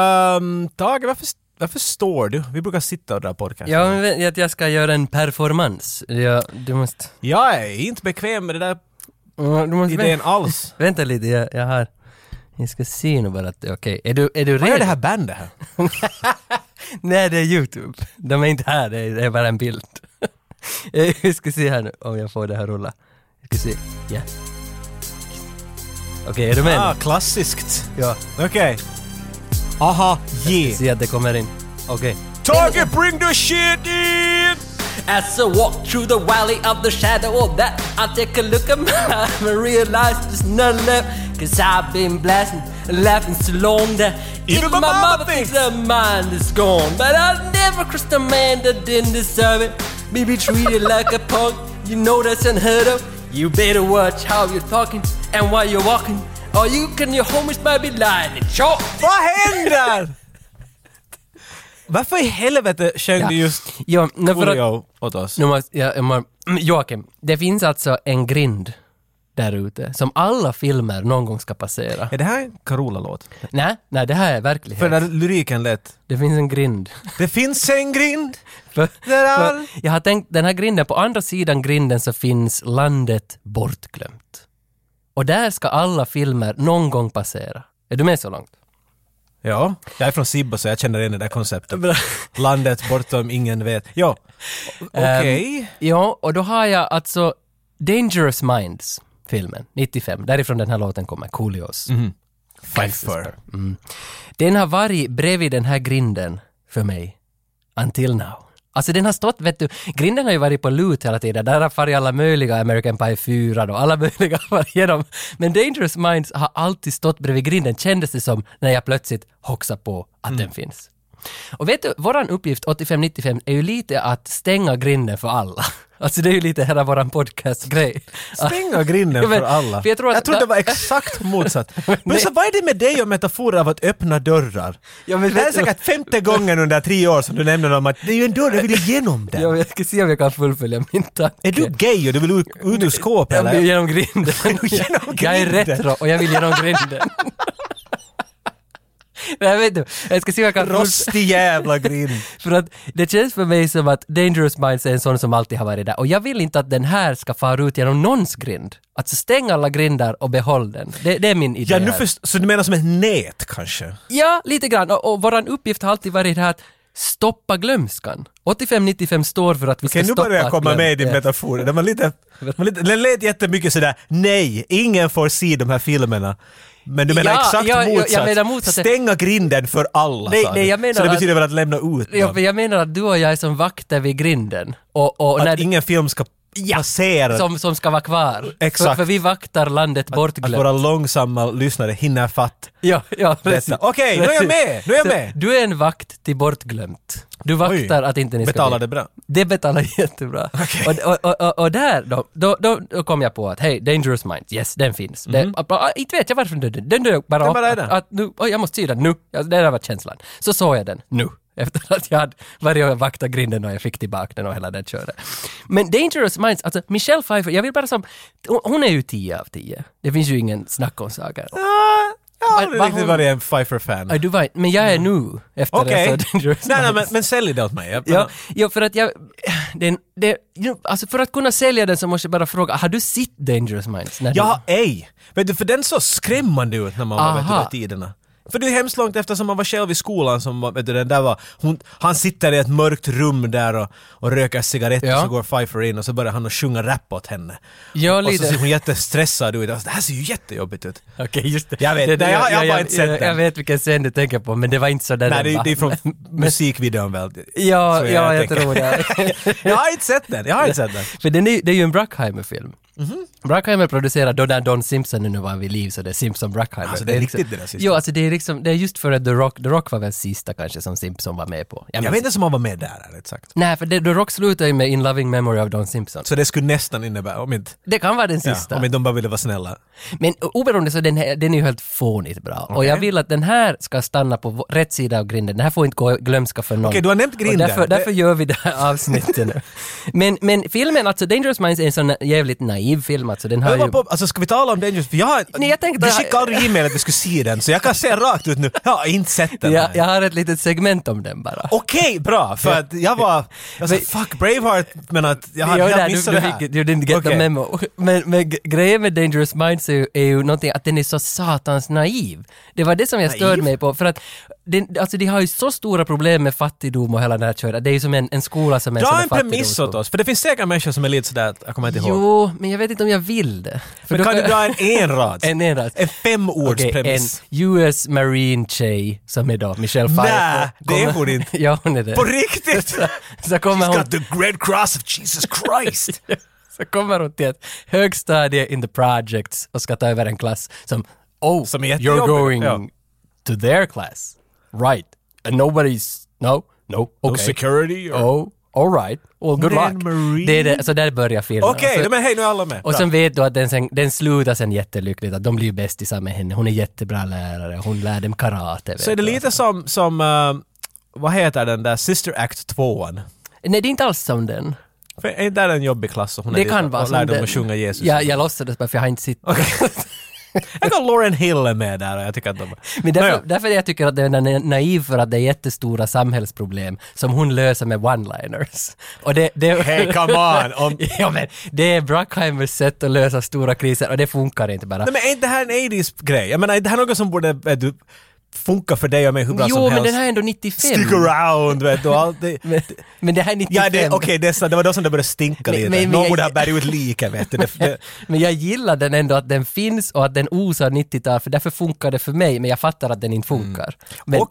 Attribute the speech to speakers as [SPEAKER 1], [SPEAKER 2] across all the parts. [SPEAKER 1] Ehm, Tage, varför, varför står du? Vi brukar sitta och dra podcast.
[SPEAKER 2] Ja, men vet- att jag ska göra en performance. Ja, du måste...
[SPEAKER 1] Jag är inte bekväm med den där
[SPEAKER 2] Du måste
[SPEAKER 1] idén
[SPEAKER 2] vänta,
[SPEAKER 1] alls.
[SPEAKER 2] vänta lite, jag, jag har... Jag ska se nu bara att det är okej. Är du, är du
[SPEAKER 1] Vad
[SPEAKER 2] redo?
[SPEAKER 1] är det här bandet här?
[SPEAKER 2] Nej, det är YouTube. De är inte här, det är, det är bara en bild. Eh, Vi ska se här nu om jag får det här rulla. Vi ska se. Ja. Okej, är du med?
[SPEAKER 1] Ah,
[SPEAKER 2] nu?
[SPEAKER 1] klassiskt.
[SPEAKER 2] Ja.
[SPEAKER 1] Okej. Aha,
[SPEAKER 2] Vi
[SPEAKER 1] yeah.
[SPEAKER 2] ser att det kommer in. Okej.
[SPEAKER 1] Tage, bring the shit in!
[SPEAKER 2] As I walk through the valley of the shadow of death, I take a look at my life and realize there's none left. Cause I've been blasting and laughing so long that even my mama thinks her mind is gone. But I never crossed a man that didn't deserve it. Me be treated like a punk, you know that's unheard of. You better watch how you're talking and why you're walking, or you can your homies might be lying and chalk.
[SPEAKER 1] Vad händer? Varför i helvete sjöng du just
[SPEAKER 2] Ja,
[SPEAKER 1] Oreo åt oss?
[SPEAKER 2] Nu måste, jag, jag må, Mm, Joakim, det finns alltså en grind där ute som alla filmer någon gång ska passera.
[SPEAKER 1] Är det här en Carola-låt?
[SPEAKER 2] Nej, nej, det här är verklighet.
[SPEAKER 1] För den där lyriken lät...
[SPEAKER 2] det finns en grind.
[SPEAKER 1] Det finns en grind
[SPEAKER 2] För,
[SPEAKER 1] där all...
[SPEAKER 2] för, jag har tänkt, den här grinden, på andra sidan grinden så finns landet bortglömt. Och där ska alla filmer någon gång passera. Är du med så långt?
[SPEAKER 1] Ja, jag är från Sibbo så jag känner igen det där konceptet. Landet bortom ingen vet. Ja, Ehm, okej.
[SPEAKER 2] Ja, och då har jag alltså Dangerous Minds, filmen, 95. Därifrån den här låten kommer, Coolios.
[SPEAKER 1] Pfeiffer.
[SPEAKER 2] Den har varit bredvid den här grinden för mig. Until now. Alltså den har stått, vet du, grinden har ju varit på loot hela tiden. Där har farit alla möjliga American Pie 4 och alla möjliga har varit igenom. Men Dangerous Minds har alltid stått bredvid grinden, kändes det som, när jag plötsligt hoxade på att den finns. Och vet du, våran uppgift 85-95 är ju lite att stänga grinden för alla. Alltså det är ju lite hela våran podcast-grej.
[SPEAKER 1] Stänga grinden
[SPEAKER 2] Ja, men-
[SPEAKER 1] för alla.
[SPEAKER 2] för jag tror att-
[SPEAKER 1] trodde det var exakt motsatt. Men så vad är det med dig och metaforer av att öppna dörrar?
[SPEAKER 2] Ja,
[SPEAKER 1] det
[SPEAKER 2] men
[SPEAKER 1] här är
[SPEAKER 2] vet du-
[SPEAKER 1] säkert femte gången under tre år som du nämner om att det är ju en dörr, du vill igenom den.
[SPEAKER 2] Jag, jag ska se om jag kan fullfölja min tanke.
[SPEAKER 1] Är du gay och du vill ut, ut ur skåpet
[SPEAKER 2] Jag vill
[SPEAKER 1] eller?
[SPEAKER 2] genom grinden.
[SPEAKER 1] Genom
[SPEAKER 2] Jag är
[SPEAKER 1] grinden.
[SPEAKER 2] retro och jag vill genom grinden. Nej, vet du, jag ska se vad jag kan...
[SPEAKER 1] Rostig jävla grind.
[SPEAKER 2] För att det känns för mig som att Dangerous Minds är en sån som alltid har varit där. Och jag vill inte att den här ska fara ut genom någons grind. Alltså stäng alla grindar och behåll den. Det, det är min idé
[SPEAKER 1] Ja, nu
[SPEAKER 2] här.
[SPEAKER 1] först, så du menar som ett nät kanske?
[SPEAKER 2] Ja, lite grann. Och, och våran uppgift har alltid varit det här att stoppa glömskan. 85-95 står för att vi ska
[SPEAKER 1] Okej, nu
[SPEAKER 2] stoppa
[SPEAKER 1] börjar jag komma med i din
[SPEAKER 2] glömskan.
[SPEAKER 1] metafor. Den var lite... den var lite- Den lät jättemycket sådär, nej, ingen får se de här filmerna. Men du menar
[SPEAKER 2] Ja,
[SPEAKER 1] exakt
[SPEAKER 2] ja, jag- jag
[SPEAKER 1] motsatt.
[SPEAKER 2] menar motsatt.
[SPEAKER 1] Stänga grinden för alla,
[SPEAKER 2] Nej,
[SPEAKER 1] sa du.
[SPEAKER 2] nej, jag menar
[SPEAKER 1] Så det
[SPEAKER 2] att-
[SPEAKER 1] betyder väl att lämna ut
[SPEAKER 2] Ja, för
[SPEAKER 1] dem?
[SPEAKER 2] jag menar att du och jag är som vakter vid grinden. Och, och när,
[SPEAKER 1] Att ingen film ska passera.
[SPEAKER 2] som, som ska vara kvar.
[SPEAKER 1] Exakt.
[SPEAKER 2] För, för vi vaktar landet
[SPEAKER 1] Att
[SPEAKER 2] bortglömt.
[SPEAKER 1] våra långsamma lyssnare hinner fatt.
[SPEAKER 2] Ja, ja, precis.
[SPEAKER 1] Okej, nu är jag med, nu är jag
[SPEAKER 2] Så
[SPEAKER 1] med.
[SPEAKER 2] Du är en vakt till bortglömt. Du vaktar att inte ni ska
[SPEAKER 1] Betalar
[SPEAKER 2] bli-
[SPEAKER 1] det bra?
[SPEAKER 2] Det betalar jättebra. Och, och, och- och, och där då, då, då, då kom jag på att hej, Dangerous Minds, yes, den finns. Det- ah, ah, inte vet jag varför den dök Den dök bara
[SPEAKER 1] Mhm. Den
[SPEAKER 2] upp.
[SPEAKER 1] bara är
[SPEAKER 2] att,
[SPEAKER 1] där.
[SPEAKER 2] att nu, oj, jag måste se den nu. Ja, det där var känslan. Så såg jag den nu. Efter att jag hade varit och vaktat grinden och jag fick tillbaka den och hela den köret. Men Dangerous Minds, alltså Michelle Pfeiffer, jag vill bara som... hon- Hon är ju 10 av 10. Det finns ju ingen snack om saken.
[SPEAKER 1] Ah, Jag har
[SPEAKER 2] Vad-
[SPEAKER 1] aldrig
[SPEAKER 2] vad
[SPEAKER 1] riktigt
[SPEAKER 2] hon-
[SPEAKER 1] varit en Pfeiffer-fan.
[SPEAKER 2] Ja, du var, men jag är nu efter
[SPEAKER 1] Mm. Okej.
[SPEAKER 2] det så Dangerous
[SPEAKER 1] Nej, nej,
[SPEAKER 2] Minds.
[SPEAKER 1] men, men sälj det åt mig. Jag-
[SPEAKER 2] Ja, ja, för att jag... Den, det, jo, alltså för att kunna sälja den så måste jag bara fråga, har du sett Dangerous Minds? När
[SPEAKER 1] Jag
[SPEAKER 2] du,
[SPEAKER 1] har ej. Vet du, för den såg skrämmande ut när man var vet du,
[SPEAKER 2] Aha.
[SPEAKER 1] där tiderna. För det är hemskt långt eftersom man var själv i skolan som var- vet du, den där var, hon, han sitter i ett mörkt rum där och, och röker cigarett
[SPEAKER 2] Ja.
[SPEAKER 1] och så går Pfeiffer in och så börjar han att sjunga rap åt henne.
[SPEAKER 2] Ja,
[SPEAKER 1] och så
[SPEAKER 2] lite.
[SPEAKER 1] ser hon jättestressad ut. Alltså, det här ser ju jättejobbigt ut.
[SPEAKER 2] Okej, just det.
[SPEAKER 1] Jag vet, nej, jag- jag har bara inte sett
[SPEAKER 2] jag,
[SPEAKER 1] den.
[SPEAKER 2] jag vet vilken scen du tänker på, men det var inte så där
[SPEAKER 1] Nej, det,
[SPEAKER 2] den
[SPEAKER 1] är-
[SPEAKER 2] var.
[SPEAKER 1] det är från musikvideon väl?
[SPEAKER 2] Ja,
[SPEAKER 1] Så
[SPEAKER 2] ja, jag,
[SPEAKER 1] tänker.
[SPEAKER 2] tror det.
[SPEAKER 1] jag har inte sett den, jag har inte sett den.
[SPEAKER 2] För den är, det är ju en Bruckheimer-film.
[SPEAKER 1] Mhm.
[SPEAKER 2] Bruckheimer producerar då när Don Simpson nu var vid liv, så det är Simpson Bruckheimer.
[SPEAKER 1] Alltså, det är riktigt
[SPEAKER 2] liksom,
[SPEAKER 1] det där sista.
[SPEAKER 2] Jo, alltså det är liksom, det är just för att The Rock, The Rock var väl sista kanske som Simpson var med på.
[SPEAKER 1] Jag
[SPEAKER 2] minns
[SPEAKER 1] vet inte om han var med där, ärligt sagt.
[SPEAKER 2] Nej, för det, The Rock slutar ju med In Loving Memory of Don Simpson.
[SPEAKER 1] Så det skulle nästan innebära, om inte,
[SPEAKER 2] Det kan vara den
[SPEAKER 1] ja,
[SPEAKER 2] sista.
[SPEAKER 1] om inte de bara ville vara snälla.
[SPEAKER 2] Men oberoende så den, här, den är ju helt fånigt bra. Och jag vill att den här ska stanna på v- rätt sida av grinden. Den här får inte gå i glömska för någon.
[SPEAKER 1] Okej, du har nämnt grinden.
[SPEAKER 2] Och därför,
[SPEAKER 1] Det-
[SPEAKER 2] därför gör vi det här avsnittet nu. Men, men filmen, alltså Dangerous Minds är en sån jävligt naiv naivfilmat så den har
[SPEAKER 1] Jag var
[SPEAKER 2] ju...
[SPEAKER 1] på, alltså ska vi tala om den just? För jag har,
[SPEAKER 2] Nej, jag tänkte-
[SPEAKER 1] du skickade aldrig e-mail att vi skulle se den, så jag kan säga rakt ut nu, jag har inte sett den.
[SPEAKER 2] Jag,
[SPEAKER 1] här.
[SPEAKER 2] jag har ett litet segment om den bara.
[SPEAKER 1] Okej, bra! För att jag var... Jag sa fuck Braveheart, men att jag hade
[SPEAKER 2] Jo,
[SPEAKER 1] helt
[SPEAKER 2] nej, du,
[SPEAKER 1] missat
[SPEAKER 2] du
[SPEAKER 1] det här.
[SPEAKER 2] fick, you didn't get
[SPEAKER 1] Okej.
[SPEAKER 2] the memo. Men, men g- grejen med Dangerous Minds är ju, är ju någonting att den är så satans naiv. Det var det som jag störde mig på, för att den, alltså de har ju så stora problem med fattigdom och hela den här köret. Det är ju som en, en skola som är som
[SPEAKER 1] Dra en premiss åt oss, för det finns säkert människor som är lite sådär, att jag kommer inte ihåg.
[SPEAKER 2] Jo, men jag vet inte om jag vill det. För
[SPEAKER 1] Men
[SPEAKER 2] då
[SPEAKER 1] kan du dra en enrad?
[SPEAKER 2] En enrad.
[SPEAKER 1] En
[SPEAKER 2] Okej, en
[SPEAKER 1] femordspremiss.
[SPEAKER 2] US Marine tjej som är då Michelle Pfeiffer.
[SPEAKER 1] Nej, det är hon inte.
[SPEAKER 2] ja, hon är det.
[SPEAKER 1] På riktigt!
[SPEAKER 2] Så kommer hon
[SPEAKER 1] Got the Red Cross of Jesus Christ!
[SPEAKER 2] Så kommer hon till ett högstadie in the projects och ska ta över en klass som Oh,
[SPEAKER 1] Som är
[SPEAKER 2] you're
[SPEAKER 1] jättejobbig,
[SPEAKER 2] going
[SPEAKER 1] ja.
[SPEAKER 2] to their class. Right. And nobody's... No, no,
[SPEAKER 1] No
[SPEAKER 2] okay.
[SPEAKER 1] security? or-
[SPEAKER 2] oh, all right. Well,
[SPEAKER 1] Men
[SPEAKER 2] good luck.
[SPEAKER 1] Marie-
[SPEAKER 2] Det är det, så där börjar filmen.
[SPEAKER 1] Okej,
[SPEAKER 2] Och så-
[SPEAKER 1] men hej nu är alla med.
[SPEAKER 2] Alltså- och
[SPEAKER 1] Bra.
[SPEAKER 2] sen vet du att den, sen, den slutar sen jättelyckligt, att de blir ju bästisar med henne. Hon är jättebra lärare, hon lär dem karate. vet
[SPEAKER 1] Så är det
[SPEAKER 2] du.
[SPEAKER 1] lite som, som eh, vad heter den där Sister Act 2an?
[SPEAKER 2] Nej, det är inte alls som den.
[SPEAKER 1] För är inte där en jobbig klass? Och hon är
[SPEAKER 2] Det
[SPEAKER 1] lite-
[SPEAKER 2] kan vara
[SPEAKER 1] och
[SPEAKER 2] som
[SPEAKER 1] lär
[SPEAKER 2] den.
[SPEAKER 1] dem att sjunga Jesus.
[SPEAKER 2] Ja, jag låtsades bara för jag har inte sett
[SPEAKER 1] Jag kan Lauren Hill är med där och jag tycker att de...
[SPEAKER 2] Men därför,
[SPEAKER 1] Nåja.
[SPEAKER 2] därför jag tycker att den är na- naiv för att det är jättestora samhällsproblem som hon löser med one-liners. Och det, det,
[SPEAKER 1] Hey, come on! Om...
[SPEAKER 2] ja, men, det är Bruckheimers sätt att lösa stora kriser och det funkar inte bara.
[SPEAKER 1] Nej men är inte det här en 80s-grej? Jag menar, är det här något som borde vet du, funka för dig och mig hur bra som
[SPEAKER 2] jo, men
[SPEAKER 1] helst?
[SPEAKER 2] den här är ändå 95.
[SPEAKER 1] Stick around, vet du. och Allt det...
[SPEAKER 2] Men, men det här är 95.
[SPEAKER 1] Ja, det, okej, det är sant. det var då som det började stinka
[SPEAKER 2] Men-
[SPEAKER 1] lite.
[SPEAKER 2] men- men
[SPEAKER 1] Någon
[SPEAKER 2] jag-
[SPEAKER 1] borde ha bärit ut liket, vet du. Det, det...
[SPEAKER 2] Men jag gillar den ändå att den finns och att den osar 90-tal för därför funkar det för mig men jag fattar att den inte funkar. Men,
[SPEAKER 1] Mm.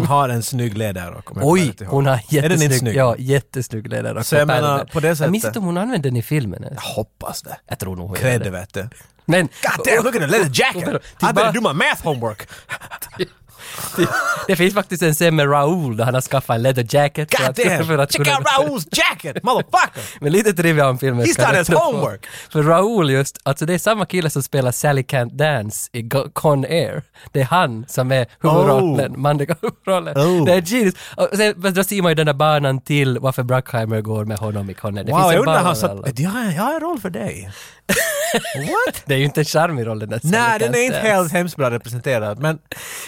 [SPEAKER 1] Och hon har en snygg ledare. kommer jag
[SPEAKER 2] oj,
[SPEAKER 1] väl ihåg.
[SPEAKER 2] hon har
[SPEAKER 1] Är den inte
[SPEAKER 2] jättesnygg,
[SPEAKER 1] snygg?
[SPEAKER 2] ja, jättesnygg ledare.
[SPEAKER 1] Så jag menar,
[SPEAKER 2] Pärlen.
[SPEAKER 1] på det
[SPEAKER 2] Jag minns
[SPEAKER 1] sättet-
[SPEAKER 2] inte om hon använde den i filmen ens.
[SPEAKER 1] Hoppas det.
[SPEAKER 2] Jag tror nog hon gör
[SPEAKER 1] Cred,
[SPEAKER 2] det.
[SPEAKER 1] vet du.
[SPEAKER 2] Men...
[SPEAKER 1] God damn, look at the leather jacket! I better do my math homework!
[SPEAKER 2] Det finns faktiskt en scen med Raoul där han har skaffat en leather jacket. för
[SPEAKER 1] God
[SPEAKER 2] att- för
[SPEAKER 1] damn!
[SPEAKER 2] att
[SPEAKER 1] Check
[SPEAKER 2] kunna-
[SPEAKER 1] out Raoul's jacket, motherfucker!
[SPEAKER 2] Men lite trivia om filmen.
[SPEAKER 1] He's
[SPEAKER 2] ska
[SPEAKER 1] done
[SPEAKER 2] jag
[SPEAKER 1] his
[SPEAKER 2] ändå få.
[SPEAKER 1] homework.
[SPEAKER 2] För Raoul just, alltså det är samma kille som spelar Sally Can't Dance i Go- Con Air. Det är han som är huvudrollen, manliga huvudrollen.
[SPEAKER 1] Oh.
[SPEAKER 2] Det är genius. Och sen, men då ser man ju den där banan till varför Bruckheimer går med honom i Con Air. Det
[SPEAKER 1] Wow,
[SPEAKER 2] finns
[SPEAKER 1] jag
[SPEAKER 2] en
[SPEAKER 1] undrar
[SPEAKER 2] bana
[SPEAKER 1] han
[SPEAKER 2] med alla.
[SPEAKER 1] sa jag har, jag har en roll för dig. What?
[SPEAKER 2] alltså. Det är ju inte en charmig roll den där Sally
[SPEAKER 1] Nej, den
[SPEAKER 2] Can't
[SPEAKER 1] är inte
[SPEAKER 2] Dance.
[SPEAKER 1] helt hemskt bra representerad, men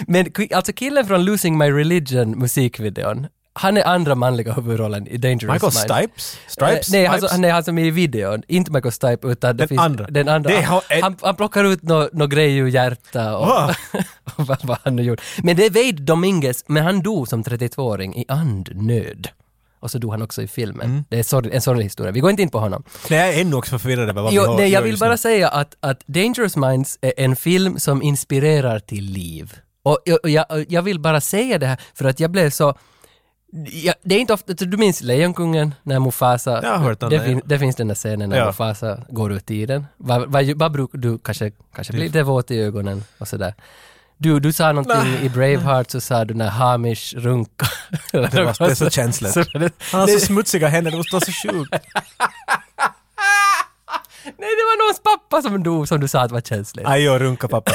[SPEAKER 2] Men ki- alltså killen från Losing My Religion musikvideon, han är andra manliga huvudrollen i Dangerous
[SPEAKER 1] Michael
[SPEAKER 2] Minds.
[SPEAKER 1] Stipes? Stripes?
[SPEAKER 2] Eh, nej,
[SPEAKER 1] Stripes?
[SPEAKER 2] alltså, nej, han som är i videon. Inte Michael Stipe utan det
[SPEAKER 1] Den
[SPEAKER 2] finns,
[SPEAKER 1] andra.
[SPEAKER 2] Den andra.
[SPEAKER 1] Det har-
[SPEAKER 2] han, han, han plockar ut någon no grej ur hjärta och,
[SPEAKER 1] Ah.
[SPEAKER 2] och vad, vad han nu gjort. Men det är Wade Dominguez, men han dog som 32-åring i andnöd. Och så dog han också i filmen.
[SPEAKER 1] Mm.
[SPEAKER 2] Det är sorg, en sorglig historia. Vi går inte in på honom.
[SPEAKER 1] nej, jag är ännu också förvirrad över vad vi
[SPEAKER 2] Jo,
[SPEAKER 1] har-
[SPEAKER 2] nej, jag
[SPEAKER 1] gör
[SPEAKER 2] vill
[SPEAKER 1] just nu.
[SPEAKER 2] bara säga att, att Dangerous Minds är en film som inspirerar till liv. Och, jag- och jag, och jag vill bara säga det här för att jag blev så... Jag, det är inte ofta, du minns Lejonkungen när Mufasa...
[SPEAKER 1] Jag har hört den
[SPEAKER 2] det,
[SPEAKER 1] där,
[SPEAKER 2] fin, det finns den där scenen när
[SPEAKER 1] Ja.
[SPEAKER 2] Mufasa går ut i den. Vad vad- vad brukar du, kanske, kanske blir lite våt i ögonen och sådär. Du, du sa någonting i Braveheart så sa du när Hamish runkar.
[SPEAKER 1] Det, var, det är så känsligt. Han har så smutsiga händer, det måste vara så sjukt.
[SPEAKER 2] Nej, det var någons pappa som dog som du sa att var känsligt.
[SPEAKER 1] Aj, jag runkar pappa.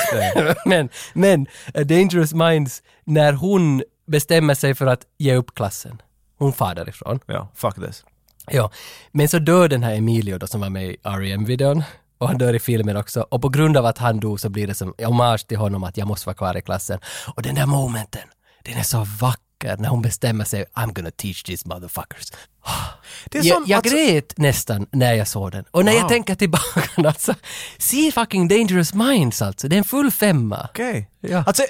[SPEAKER 2] men, men eh, Dangerous Minds, när hon bestämmer sig för att ge upp klassen. Hon far därifrån.
[SPEAKER 1] Ja, fuck this.
[SPEAKER 2] Ja. Men så dör den här Emilio då som var med i R.E.M-videon. Och han dör i filmen också. Och på grund av att han dog så blir det som hommage till honom att jag måste vara kvar i klassen. Och den där momenten, den är så vacker när hon bestämmer sig I'm gonna teach these motherfuckers.
[SPEAKER 1] Det är
[SPEAKER 2] Jag,
[SPEAKER 1] som,
[SPEAKER 2] jag
[SPEAKER 1] alltså,
[SPEAKER 2] grät nästan när jag såg den. Och när jag
[SPEAKER 1] Wow.
[SPEAKER 2] tänker tillbaka alltså, se fucking Dangerous Minds alltså, det är en full femma.
[SPEAKER 1] Okej.
[SPEAKER 2] Ja.
[SPEAKER 1] Alltså,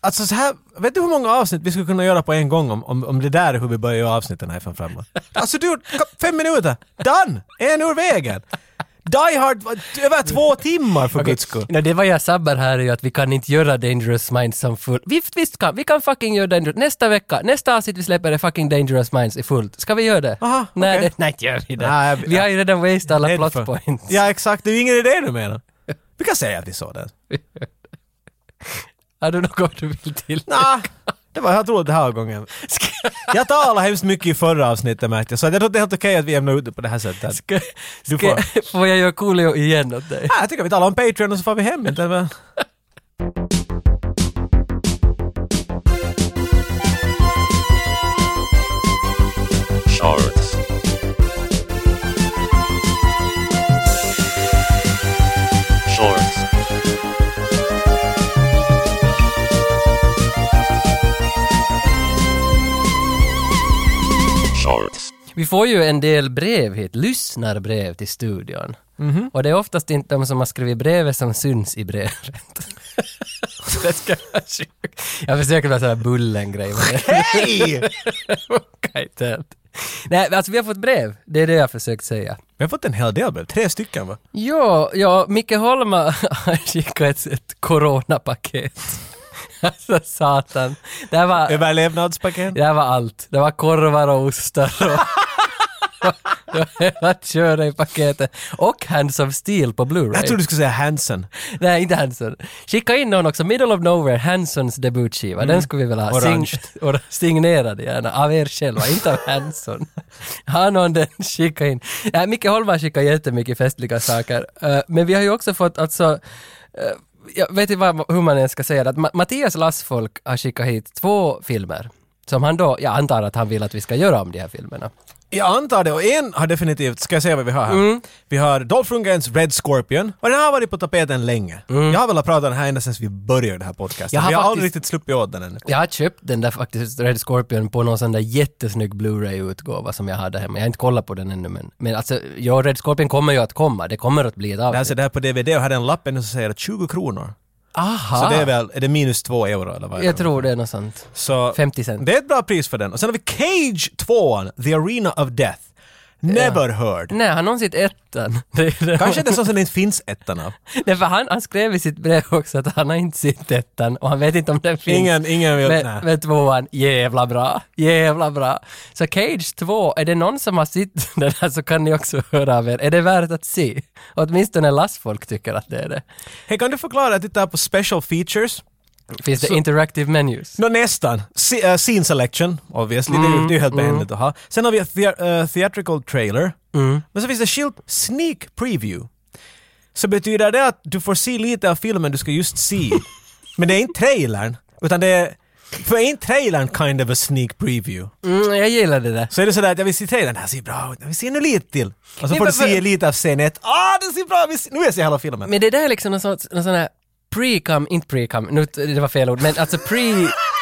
[SPEAKER 1] alltså så här, vet du hur många avsnitt vi skulle kunna göra på en gång om, om, om det där är hur vi börjar göra avsnitten här från framåt? Alltså du, ka- fem minuter, done! En ur vägen! Die Hard, var över två timmar för guds skull.
[SPEAKER 2] Nej, det var jag sabbar här är ju att vi kan inte göra Dangerous Minds som full. Visst, visst kan vi kan fucking göra Dangerous Nästa vecka, nästa avsnitt vi släpper är fucking Dangerous Minds i fullt. Ska vi göra det?
[SPEAKER 1] Aha,
[SPEAKER 2] nej,
[SPEAKER 1] okej.
[SPEAKER 2] det, nej, inte gör vi det.
[SPEAKER 1] Nej, jag-
[SPEAKER 2] vi har ju redan wasted alla
[SPEAKER 1] Rädd
[SPEAKER 2] plot
[SPEAKER 1] för-
[SPEAKER 2] points.
[SPEAKER 1] Ja exakt, det är ju ingen idé du menar. Vi kan säga att vi såg den.
[SPEAKER 2] Har du något du vill till?
[SPEAKER 1] Nah, det var helt roligt den här gången.
[SPEAKER 2] Ska,
[SPEAKER 1] Jag talade hemskt mycket i förra avsnittet märkte jag, så jag tror att det är helt okej att vi jämnar ut det på det här sättet.
[SPEAKER 2] ska,
[SPEAKER 1] Du
[SPEAKER 2] ska, får jag göra Coolio igen åt dig?
[SPEAKER 1] Ah, jag tycker vi talar om Patreon och så får vi hem inte väl?
[SPEAKER 3] Shorts.
[SPEAKER 2] Vi får ju en del brev hit, lyssnarbrev till studion.
[SPEAKER 1] Mhm.
[SPEAKER 2] Och det är oftast inte de som har skrivit brevet som syns i brevet. det ska vara sjukt. Jag försöker vara sådär Bullen-grej. men det-
[SPEAKER 1] Hej!
[SPEAKER 2] funkar inte helt. Nej, alltså vi har fått brev. Det är det jag har försökt säga.
[SPEAKER 1] Vi har fått en hel del brev, tre stycken va?
[SPEAKER 2] Ja, ja, Micke Holma har skickat ett, ett coronapaket. Alltså satan. Det här var...
[SPEAKER 1] Överlevnadspaket.
[SPEAKER 2] Det här var allt. Det var korvar och ostar och... Det var hela köra i paketet. Och Hands of Steel på
[SPEAKER 1] Jag trodde
[SPEAKER 2] Blu-ray.
[SPEAKER 1] du skulle säga Hansen.
[SPEAKER 2] Nej, inte Hanson. Skicka in någon också. Middle of Nowhere, Hansons debutskiva. Den skulle vi vilja ha.
[SPEAKER 1] Orange.
[SPEAKER 2] och signerad gärna. Av er själva, inte av Hanson. Har någon den, skicka in. Nej, Micke Holmberg skickar jättemycket festliga saker. Eh, men vi har ju också fått alltså eh, jag vet inte vad, hur man ens ska säga det. Att Ma- Mattias Lassfolk har skickat hit två filmer som han då, jag antar att han vill att vi ska göra om de här filmerna.
[SPEAKER 1] Jag antar det och en har definitivt, ska jag säga vad vi har här?
[SPEAKER 2] Mm.
[SPEAKER 1] Vi har Dolph Lundgrens Red Scorpion och den har varit på tapeten länge. Jag har velat prata om den här ända sedan vi började den här podcasten.
[SPEAKER 2] Mm. Jag har
[SPEAKER 1] vi har
[SPEAKER 2] faktiskt-
[SPEAKER 1] aldrig riktigt sluppit åt den ännu.
[SPEAKER 2] Jag har köpt den där faktiskt, Red Scorpion, på någon sån där jättesnygg Blu-ray-utgåva som jag hade hemma. Jag har inte kollat på den ännu men, men alltså, ja, Red Scorpion kommer ju att komma. Det kommer att bli ett
[SPEAKER 1] Jag
[SPEAKER 2] avsnitt.
[SPEAKER 1] ser Alltså, det här på DVD och hade en lapp ännu som säger att 20 kronor.
[SPEAKER 2] Aha!
[SPEAKER 1] Så det är väl, är det minus 2 euro eller vad är
[SPEAKER 2] Ah. Jag
[SPEAKER 1] det?
[SPEAKER 2] tror det är något sånt.
[SPEAKER 1] Så
[SPEAKER 2] 50 cent.
[SPEAKER 1] det är ett bra pris för den. Och sen har vi Cage 2, The Arena of Death. Never heard.
[SPEAKER 2] Nej, han har sett ettan. Det är det.
[SPEAKER 1] Kanske det är sånt som det inte finns ettan av.
[SPEAKER 2] Nej, för han, han skrev i sitt brev också att han har inte sett ettan och han vet inte om den finns.
[SPEAKER 1] Ingen, ingen vill... nej.
[SPEAKER 2] Men, men tvåan, jävla bra, jävla bra. Så Cage 2, är det någon som har sett den här så kan ni också höra av er. Är det värt att se? Åtminstone lastfolk tycker att det är det.
[SPEAKER 1] Hej, kan du förklara att titta på special features?
[SPEAKER 2] Finns det interactive menus?
[SPEAKER 1] Nå nästan. Se, äh, scene selection, obviously. Det, är
[SPEAKER 2] Mm,
[SPEAKER 1] ju- det är ju helt behändigt att ha. Sen har vi the, äh, theatrical trailer.
[SPEAKER 2] Mm.
[SPEAKER 1] Men så finns det skilt sneak preview. Så betyder det att du får se lite av filmen du ska just se. Men det är inte trailern, utan det är... För är inte trailern kind of a sneak preview?
[SPEAKER 2] Mm, jag gillar det där.
[SPEAKER 1] Så är det sådär att jag vill se trailern, den här ser bra ut, jag vill se nu lite till. Och så
[SPEAKER 2] Nej,
[SPEAKER 1] får du
[SPEAKER 2] men-
[SPEAKER 1] se lite av scen ett, ah den ser bra ut, nu vill jag se hela filmen.
[SPEAKER 2] Men det där är liksom någon sån, någon sån här pre-cum, inte pre-cum, nu, det var fel ord, men alltså pre...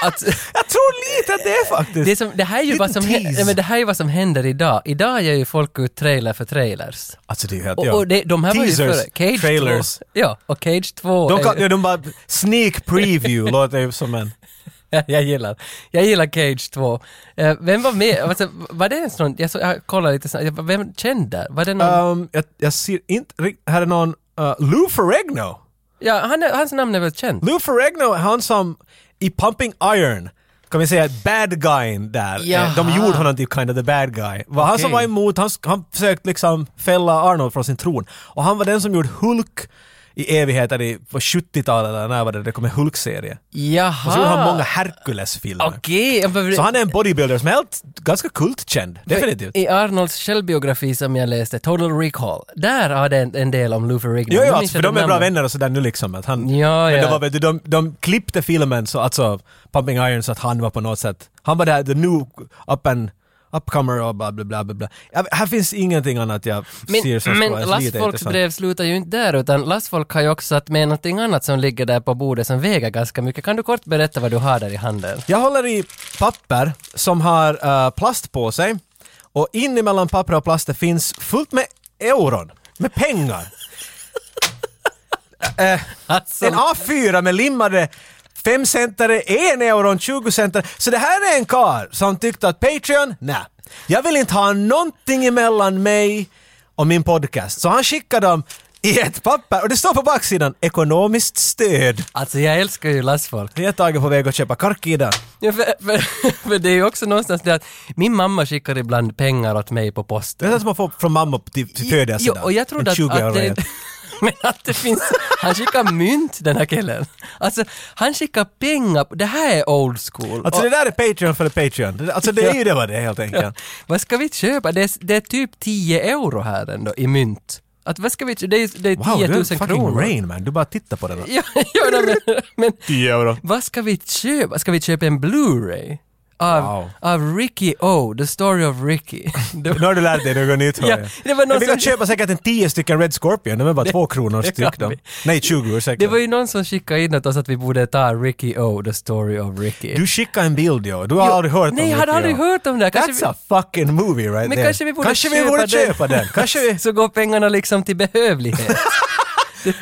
[SPEAKER 2] Att,
[SPEAKER 1] jag tror lite att det är faktiskt.
[SPEAKER 2] det, är som, det, här är ju
[SPEAKER 1] Liten
[SPEAKER 2] vad som, hä-
[SPEAKER 1] tease.
[SPEAKER 2] nej, men det här är ju vad som händer idag. Idag gör ju folk ut trailer för trailers.
[SPEAKER 1] Alltså det är ju helt...
[SPEAKER 2] Och,
[SPEAKER 1] ja.
[SPEAKER 2] och det, de här var ju
[SPEAKER 1] Teasers,
[SPEAKER 2] före. Cage
[SPEAKER 1] trailers.
[SPEAKER 2] 2. Ja, och Cage 2.
[SPEAKER 1] De,
[SPEAKER 2] är
[SPEAKER 1] kan,
[SPEAKER 2] ju-
[SPEAKER 1] ja, de bara sneak preview låter ju som en...
[SPEAKER 2] jag gillar. Jag gillar Cage 2. Eh, vem var med? Alltså, var det ens någon, jag, så, jag kollade lite snabbt, Jag- vem kände? Var det någon?
[SPEAKER 1] Um, jag, jag ser inte rikt- Här är någon... Uh, Lou Ferrigno!
[SPEAKER 2] ja, han, är- hans namn är väl känt?
[SPEAKER 1] Lou Ferrigno är han som i Pumping Iron kan vi säga att bad guyen där, eh, de
[SPEAKER 2] Jaha.
[SPEAKER 1] gjorde honom till kind of the bad guy. Var han som
[SPEAKER 2] Okej.
[SPEAKER 1] var emot, han, sk- han försökte liksom fälla Arnold från sin tron. Och han var den som gjorde Hulk i evigheter i, på 70-talet eller när var det det kom en Hulk-serie.
[SPEAKER 2] Jaha!
[SPEAKER 1] Och så gjorde han många Hercules-filmer.
[SPEAKER 2] Okej! jag behöver-
[SPEAKER 1] Så han är en bodybuilder som är helt, ganska kultkänd, definitivt.
[SPEAKER 2] I Arnolds självbiografi som jag läste, Total Recall, där har det en, en del om Lou Ferrigno.
[SPEAKER 1] Jo,
[SPEAKER 2] Nu
[SPEAKER 1] jo,
[SPEAKER 2] minns
[SPEAKER 1] alltså, för
[SPEAKER 2] jag
[SPEAKER 1] de är
[SPEAKER 2] namnet.
[SPEAKER 1] bra vänner och sådär nu liksom. Att han,
[SPEAKER 2] Ja,
[SPEAKER 1] men
[SPEAKER 2] ja.
[SPEAKER 1] Det var, vet du, de, de klippte filmen, så, alltså Pumping Iron, så att han var på något sätt... Han var där, the new up and upcomer och bla bla bla. bla, bla. Ja, här finns ingenting annat jag ser som
[SPEAKER 2] Men,
[SPEAKER 1] skulle
[SPEAKER 2] men
[SPEAKER 1] vara ens lite
[SPEAKER 2] Lastfolks
[SPEAKER 1] intressant.
[SPEAKER 2] brev slutar ju inte där, utan Lastfolk har ju också satt med någonting annat som ligger där på bordet som väger ganska mycket. Kan du kort berätta vad du har där i handen?
[SPEAKER 1] Jag håller i papper som har eh, plast på sig och in emellan papper och plaster finns fullt med euron, med pengar.
[SPEAKER 2] Alltså,
[SPEAKER 1] En A4 med limmade femcentare, en euron, 20 centare. Så det här är en kar som tyckte att Patreon, nej. Jag vill inte ha någonting emellan mig och min podcast. Så han skickade dem i ett papper och det står på baksidan ekonomiskt stöd.
[SPEAKER 2] alltså jag älskar ju Lastfolk.
[SPEAKER 1] Jag är tagen på väg att köpa karkida.
[SPEAKER 2] Ja, för, för, för det är ju också någonstans det att min mamma skickar ibland pengar åt mig på
[SPEAKER 1] Det
[SPEAKER 2] posten.
[SPEAKER 1] är det som man får från mamma typ- till, till
[SPEAKER 2] Jo,
[SPEAKER 1] födelsedag.
[SPEAKER 2] och jag trodde
[SPEAKER 1] En
[SPEAKER 2] att,
[SPEAKER 1] 20 euro
[SPEAKER 2] att
[SPEAKER 1] i
[SPEAKER 2] det,
[SPEAKER 1] ett.
[SPEAKER 2] men att det finns, han skickar mynt den här killen. Alltså, han skickar pengar, det här är old school.
[SPEAKER 1] Alltså
[SPEAKER 2] Och-
[SPEAKER 1] det där är Patreon för Patreon. Alltså det är ju det vad det är helt enkelt.
[SPEAKER 2] Vad ska vi köpa? Det är, det är typ 10 euro här ändå i mynt. Att vad ska vi köpa? Det är, det är
[SPEAKER 1] Wow, du
[SPEAKER 2] 10
[SPEAKER 1] är en
[SPEAKER 2] 000
[SPEAKER 1] fucking
[SPEAKER 2] kronor.
[SPEAKER 1] Rain Man. Du bara tittar på den.
[SPEAKER 2] Ja, ja, nej, men, men
[SPEAKER 1] 10 euro.
[SPEAKER 2] vad ska vi köpa? Ska vi köpa en Blu-ray? av,
[SPEAKER 1] Wow.
[SPEAKER 2] av Ricky O, The Story of Ricky. Det var-
[SPEAKER 1] Nu har du lärt dig något nytt hör
[SPEAKER 2] Ja,
[SPEAKER 1] jag.
[SPEAKER 2] det var någon
[SPEAKER 1] jag vill
[SPEAKER 2] som-
[SPEAKER 1] köpa säkert en tio stycken Red Scorpion, de är bara två kronor
[SPEAKER 2] det
[SPEAKER 1] styck
[SPEAKER 2] kan
[SPEAKER 1] då.
[SPEAKER 2] vi.
[SPEAKER 1] Nej, 20 ursäkta.
[SPEAKER 2] det var ju någon som skickade in åt oss att vi borde ta Ricky O, The Story of Ricky.
[SPEAKER 1] Du skickade en bild ja, du har
[SPEAKER 2] Jo,
[SPEAKER 1] aldrig hört om
[SPEAKER 2] Nej, jag hade
[SPEAKER 1] Ricky,
[SPEAKER 2] aldrig
[SPEAKER 1] ja.
[SPEAKER 2] hört om det. här. Kanske
[SPEAKER 1] That's a fucking movie right
[SPEAKER 2] Men
[SPEAKER 1] there.
[SPEAKER 2] kanske vi borde
[SPEAKER 1] vi
[SPEAKER 2] köpa
[SPEAKER 1] borde
[SPEAKER 2] den.
[SPEAKER 1] köpa den. Kanske vi...
[SPEAKER 2] Så går pengarna liksom till behövlighet.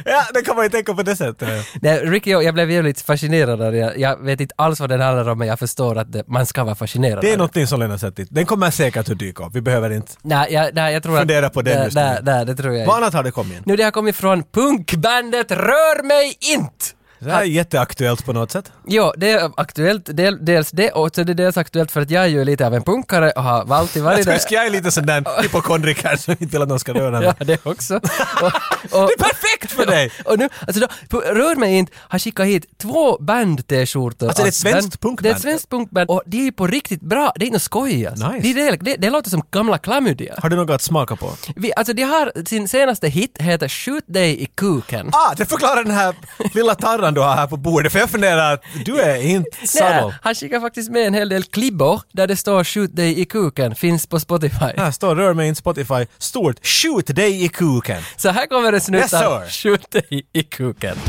[SPEAKER 1] Ja, det kan man ju tänka på det sättet. ja.
[SPEAKER 2] Nej, Ricky, jag jag blev jävligt fascinerad av det. Jag- Jag vet inte alls vad den handlar om, men jag förstår att det, man ska vara fascinerad
[SPEAKER 1] Det är
[SPEAKER 2] av
[SPEAKER 1] någonting som Lennart sett dit. Den kommer säkert att dyka upp, vi behöver inte...
[SPEAKER 2] Nej, jag, nej, jag tror att...
[SPEAKER 1] Fundera på det
[SPEAKER 2] nej,
[SPEAKER 1] just nu.
[SPEAKER 2] nej, nej, det tror jag
[SPEAKER 1] Vad
[SPEAKER 2] inte.
[SPEAKER 1] annat har det kommit in?
[SPEAKER 2] Nu, det har kommit från punkbandet Rör mig inte!
[SPEAKER 1] Det här är jätteaktuellt på något sätt.
[SPEAKER 2] Jo, det är aktuellt, del, dels det, och så är det dels aktuellt för att jag är ju lite av en punkare och har alltid varit
[SPEAKER 1] Jag
[SPEAKER 2] det.
[SPEAKER 1] ska jag är lite sån där hypokondriker som inte vill att någon ska röra mig.
[SPEAKER 2] Ja, det också. Och, och,
[SPEAKER 1] Det är perfekt för dig!
[SPEAKER 2] och nu, alltså då, på- Rör mig inte har skickat hit två band-t-skjortor.
[SPEAKER 1] Alltså, det är ett
[SPEAKER 2] den-
[SPEAKER 1] svenskt punkband?
[SPEAKER 2] Det är ett svenskt punkband och det är ju på riktigt bra, det är inget skoj alltså.
[SPEAKER 1] Nice.
[SPEAKER 2] det, är det, det, det låter som gamla klamydia.
[SPEAKER 1] Har du något att smaka på?
[SPEAKER 2] Vi, alltså de har, sin senaste hit heter Skjut dig i kuken.
[SPEAKER 1] Ah, det förklarar den här lilla tarran du har här på bordet, för jag funderar att du är inte
[SPEAKER 2] Nej,
[SPEAKER 1] subtle.
[SPEAKER 2] han skickar faktiskt med en hel del klibbor där det står Skjut dig i kuken, finns på Spotify.
[SPEAKER 1] Här står Rör mig inte Spotify, stort Shoot dig i kuken.
[SPEAKER 2] Så här kommer en snutt
[SPEAKER 1] Yes,
[SPEAKER 2] av
[SPEAKER 1] sir.
[SPEAKER 2] Skjut dig i kuken.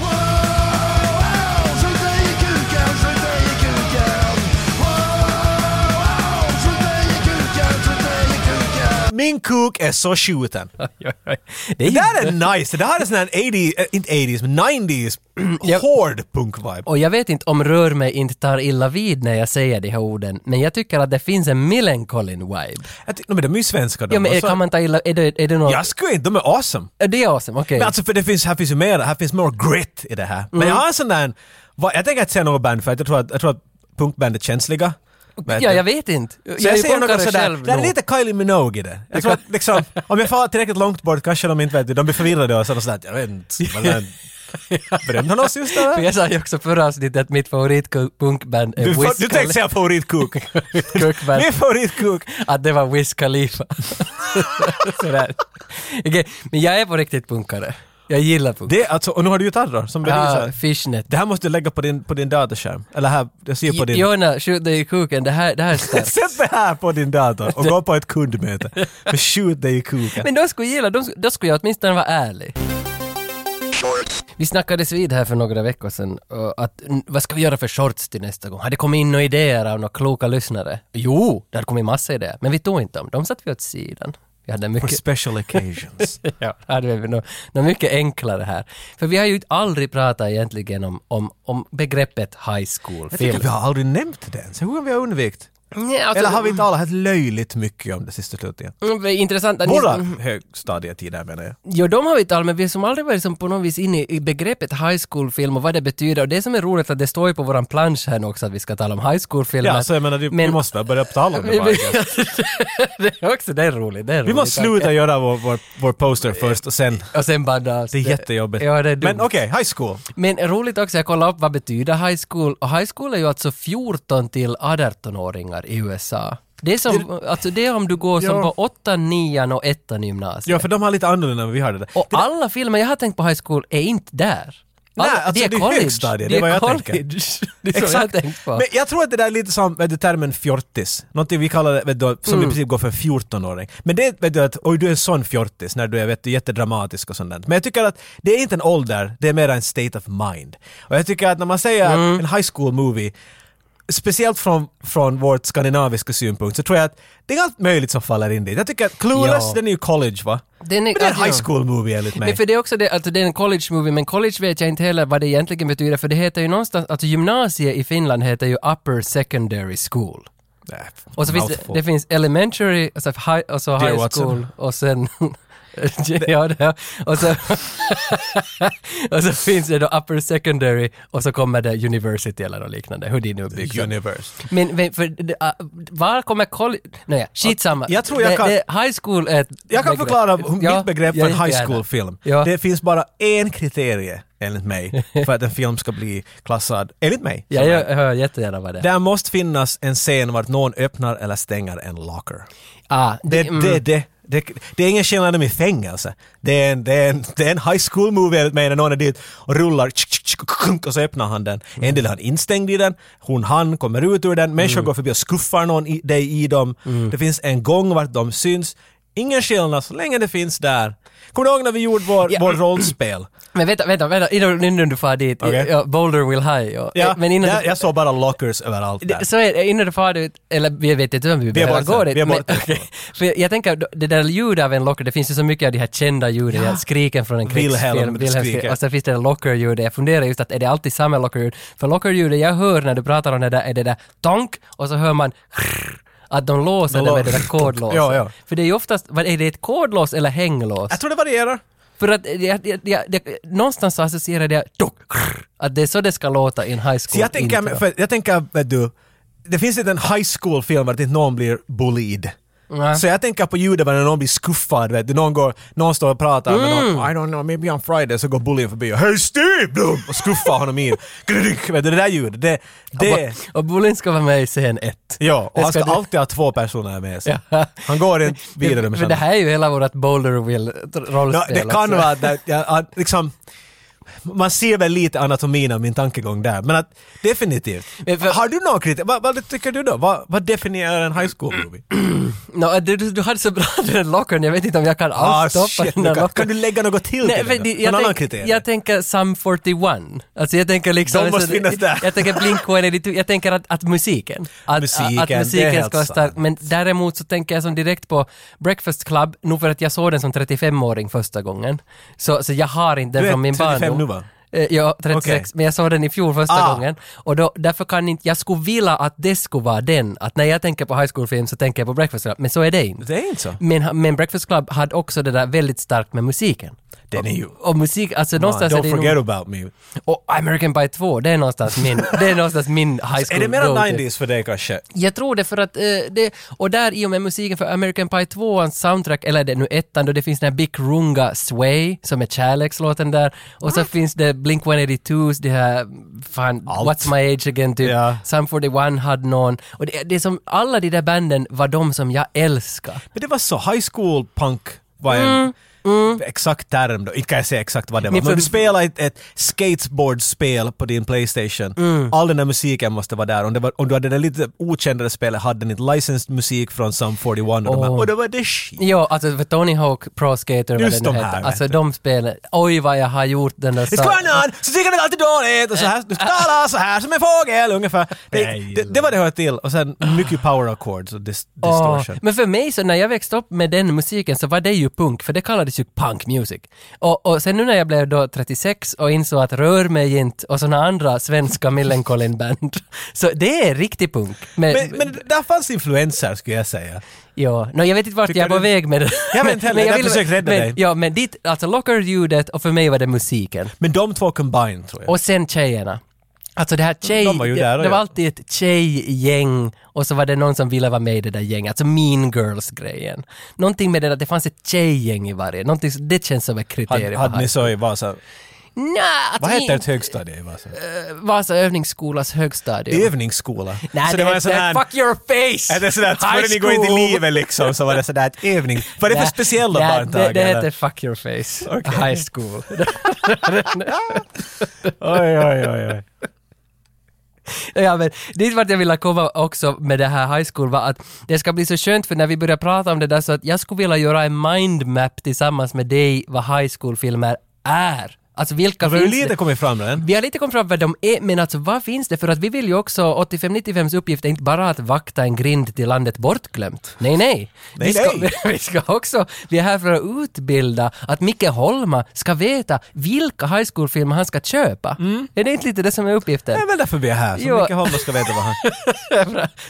[SPEAKER 1] Min kuk är så skjuten.
[SPEAKER 2] Oj, oj, oj. Det är
[SPEAKER 1] Det här är nice, det här är sån här 80s, äh, inte 80s, men 90s
[SPEAKER 2] ja.
[SPEAKER 1] hård punk-vibe.
[SPEAKER 2] Och jag vet inte om rör mig inte tar illa vid när jag säger de här orden, men jag tycker att det finns en Millencolin vibe.
[SPEAKER 1] Jag ty- no, men de är ju svenska de.
[SPEAKER 2] Ja, men
[SPEAKER 1] och
[SPEAKER 2] är-
[SPEAKER 1] så-
[SPEAKER 2] kan man ta illa, är det, är det något?
[SPEAKER 1] Jag skulle inte, de är awesome.
[SPEAKER 2] Det är awesome, okej.
[SPEAKER 1] Men alltså för det finns, här finns ju mer, här finns more grit i det här. Men
[SPEAKER 2] Mm.
[SPEAKER 1] jag har en sån där, vad- jag tänker inte säga något band för att jag tror att, jag tror att punkband är känsliga. Men-
[SPEAKER 2] Ja, jag vet inte.
[SPEAKER 1] Så
[SPEAKER 2] Jag
[SPEAKER 1] jag,
[SPEAKER 2] är
[SPEAKER 1] ser något
[SPEAKER 2] punkare
[SPEAKER 1] sådär,
[SPEAKER 2] själv
[SPEAKER 1] det är
[SPEAKER 2] nog.
[SPEAKER 1] lite Kylie Minogue i det. Jag tror att liksom, om jag far tillräckligt långt bort kanske de inte vet det, de blir förvirrade och sådär, sådär jag vet inte, men den- brände han oss just
[SPEAKER 2] För
[SPEAKER 1] där?
[SPEAKER 2] jag sa ju också förra avsnittet att mitt favoritpunkband är
[SPEAKER 1] Du,
[SPEAKER 2] Wiz
[SPEAKER 1] du tänkte säga favoritkuk.
[SPEAKER 2] Kukband.
[SPEAKER 1] Min favoritkuk.
[SPEAKER 2] Att det var Wiz Khalifa. Sådär. Okej, Men jag är på riktigt punkare. Jag gillar punkare.
[SPEAKER 1] Det är alltså, och nu har du gitarrer som bevisar.
[SPEAKER 2] Ah, fishnet.
[SPEAKER 1] Det här måste du lägga på din, på din dataskärm. Eller här, jag ser på din.
[SPEAKER 2] Jonna, skjut dig i kuken, det här, det här är starkt.
[SPEAKER 1] Sätt det här på din dator och gå på ett kundmöte. För Skjut dig i kuken.
[SPEAKER 2] Men de skulle gilla, de, då skulle jag åtminstone vara ärlig. Vi snackades vid här för några veckor sedan, och att, n- vad ska vi göra för shorts till nästa gång? Har det kommit in några idéer av några kloka lyssnare? Jo, det hade kommit massa idéer, men vi tog inte dem. De satt vi åt sidan. Vi hade
[SPEAKER 1] For
[SPEAKER 2] mycket...
[SPEAKER 1] special occasions.
[SPEAKER 2] Ja, det hade vi något, något mycket enklare här. För vi har ju aldrig pratat egentligen om, om, om begreppet high school
[SPEAKER 1] Jag tycker
[SPEAKER 2] film.
[SPEAKER 1] vi har aldrig nämnt det ens. Hur har vi undvikit?
[SPEAKER 2] Nej, alltså,
[SPEAKER 1] Eller har vi talat löjligt mycket om det sista slutligen?
[SPEAKER 2] mm, det är Intressant att ni-
[SPEAKER 1] Våra högstadietider menar jag.
[SPEAKER 2] Jo, de har vi talat men vi har som aldrig varit som på något vis inne i begreppet high school-film och vad det betyder. Och det som är roligt att det står ju på våran plansch här nu också att vi ska tala om high school-filmer.
[SPEAKER 1] Ja, så alltså, jag menar, du,
[SPEAKER 2] Men-
[SPEAKER 1] vi måste väl börja tala om det bara. I guess.
[SPEAKER 2] det är också, det är roligt. Det är
[SPEAKER 1] Vi
[SPEAKER 2] roligt.
[SPEAKER 1] måste sluta göra vår, vår, vår poster först och sen.
[SPEAKER 2] Och sen banda
[SPEAKER 1] Det är jättejobbigt.
[SPEAKER 2] Ja, det är dumt.
[SPEAKER 1] Men okej, high school.
[SPEAKER 2] Men roligt också, jag kollade upp vad betyder high school och high school är ju alltså 14 till 18-åringar i USA. Det är som, alltså det är om du går som
[SPEAKER 1] Ja.
[SPEAKER 2] på 8, 9 och 1 gymnasiet.
[SPEAKER 1] Ja, för de har lite annorlunda än vad vi har det där.
[SPEAKER 2] Och alla filmer jag har tänkt på high school är inte där.
[SPEAKER 1] Nej,
[SPEAKER 2] Alla-
[SPEAKER 1] alltså
[SPEAKER 2] de är
[SPEAKER 1] det är
[SPEAKER 2] college.
[SPEAKER 1] högstadiet,
[SPEAKER 2] de
[SPEAKER 1] det
[SPEAKER 2] är
[SPEAKER 1] är vad jag
[SPEAKER 2] college.
[SPEAKER 1] tänker.
[SPEAKER 2] Det är så jag har tänkt på.
[SPEAKER 1] Men jag tror att det där är lite som vet du, termen fjortis. Någonting vi kallar det, vet du,
[SPEAKER 2] Mm.
[SPEAKER 1] som i princip går för 14-åring. Men det är vet du, att oj du är en sån fjortis när du är vet du, jättedramatisk och sånt där. Men jag tycker att det är inte en ålder, det är mer en state of mind. Och jag tycker att när man säger
[SPEAKER 2] Mm.
[SPEAKER 1] en high school movie Speciellt från, från vårt skandinaviska synpunkt så tror jag att det är allt möjligt som faller in dit. Jag tycker att Clueless,
[SPEAKER 2] Ja.
[SPEAKER 1] den är ju college va?
[SPEAKER 2] Den
[SPEAKER 1] Men
[SPEAKER 2] är-
[SPEAKER 1] det är en high
[SPEAKER 2] ja.
[SPEAKER 1] school movie enligt mig.
[SPEAKER 2] Men för det är också det, alltså det är en college movie, men college vet jag inte heller vad det egentligen betyder, för det heter ju någonstans, alltså gymnasiet i Finland heter ju upper secondary school.
[SPEAKER 1] Nej,
[SPEAKER 2] Och så finns det,
[SPEAKER 1] mouthful.
[SPEAKER 2] det finns elementary, alltså high, och så
[SPEAKER 1] Dear
[SPEAKER 2] high
[SPEAKER 1] Watson.
[SPEAKER 2] school och sen... ja, det, och, så, och så finns det då upper secondary och så kommer det university eller något liknande, hur det nu är byggt.
[SPEAKER 1] Universe.
[SPEAKER 2] Men, men för, det- ah, var kommer college... Nej, skitsamma.
[SPEAKER 1] Jag tror jag
[SPEAKER 2] det,
[SPEAKER 1] kan-
[SPEAKER 2] det, high school är ett
[SPEAKER 1] Jag kan
[SPEAKER 2] begrepp.
[SPEAKER 1] förklara hur
[SPEAKER 2] Ja,
[SPEAKER 1] mitt begrepp för
[SPEAKER 2] jag
[SPEAKER 1] en high
[SPEAKER 2] jättegärna.
[SPEAKER 1] school-film.
[SPEAKER 2] Ja.
[SPEAKER 1] Det finns bara en kriterie, enligt mig, för att en film ska bli klassad, enligt mig.
[SPEAKER 2] Ja, jag hör jättegärna vad det är.
[SPEAKER 1] Där måste finnas en scen vart någon öppnar eller stänger en locker.
[SPEAKER 2] Ah,
[SPEAKER 1] Det,
[SPEAKER 2] mm.
[SPEAKER 1] det, det, det, det är ingen alltså. skillnad med fängelse. Det är en, det är en, det är en high school-movie enligt mig när någon är dit och rullar tsk, tsk, tsk, och så öppnar han den.
[SPEAKER 2] Mm.
[SPEAKER 1] En del har han instängd i den, hon, han kommer ut ur den, människor går förbi och skuffar någon i, dig i dem.
[SPEAKER 2] Mm.
[SPEAKER 1] Det finns en gång vart de syns. Ingen skillnad så länge det finns där. Kommer du ihåg när vi gjorde vår,
[SPEAKER 2] Ja.
[SPEAKER 1] vår rollspel?
[SPEAKER 2] Men vänta, vänta, vänta, innan, innan du far dit.
[SPEAKER 1] Okej.
[SPEAKER 2] Ja, Boulder will high. Och,
[SPEAKER 1] Ja,
[SPEAKER 2] men innan
[SPEAKER 1] där,
[SPEAKER 2] du,
[SPEAKER 1] jag såg bara lockers överallt där.
[SPEAKER 2] Det- Så är det, innan du far ut, eller vi vet inte om vi behöver
[SPEAKER 1] bort
[SPEAKER 2] gå
[SPEAKER 1] sen,
[SPEAKER 2] dit.
[SPEAKER 1] vi är
[SPEAKER 2] men-
[SPEAKER 1] bort sen.
[SPEAKER 2] okej. För jag, jag tänker, det där ljudet av en locker, det finns ju så mycket av de här kända ljuden, ja. skriken från en krigsfilm.
[SPEAKER 1] Wilhelm
[SPEAKER 2] Wilhelms
[SPEAKER 1] skriker.
[SPEAKER 2] skrik. Och sen finns det där lockerljudet. Jag funderar just att är det alltid samma lockerljud? För lockerljudet jag hör när du pratar om det där är det där tonk och så hör man att de låser
[SPEAKER 1] De
[SPEAKER 2] det
[SPEAKER 1] lå-
[SPEAKER 2] med det där kodlåset.
[SPEAKER 1] Ja, ja.
[SPEAKER 2] För det är ju oftast, vad, är det ett kodlås eller hänglås?
[SPEAKER 1] Jag tror det varierar.
[SPEAKER 2] För att jag, jag, jag, det, någonstans så associerar jag tok, att det är så det ska låta i en high school
[SPEAKER 1] Så jag tänker,
[SPEAKER 2] intro.
[SPEAKER 1] för jag tänker, vet du, det finns inte en high school-film där inte någon blir bullied.
[SPEAKER 2] Nej.
[SPEAKER 1] Så jag tänker på ljudet när någon blir skuffad, vet du. Någon, går, någon står och pratar med
[SPEAKER 2] Mm.
[SPEAKER 1] någon, I don't know, maybe on Friday, så går bullien förbi och Hey Steve! Blum! Och skuffar honom in. Grrrrk, vet du, det där ljudet, det... det
[SPEAKER 2] Och Bolin ska vara med i scen ett.
[SPEAKER 1] ja, och
[SPEAKER 2] Det
[SPEAKER 1] han ska
[SPEAKER 2] du-
[SPEAKER 1] alltid ha två personer med sig.
[SPEAKER 2] Ja.
[SPEAKER 1] Han går inte vidare med
[SPEAKER 2] För det
[SPEAKER 1] samma.
[SPEAKER 2] här är ju hela vårt Boulder Will rollspel.
[SPEAKER 1] Ja, det kan
[SPEAKER 2] också.
[SPEAKER 1] vara att det- ja, att liksom... Man ser väl lite anatomin av min tankegång där, men att definitivt.
[SPEAKER 2] Men för-
[SPEAKER 1] Har du någon kritik? Vad, vad tycker du då? Vad, vad definierar en high school movie?
[SPEAKER 2] Nå, du, du, du hade så bra den lockern, jag vet inte om jag kan alls stoppa
[SPEAKER 1] Ah, shit,
[SPEAKER 2] den
[SPEAKER 1] nu kan,
[SPEAKER 2] där
[SPEAKER 1] kan
[SPEAKER 2] lockern.
[SPEAKER 1] du lägga något till
[SPEAKER 2] Nej,
[SPEAKER 1] till
[SPEAKER 2] för
[SPEAKER 1] det?
[SPEAKER 2] det-
[SPEAKER 1] då?
[SPEAKER 2] jag,
[SPEAKER 1] Någon annan
[SPEAKER 2] tänk,
[SPEAKER 1] kriterie?
[SPEAKER 2] jag tänker Sum 41. Alltså jag tänker liksom...
[SPEAKER 1] De måste
[SPEAKER 2] alltså,
[SPEAKER 1] finnas där.
[SPEAKER 2] Jag tänker Blink-182, jag tänker att, att musiken. Att,
[SPEAKER 1] Musiken,
[SPEAKER 2] att,
[SPEAKER 1] det är
[SPEAKER 2] att musiken
[SPEAKER 1] helt
[SPEAKER 2] ska vara stark. Men däremot så tänker jag som direkt på Breakfast Club, nog för att jag såg den som 35-åring första gången. Så, så jag har inte den
[SPEAKER 1] Du är
[SPEAKER 2] från min
[SPEAKER 1] 35
[SPEAKER 2] barndom.
[SPEAKER 1] nu, va?
[SPEAKER 2] Eh, Ja, 36,
[SPEAKER 1] Okej.
[SPEAKER 2] men jag såg den i fjol första
[SPEAKER 1] Ah.
[SPEAKER 2] gången. Och då, därför kan inte, jag skulle vilja att det skulle vara den, att när jag tänker på high school-film så tänker jag på Breakfast Club, men så är det inte.
[SPEAKER 1] Det är inte så.
[SPEAKER 2] Men, men Breakfast Club hade också det där väldigt starkt med musiken.
[SPEAKER 1] Den är ju...
[SPEAKER 2] Och musik, alltså någonstans är
[SPEAKER 1] don't
[SPEAKER 2] det nog-
[SPEAKER 1] forget about me.
[SPEAKER 2] Och American Pie 2, det är någonstans min, det är någonstans min high school
[SPEAKER 1] Är det mera
[SPEAKER 2] go-to.
[SPEAKER 1] 90s för dig kanske?
[SPEAKER 2] Jag tror det för att eh, det, och där i och med musiken för American Pie 2 ans soundtrack, eller det är nu ettan då det finns den här Big Runga Sway som är kärlekslåten där och så finns det Blink 182s, det här fan,
[SPEAKER 1] Allt.
[SPEAKER 2] What's My Age Again typ,
[SPEAKER 1] Ja.
[SPEAKER 2] Sum 41 hade någon och det, det är som alla de där banden var de som jag älskar.
[SPEAKER 1] Men det var så, high school punk var en mm. exakt term då. Inte kan jag säga exakt vad det var.
[SPEAKER 2] Men
[SPEAKER 1] Men,
[SPEAKER 2] för-
[SPEAKER 1] du spelar ett, ett skateboardspel på din Playstation. All den där musiken måste vara där. Om, det var, om du hade det lite okändare spelet hade den inte licensed musik från Sum 41 och, de här,
[SPEAKER 2] Åh.
[SPEAKER 1] och det var det shit.
[SPEAKER 2] Jo, alltså för Tony Hawk Pro Skater vad
[SPEAKER 1] Just
[SPEAKER 2] det nu
[SPEAKER 1] de här,
[SPEAKER 2] heter.
[SPEAKER 1] vet
[SPEAKER 2] Alltså
[SPEAKER 1] du.
[SPEAKER 2] de spelen, oj vad jag har gjort den där
[SPEAKER 1] It's
[SPEAKER 2] sa-
[SPEAKER 1] going on! Så tycker det är alltid dåligt! Och så här, du talar så här som en fågel ungefär. Det,
[SPEAKER 2] Nej.
[SPEAKER 1] det, det var det jag hörde till. Och sen mycket power accords och dis-
[SPEAKER 2] Ja,
[SPEAKER 1] distortion.
[SPEAKER 2] men för mig så när jag växte upp med den musiken så var det ju punk, för det kallades ju punk music. Och, och sen nu när jag blev då 36 och insåg att Rör mig inte och såna andra svenska Millencolin-band. Så det är riktig punk. Men,
[SPEAKER 1] Men, men där fanns influenser skulle jag säga.
[SPEAKER 2] ja, no, jag vet inte vart
[SPEAKER 1] Tycker
[SPEAKER 2] jag är på
[SPEAKER 1] du-
[SPEAKER 2] väg med det.
[SPEAKER 1] Jag vet
[SPEAKER 2] Men-
[SPEAKER 1] inte heller,
[SPEAKER 2] men
[SPEAKER 1] jag
[SPEAKER 2] vill-
[SPEAKER 1] försöker rädda
[SPEAKER 2] men,
[SPEAKER 1] dig.
[SPEAKER 2] Ja, men ditt, alltså lockerljudet och för mig var det musiken.
[SPEAKER 1] Men de två combined tror jag.
[SPEAKER 2] Och sen tjejerna. Alltså det här tjej...
[SPEAKER 1] De var ju där och
[SPEAKER 2] det var
[SPEAKER 1] ja.
[SPEAKER 2] alltid ett tjejgäng och så var det någon som ville vara med i det där gänget, alltså mean girls-grejen. Någonting med det där, det fanns ett tjejgäng i varje, Någonting, det känns som ett kriterium.
[SPEAKER 1] hade, hade ni så i Vasa?
[SPEAKER 2] Nja, alltså
[SPEAKER 1] Vad heter
[SPEAKER 2] min-
[SPEAKER 1] ett högstadie i
[SPEAKER 2] Eh,
[SPEAKER 1] Vasa?
[SPEAKER 2] Vasa övningsskolas högstadium.
[SPEAKER 1] Övningsskola.
[SPEAKER 2] Nej,
[SPEAKER 1] så det var en sån
[SPEAKER 2] hette
[SPEAKER 1] här...
[SPEAKER 2] Fuck your face!
[SPEAKER 1] Är det sådär att före
[SPEAKER 2] High
[SPEAKER 1] ni går in
[SPEAKER 2] school.
[SPEAKER 1] i livet liksom så var det sådär ett övning. Vad är det för
[SPEAKER 2] Nej,
[SPEAKER 1] speciella
[SPEAKER 2] nej,
[SPEAKER 1] barntag?
[SPEAKER 2] Det, det
[SPEAKER 1] eller?
[SPEAKER 2] heter fuck your face,
[SPEAKER 1] Okej.
[SPEAKER 2] high school.
[SPEAKER 1] Oj, oj, oj, oj.
[SPEAKER 2] Ja, men dit vart jag ville komma också med det här high school var att det ska bli så skönt för när vi börjar prata om det där så att jag skulle vilja göra en mindmap tillsammans med dig vad high school-filmer är. Alltså vilka
[SPEAKER 1] Har du
[SPEAKER 2] finns
[SPEAKER 1] lite
[SPEAKER 2] det?
[SPEAKER 1] kommit fram än?
[SPEAKER 2] Vi har lite kommit fram vad de är, men alltså vad finns det? För att vi vill ju också, 85-95s uppgift är inte bara att vakta en grind till landet bortglömt. Nej, nej. vi,
[SPEAKER 1] Nej,
[SPEAKER 2] ska,
[SPEAKER 1] nej.
[SPEAKER 2] vi ska också, vi är här för att utbilda att Micke Holma ska veta vilka high school-filmer han ska köpa.
[SPEAKER 1] Mm.
[SPEAKER 2] Är det inte lite det som är uppgiften?
[SPEAKER 1] Det är väl därför vi är här, så
[SPEAKER 2] Jo.
[SPEAKER 1] Micke Holmberg ska veta vad han...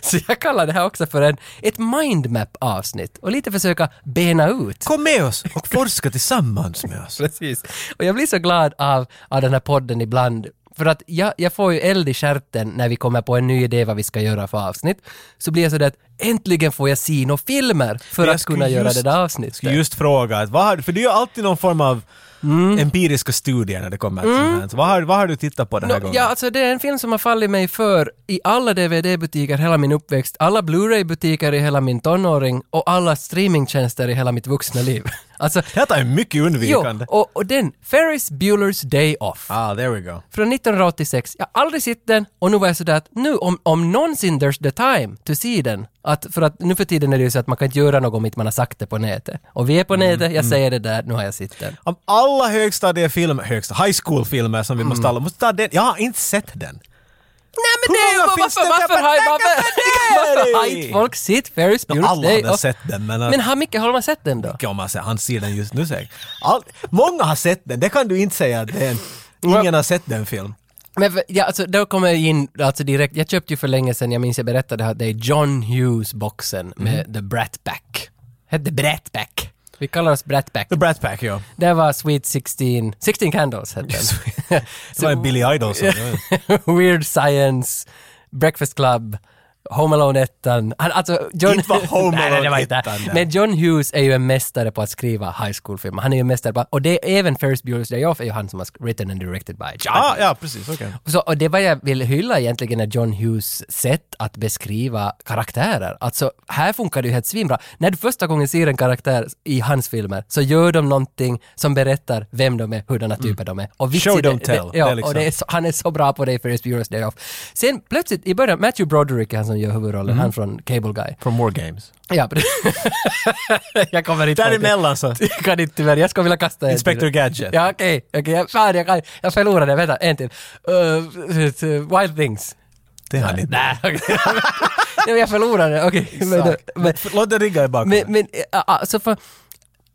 [SPEAKER 2] Så jag kallar det här också för en, ett mindmap-avsnitt och lite försöka bena ut.
[SPEAKER 1] Kom med oss och forska tillsammans med oss.
[SPEAKER 2] Precis. Och jag blir så glad av, av den här podden ibland. För att jag, jag får ju eld i stjärten när vi kommer på en ny idé vad vi ska göra för avsnitt. Så blir jag sådär att äntligen får jag se några filmer för
[SPEAKER 1] Men jag
[SPEAKER 2] att kunna
[SPEAKER 1] skulle
[SPEAKER 2] göra
[SPEAKER 1] just-
[SPEAKER 2] det där
[SPEAKER 1] Ska
[SPEAKER 2] avsnittet.
[SPEAKER 1] just fråga, att vad har, du- för du gör alltid någon form av
[SPEAKER 2] Mm.
[SPEAKER 1] empiriska studier när det kommer till sånt här. Så Vad har, vad har du tittat på den här
[SPEAKER 2] Nå,
[SPEAKER 1] gången?
[SPEAKER 2] ja, alltså det är en film som har fallit mig för i alla DVD-butiker hela min uppväxt, alla Blu-ray-butiker i hela min tonåring och alla streamingtjänster i hela mitt vuxna liv. Alltså,
[SPEAKER 1] Detta är mycket
[SPEAKER 2] jo,
[SPEAKER 1] undvikande.
[SPEAKER 2] och, och den, Ferris Bueller's Day Off.
[SPEAKER 1] Ah, there we go.
[SPEAKER 2] Från 1986. Jag har aldrig sett den och nu var jag sådär att nu om, om någonsin there's the time to see den. Att, för att nu för tiden är det ju så att man kan inte göra något om inte man har sagt det på nätet. Och vi är på
[SPEAKER 1] Mm,
[SPEAKER 2] nätet, jag säger det där, nu har jag sett den.
[SPEAKER 1] Om alla högstadiefilmer, högsta, high school-filmer som vi
[SPEAKER 2] Mm.
[SPEAKER 1] måste tala om, måste ta den. Jag har inte sett den.
[SPEAKER 2] Nej men
[SPEAKER 1] Hur
[SPEAKER 2] det är ju
[SPEAKER 1] många
[SPEAKER 2] varför,
[SPEAKER 1] finns det
[SPEAKER 2] varför,
[SPEAKER 1] där
[SPEAKER 2] varför,
[SPEAKER 1] på
[SPEAKER 2] har-
[SPEAKER 1] tänka
[SPEAKER 2] varför,
[SPEAKER 1] på det?
[SPEAKER 2] varför har inte folk sett Ferris Bueller's
[SPEAKER 1] alla
[SPEAKER 2] Day
[SPEAKER 1] har väl
[SPEAKER 2] Off?
[SPEAKER 1] sett den, men att-
[SPEAKER 2] Men har Micke Holm har sett den då?
[SPEAKER 1] Mycket om man säger, han ser den just nu säkert. All, många har sett den, det kan du inte säga att det är en, ingen har sett den film.
[SPEAKER 2] Men för, ja, alltså, då kommer jag in alltså direkt, jag köpte ju för länge sedan, jag minns jag berättade att det är John Hughes-boxen med
[SPEAKER 1] Mm.
[SPEAKER 2] The Brat Pack. Hette Brat Pack. Vi kallar oss Brat Pack.
[SPEAKER 1] The Brat Pack, ja.
[SPEAKER 2] Det var Sweet 16, 16 Candles hette den.
[SPEAKER 1] Det var en Billy Idol som...
[SPEAKER 2] Weird Science, Breakfast Club, Home Alone 1. Han, alltså John...
[SPEAKER 1] Inte var Home
[SPEAKER 2] nej, nej, det var
[SPEAKER 1] Alone
[SPEAKER 2] inte.
[SPEAKER 1] ettan där.
[SPEAKER 2] Men John Hughes är ju en mästare på att skriva high school-filmer. Han är ju en mästare på, och det är även Ferris Bueller's Day Off är ju han som har sk- written and directed by John
[SPEAKER 1] ah, ja, precis, okej.
[SPEAKER 2] så, och det var jag vill hylla egentligen är John Hughes sätt att beskriva karaktärer. Alltså, här funkar det ju helt svinbra. När du första gången ser en karaktär i hans filmer så gör de någonting som berättar vem de är, hurdana typer de är. Och
[SPEAKER 1] Mm. Show, don't
[SPEAKER 2] det-
[SPEAKER 1] tell.
[SPEAKER 2] Det, ja,
[SPEAKER 1] Det är liksom-
[SPEAKER 2] och det är så, han är så bra på det i Ferris Bueller's Day Off. Sen plötsligt i början, Matthew Broderick är han som gör huvudrollen,
[SPEAKER 1] Mm.
[SPEAKER 2] han från Cable Guy.
[SPEAKER 1] From War Games.
[SPEAKER 2] Ja, pre- jag kommer inte ihåg det.
[SPEAKER 1] Däremellan så.
[SPEAKER 2] Jag kan inte tyvärr, jag skulle vilja kasta en
[SPEAKER 1] Inspector
[SPEAKER 2] till.
[SPEAKER 1] Gadget.
[SPEAKER 2] Ja okej, okej, jag, fan jag, kan, jag förlorade, vänta, en till. Uh, t- t- wild Things.
[SPEAKER 1] Det har ni inte.
[SPEAKER 2] Nej, okej. Nej, men jag förlorade, okej. Men,
[SPEAKER 1] Exakt.
[SPEAKER 2] men,
[SPEAKER 1] Låt det ligga i bakgrunden.
[SPEAKER 2] men, men äh, alltså för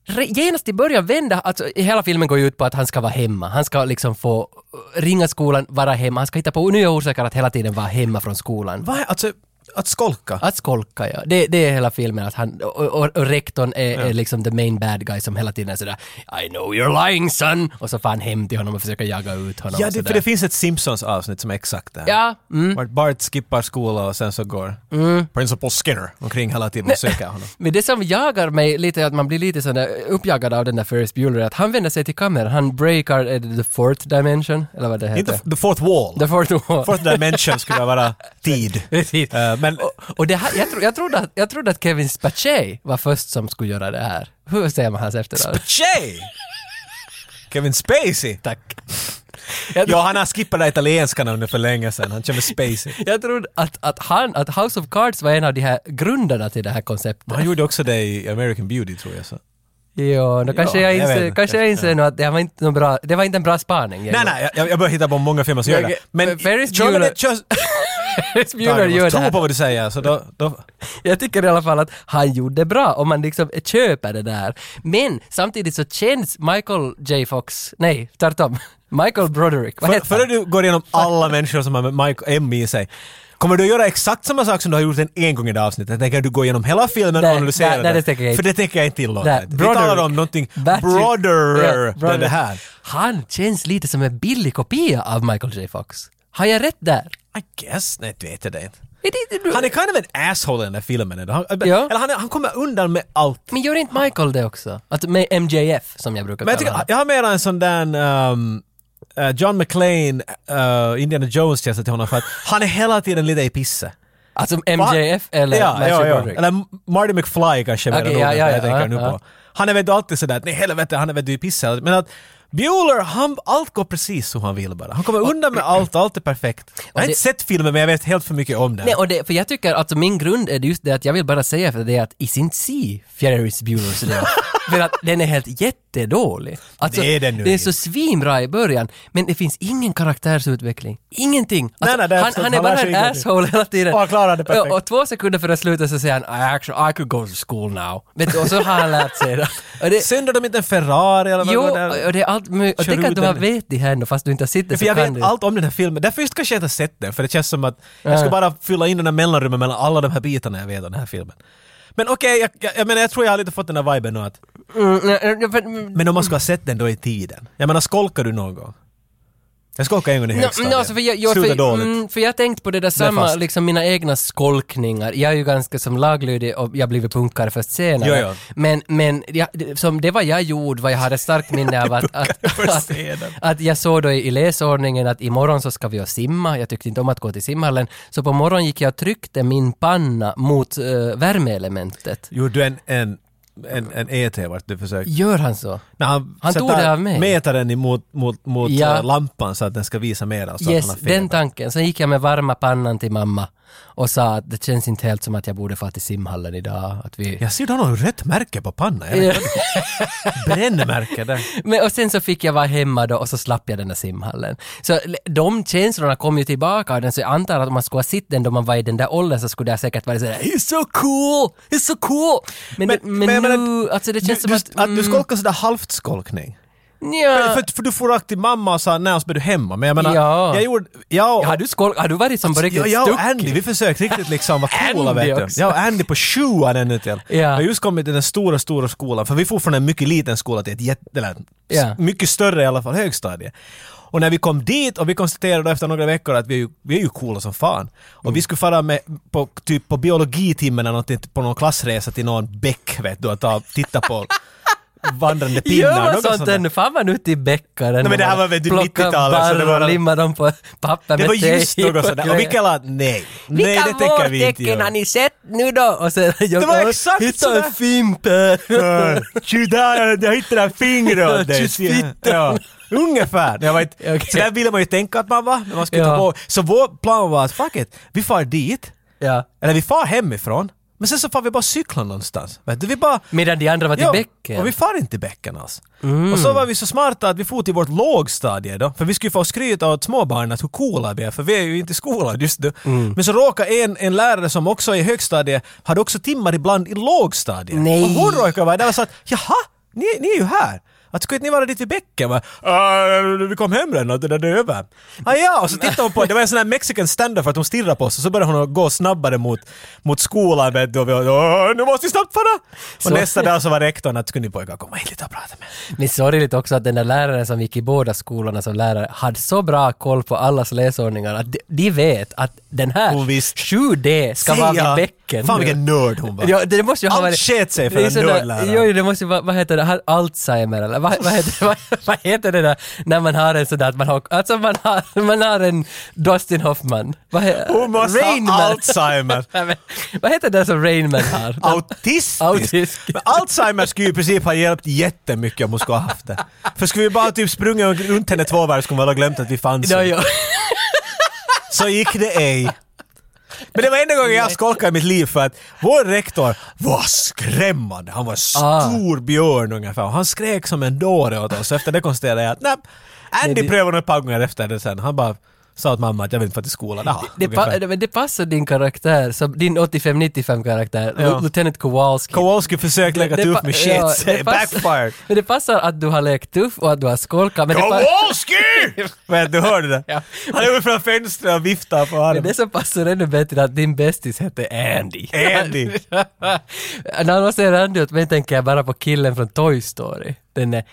[SPEAKER 2] re- genast i början vända, alltså i hela filmen går ju ut på att han ska vara hemma. Han ska liksom få äh, ringa skolan, vara hemma. Han ska hitta på nya orsaker att hela tiden vara hemma från skolan.
[SPEAKER 1] Vad är, alltså, att skolka?
[SPEAKER 2] Att skolka ja, det, det är hela filmen. Att han, och, och, och rektorn är, är liksom the main bad guy som hela tiden är sådär I know you're lying son! Och så får han hem till honom och försöker jaga ut honom.
[SPEAKER 1] Ja,
[SPEAKER 2] och
[SPEAKER 1] det,
[SPEAKER 2] sådär.
[SPEAKER 1] för det finns ett Simpsons-avsnitt som är exakt det här.
[SPEAKER 2] ja mm.
[SPEAKER 1] Vart Bart skippar skola och sen så går Principal Skinner omkring hela tiden och söker honom.
[SPEAKER 2] Men det som jagar mig lite är att man blir lite sådär uppjagad av den där Ferris Bueller, är att han vänder sig till kameran, han breakar är det the fourth dimension, eller vad det heter.
[SPEAKER 1] Inte f- the fourth wall.
[SPEAKER 2] the fourth wall.
[SPEAKER 1] Fourth dimension skulle vara tid.
[SPEAKER 2] Precis.
[SPEAKER 1] Eh, men
[SPEAKER 2] och, och det här, jag, tro, jag, trodde att, jag trodde att Kevin Spacey var först som skulle göra det här. Hur säger man hans efternamn?
[SPEAKER 1] Tjej! Kevin Spacey!
[SPEAKER 2] Tack. Jag,
[SPEAKER 1] Ja, han har skippat det italienskan under för länge sedan. Han känner Spacey.
[SPEAKER 2] jag trodde att, att, han, att House of Cards var en av de här grundarna till det här konceptet.
[SPEAKER 1] Men han gjorde också det i American Beauty tror jag. Så.
[SPEAKER 2] Jo, då kanske
[SPEAKER 1] Ja,
[SPEAKER 2] jag
[SPEAKER 1] jag vet
[SPEAKER 2] inser,
[SPEAKER 1] inte.
[SPEAKER 2] kanske jag inser nu att det var inte någon bra, det var inte en bra spaning.
[SPEAKER 1] Nej, nej, jag, jag börjar hitta på många filmer som gör det. Men...
[SPEAKER 2] Men Ferris
[SPEAKER 1] Kör med
[SPEAKER 2] Bueller-
[SPEAKER 1] det, kör-
[SPEAKER 2] Ferris Bueller
[SPEAKER 1] Tage, du
[SPEAKER 2] gör
[SPEAKER 1] måste
[SPEAKER 2] det
[SPEAKER 1] tro på
[SPEAKER 2] här.
[SPEAKER 1] vad du säger. Så då, då,
[SPEAKER 2] Jag tycker i alla fall att han gjorde bra om man liksom köper det där. Men samtidigt så känns Michael J Fox, nej tvärtom, Michael Broderick, vad
[SPEAKER 1] för,
[SPEAKER 2] heter
[SPEAKER 1] före
[SPEAKER 2] han?
[SPEAKER 1] du går igenom alla människor som har Mike M i sig, kommer du göra exakt samma sak som du har gjort en, en gång i det här avsnittet? Tänker du gå igenom hela filmen
[SPEAKER 2] Nej,
[SPEAKER 1] och analysera
[SPEAKER 2] nej, nej, det tänker jag inte.
[SPEAKER 1] För det tänker jag inte tillåta.
[SPEAKER 2] Där,
[SPEAKER 1] Vi talar om någonting
[SPEAKER 2] Matthew-
[SPEAKER 1] broader
[SPEAKER 2] Ja,
[SPEAKER 1] än det här.
[SPEAKER 2] Han känns lite som en billig kopia av Michael J Fox. Har jag rätt där?
[SPEAKER 1] I guess, nej, det vet jag det inte.
[SPEAKER 2] Är det, inte du?
[SPEAKER 1] Han är kind of en asshole i den där filmen. ändå. Han, eh,
[SPEAKER 2] Ja.
[SPEAKER 1] eller han, är- han kommer undan med allt.
[SPEAKER 2] Men gör inte Michael det också? Att med MJF som jag
[SPEAKER 1] Typ.
[SPEAKER 2] brukar
[SPEAKER 1] Men jag,
[SPEAKER 2] kalla
[SPEAKER 1] tycker,
[SPEAKER 2] honom.
[SPEAKER 1] jag har mera en sån där ehm, eh, John McClane, eh, Indiana Jones känsla till honom för att han är hela tiden lite i pisse.
[SPEAKER 2] Alltså MJF eller
[SPEAKER 1] ja, ja,
[SPEAKER 2] Matthew
[SPEAKER 1] ja.
[SPEAKER 2] Broderick?
[SPEAKER 1] Eller Marty McFly kanske är
[SPEAKER 2] Okej,
[SPEAKER 1] mera
[SPEAKER 2] ja,
[SPEAKER 1] roligt,
[SPEAKER 2] ja,
[SPEAKER 1] jag
[SPEAKER 2] ja,
[SPEAKER 1] tänker
[SPEAKER 2] ja,
[SPEAKER 1] nu
[SPEAKER 2] ja.
[SPEAKER 1] på. Han är väl alltid sådär att nej helvete, han är väl i pisse. Men att Bueller, han, allt går precis som han vill bara. Han kommer undan med allt, allt är perfekt. Jag har
[SPEAKER 2] det-
[SPEAKER 1] inte sett filmen men jag vet helt för mycket om den.
[SPEAKER 2] Nej, och det, för jag tycker, alltså min grund är just det att jag vill bara säga för det att i sin si Ferris Bueller's Day Off. för att den är helt jättedålig. Alltså,
[SPEAKER 1] Det är den nu
[SPEAKER 2] Den är
[SPEAKER 1] inte.
[SPEAKER 2] så svinbra i början, men det finns ingen karaktärsutveckling. Ingenting. Alltså,
[SPEAKER 1] nej, det är
[SPEAKER 2] han,
[SPEAKER 1] absolut-
[SPEAKER 2] han är
[SPEAKER 1] han lär
[SPEAKER 2] bara
[SPEAKER 1] sig
[SPEAKER 2] en
[SPEAKER 1] ingenting.
[SPEAKER 2] asshole hela tiden.
[SPEAKER 1] Och han klarar det perfekt.
[SPEAKER 2] Ja, Och två sekunder före slutet så säger han I actually, I could go to school now. Vet du, och så har han lärt sig det. Och det
[SPEAKER 1] Synd att de inte är en Ferrari eller vad
[SPEAKER 2] Jo,
[SPEAKER 1] det var där.
[SPEAKER 2] och det är allt möjligt. Och
[SPEAKER 1] Kör
[SPEAKER 2] tänk
[SPEAKER 1] ut
[SPEAKER 2] att du har
[SPEAKER 1] den.
[SPEAKER 2] vet det här ändå fast du inte har sett det
[SPEAKER 1] För
[SPEAKER 2] så
[SPEAKER 1] jag vet
[SPEAKER 2] kan du.
[SPEAKER 1] allt om den här filmen. Därför just kanske jag inte har sett den, för det känns som att jag ska bara fylla in den här mellanrummen mellan alla de här bitarna jag vet om den här filmen. Men okej, jag, jag, jag menar jag tror jag har lite fått den här viben nu att...
[SPEAKER 2] Mm, nej, nej, för-
[SPEAKER 1] Men om man ska ha sett den då i tiden? Jag menar, skolkar du någon gång? Jag skolkade en gång i högstadiet.
[SPEAKER 2] No, alltså för jag, jag,
[SPEAKER 1] Slutade
[SPEAKER 2] för,
[SPEAKER 1] dåligt.
[SPEAKER 2] Mm, för jag tänkte på det där samma,
[SPEAKER 1] fast.
[SPEAKER 2] liksom mina egna skolkningar. Jag är ju ganska som laglydig och jag blev punkare först senare.
[SPEAKER 1] Jo, jo.
[SPEAKER 2] Men, men jag, det- som det var jag gjorde vad jag hade starkt minne av att, att,
[SPEAKER 1] först
[SPEAKER 2] att,
[SPEAKER 1] senare.
[SPEAKER 2] att jag såg då i i läsordningen att imorgon så ska vi och simma. Jag tyckte inte om att gå till simhallen. Så på morgonen gick jag och tryckte min panna mot eh, värmeelementet.
[SPEAKER 1] Gjorde du en, en en, en ET vart du försökte.
[SPEAKER 2] Gör han så?
[SPEAKER 1] När han
[SPEAKER 2] Han tog
[SPEAKER 1] sätter
[SPEAKER 2] det av mig.
[SPEAKER 1] metaren emot, mot, mot
[SPEAKER 2] Ja.
[SPEAKER 1] eh, lampan så att den ska visa mera. Så
[SPEAKER 2] Yes,
[SPEAKER 1] att han har
[SPEAKER 2] den
[SPEAKER 1] fel.
[SPEAKER 2] tanken. Sen gick jag med varma pannan till mamma och sa att det känns inte helt som att jag borde få till simhallen idag. Att vi...
[SPEAKER 1] Jag ser du har något rött märke på pannan. Jag vet inte. Brännmärke där.
[SPEAKER 2] Men, och sen så fick jag vara hemma då och så slapp jag den där simhallen. Så l- de känslorna kom ju tillbaka och den, så jag antar att om man skulle ha sett den då man var i den där åldern så skulle det säkert varit sådär “He's so cool! He's so cool!” Men,
[SPEAKER 1] Men-
[SPEAKER 2] det- men,
[SPEAKER 1] men jag
[SPEAKER 2] nu,
[SPEAKER 1] menar,
[SPEAKER 2] alltså det känns
[SPEAKER 1] du, du,
[SPEAKER 2] som att... mm,
[SPEAKER 1] att du skolkar sådär halvt skolkning.
[SPEAKER 2] Nja.
[SPEAKER 1] För, för du får rakt till mamma och sa när så blev du hemma. Men jag menar,
[SPEAKER 2] Ja.
[SPEAKER 1] jag gjorde... Jag,
[SPEAKER 2] Har du, skol- har du varit som på riktigt
[SPEAKER 1] jag, jag och
[SPEAKER 2] stuck?
[SPEAKER 1] Andy, vi försökte riktigt liksom vara coola
[SPEAKER 2] Andy
[SPEAKER 1] vet du.
[SPEAKER 2] också.
[SPEAKER 1] Jag och Andy på sjuan ännu till.
[SPEAKER 2] Ja.
[SPEAKER 1] Jag har just kommit till den stora, stora skolan. För vi får från en mycket liten skola till ett jätte... Eller,
[SPEAKER 2] Ja.
[SPEAKER 1] mycket större i alla fall, högstadie. Och när vi kom dit och vi konstaterade efter några veckor att vi är ju, vi är ju coola som fan. Och
[SPEAKER 2] Mm.
[SPEAKER 1] vi skulle fara med på, typ på biologitimmen eller någonting, på någon klassresa till någon bäck vet du, att ta, titta på vandrande pinnar.
[SPEAKER 2] Gör man
[SPEAKER 1] något
[SPEAKER 2] sånt
[SPEAKER 1] sånt där.
[SPEAKER 2] ännu? Fan man ute i bäckaren
[SPEAKER 1] men
[SPEAKER 2] och
[SPEAKER 1] det här
[SPEAKER 2] bara
[SPEAKER 1] var väl typ
[SPEAKER 2] plockar
[SPEAKER 1] 90-talet, så det
[SPEAKER 2] barr
[SPEAKER 1] var-
[SPEAKER 2] och limmar dem på
[SPEAKER 1] Det
[SPEAKER 2] papper med
[SPEAKER 1] var just
[SPEAKER 2] tejp
[SPEAKER 1] något sånt där. Och
[SPEAKER 2] grejer.
[SPEAKER 1] Mikael la, nej, nej
[SPEAKER 2] Vilka
[SPEAKER 1] det tänker vi inte
[SPEAKER 2] vårtecken har
[SPEAKER 1] göra.
[SPEAKER 2] ni sett nu då? Och sen, jag
[SPEAKER 1] Det var exakt
[SPEAKER 2] Hitta
[SPEAKER 1] sådär.
[SPEAKER 2] en fimp här.
[SPEAKER 1] Tju där, jag hittade en finger åt dig.
[SPEAKER 2] Tjus fittan.
[SPEAKER 1] Ja, ungefär. Det var ett,
[SPEAKER 2] Okej.
[SPEAKER 1] Så där ville man ju tänka att man var. Men man skulle
[SPEAKER 2] Ja.
[SPEAKER 1] ta på. Så vår plan var att fuck it, vi far dit.
[SPEAKER 2] Ja.
[SPEAKER 1] Eller vi far hemifrån. Men sen så far vi bara cykla någonstans. Vet du, vi bara...
[SPEAKER 2] Medan de andra var till
[SPEAKER 1] Ja,
[SPEAKER 2] bäcken. Mm.
[SPEAKER 1] Och vi far inte till bäcken alls. Och så var vi så smarta att vi for till vårt lågstadie då, för vi skulle få skryta åt småbarnen att hur coola vi är, för vi är ju inte i skolan just nu.
[SPEAKER 2] Mm.
[SPEAKER 1] Men så råkade en, en lärare som också är i högstadiet, hade också timmar ibland i lågstadiet.
[SPEAKER 2] Nej.
[SPEAKER 1] Och hon råkade vara där och sa att jaha, ni, ni är ju här. Att skulle inte ni vara dit vid bäcken? Va? "Ah, vi kom hem redan, det där är över. Ah, ja, och så tittade hon på det var en sån här mexican stand-up för att hon stirrade på oss och så började hon gå snabbare mot, mot skolan vet du och vi "Åh, nu måste vi snabbt fara! Och
[SPEAKER 2] Så-
[SPEAKER 1] nästa dag så var rektorn att skulle ni pojkar komma hit lite och prata med
[SPEAKER 2] Men sorgligt också att den där läraren som gick i båda skolorna som lärare hade så bra koll på allas läsordningar att de, de vet att den här
[SPEAKER 1] Oh, visst.
[SPEAKER 2] 7D ska
[SPEAKER 1] Säga.
[SPEAKER 2] vara vid bäcken.
[SPEAKER 1] Fan
[SPEAKER 2] nu.
[SPEAKER 1] vilken nörd hon var.
[SPEAKER 2] Ja, det måste ju ha
[SPEAKER 1] Allt
[SPEAKER 2] varit...
[SPEAKER 1] sket sig för
[SPEAKER 2] det är
[SPEAKER 1] den
[SPEAKER 2] sådär-
[SPEAKER 1] nördläraren.
[SPEAKER 2] Jo, det måste ju vara, vad heter det, har Alzheimer eller vad, vad, heter, vad, vad heter det där när man har en sådär att man har, alltså man har, man har en Dustin Hoffman. Vad he,
[SPEAKER 1] Hon måste
[SPEAKER 2] Rain Man.
[SPEAKER 1] ha Alzheimer.
[SPEAKER 2] Nej, men, vad heter det som Rainman har?
[SPEAKER 1] Autistisk?
[SPEAKER 2] Autistisk.
[SPEAKER 1] Men Alzheimer skulle ju i princip ha hjälpt jättemycket om hon skulle ha haft det. För skulle vi bara ha typ sprungit runt henne två varv skulle hon väl ha glömt att vi fanns.
[SPEAKER 2] Ja, ja.
[SPEAKER 1] Så gick det ej. Men det var enda gången jag skolkade i mitt liv för att vår rektor var skrämmande. Han var en
[SPEAKER 2] Ah.
[SPEAKER 1] stor björn ungefär och han skrek som en dåre åt oss. Efter det konstaterade jag att nej, Andy
[SPEAKER 2] Nej, det-
[SPEAKER 1] prövade ett par gånger efter det sen. Han bara sa åt mamma att jag vill inte få till skolan. Jaha,
[SPEAKER 2] Det,
[SPEAKER 1] ungefär.
[SPEAKER 2] pa, men det passar din karaktär, som, din 85-95 karaktär,
[SPEAKER 1] Ja.
[SPEAKER 2] Lieutenant Kowalski.
[SPEAKER 1] Kowalski försökte lägga tuff
[SPEAKER 2] pa-
[SPEAKER 1] med shit.
[SPEAKER 2] ja,
[SPEAKER 1] Ja,
[SPEAKER 2] det pass-
[SPEAKER 1] Backfired.
[SPEAKER 2] Men det passar att du har lekt tuff och att du har skolkat. Men det, pa-
[SPEAKER 1] Kowalski! Vet du, hörde det?
[SPEAKER 2] Ja.
[SPEAKER 1] Han är från fönstret och viftar på
[SPEAKER 2] Men
[SPEAKER 1] armen.
[SPEAKER 2] det som passar ännu bättre är att din bästis heter Andy.
[SPEAKER 1] Andy.
[SPEAKER 2] När man ser Andy åt mig tänker jag bara på killen från Toy Story. Den är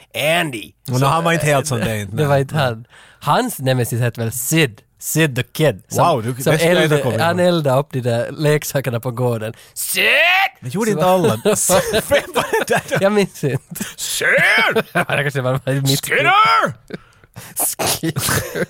[SPEAKER 2] Andy.
[SPEAKER 1] Och nu, han var inte helt som det inte.
[SPEAKER 2] Det var inte han. Hans nemesis hette väl Sid. Sid the Kid.
[SPEAKER 1] Wow, du-
[SPEAKER 2] som
[SPEAKER 1] det skulle jag inte komma
[SPEAKER 2] eldade,
[SPEAKER 1] ihåg.
[SPEAKER 2] han eldade upp de där leksakerna på gården. Sid!
[SPEAKER 1] Men gjorde inte alla. Vem var det där?
[SPEAKER 2] Jag minns inte.
[SPEAKER 1] Ser!
[SPEAKER 2] Det kanske var mitt
[SPEAKER 1] Skinner!
[SPEAKER 2] Skinner.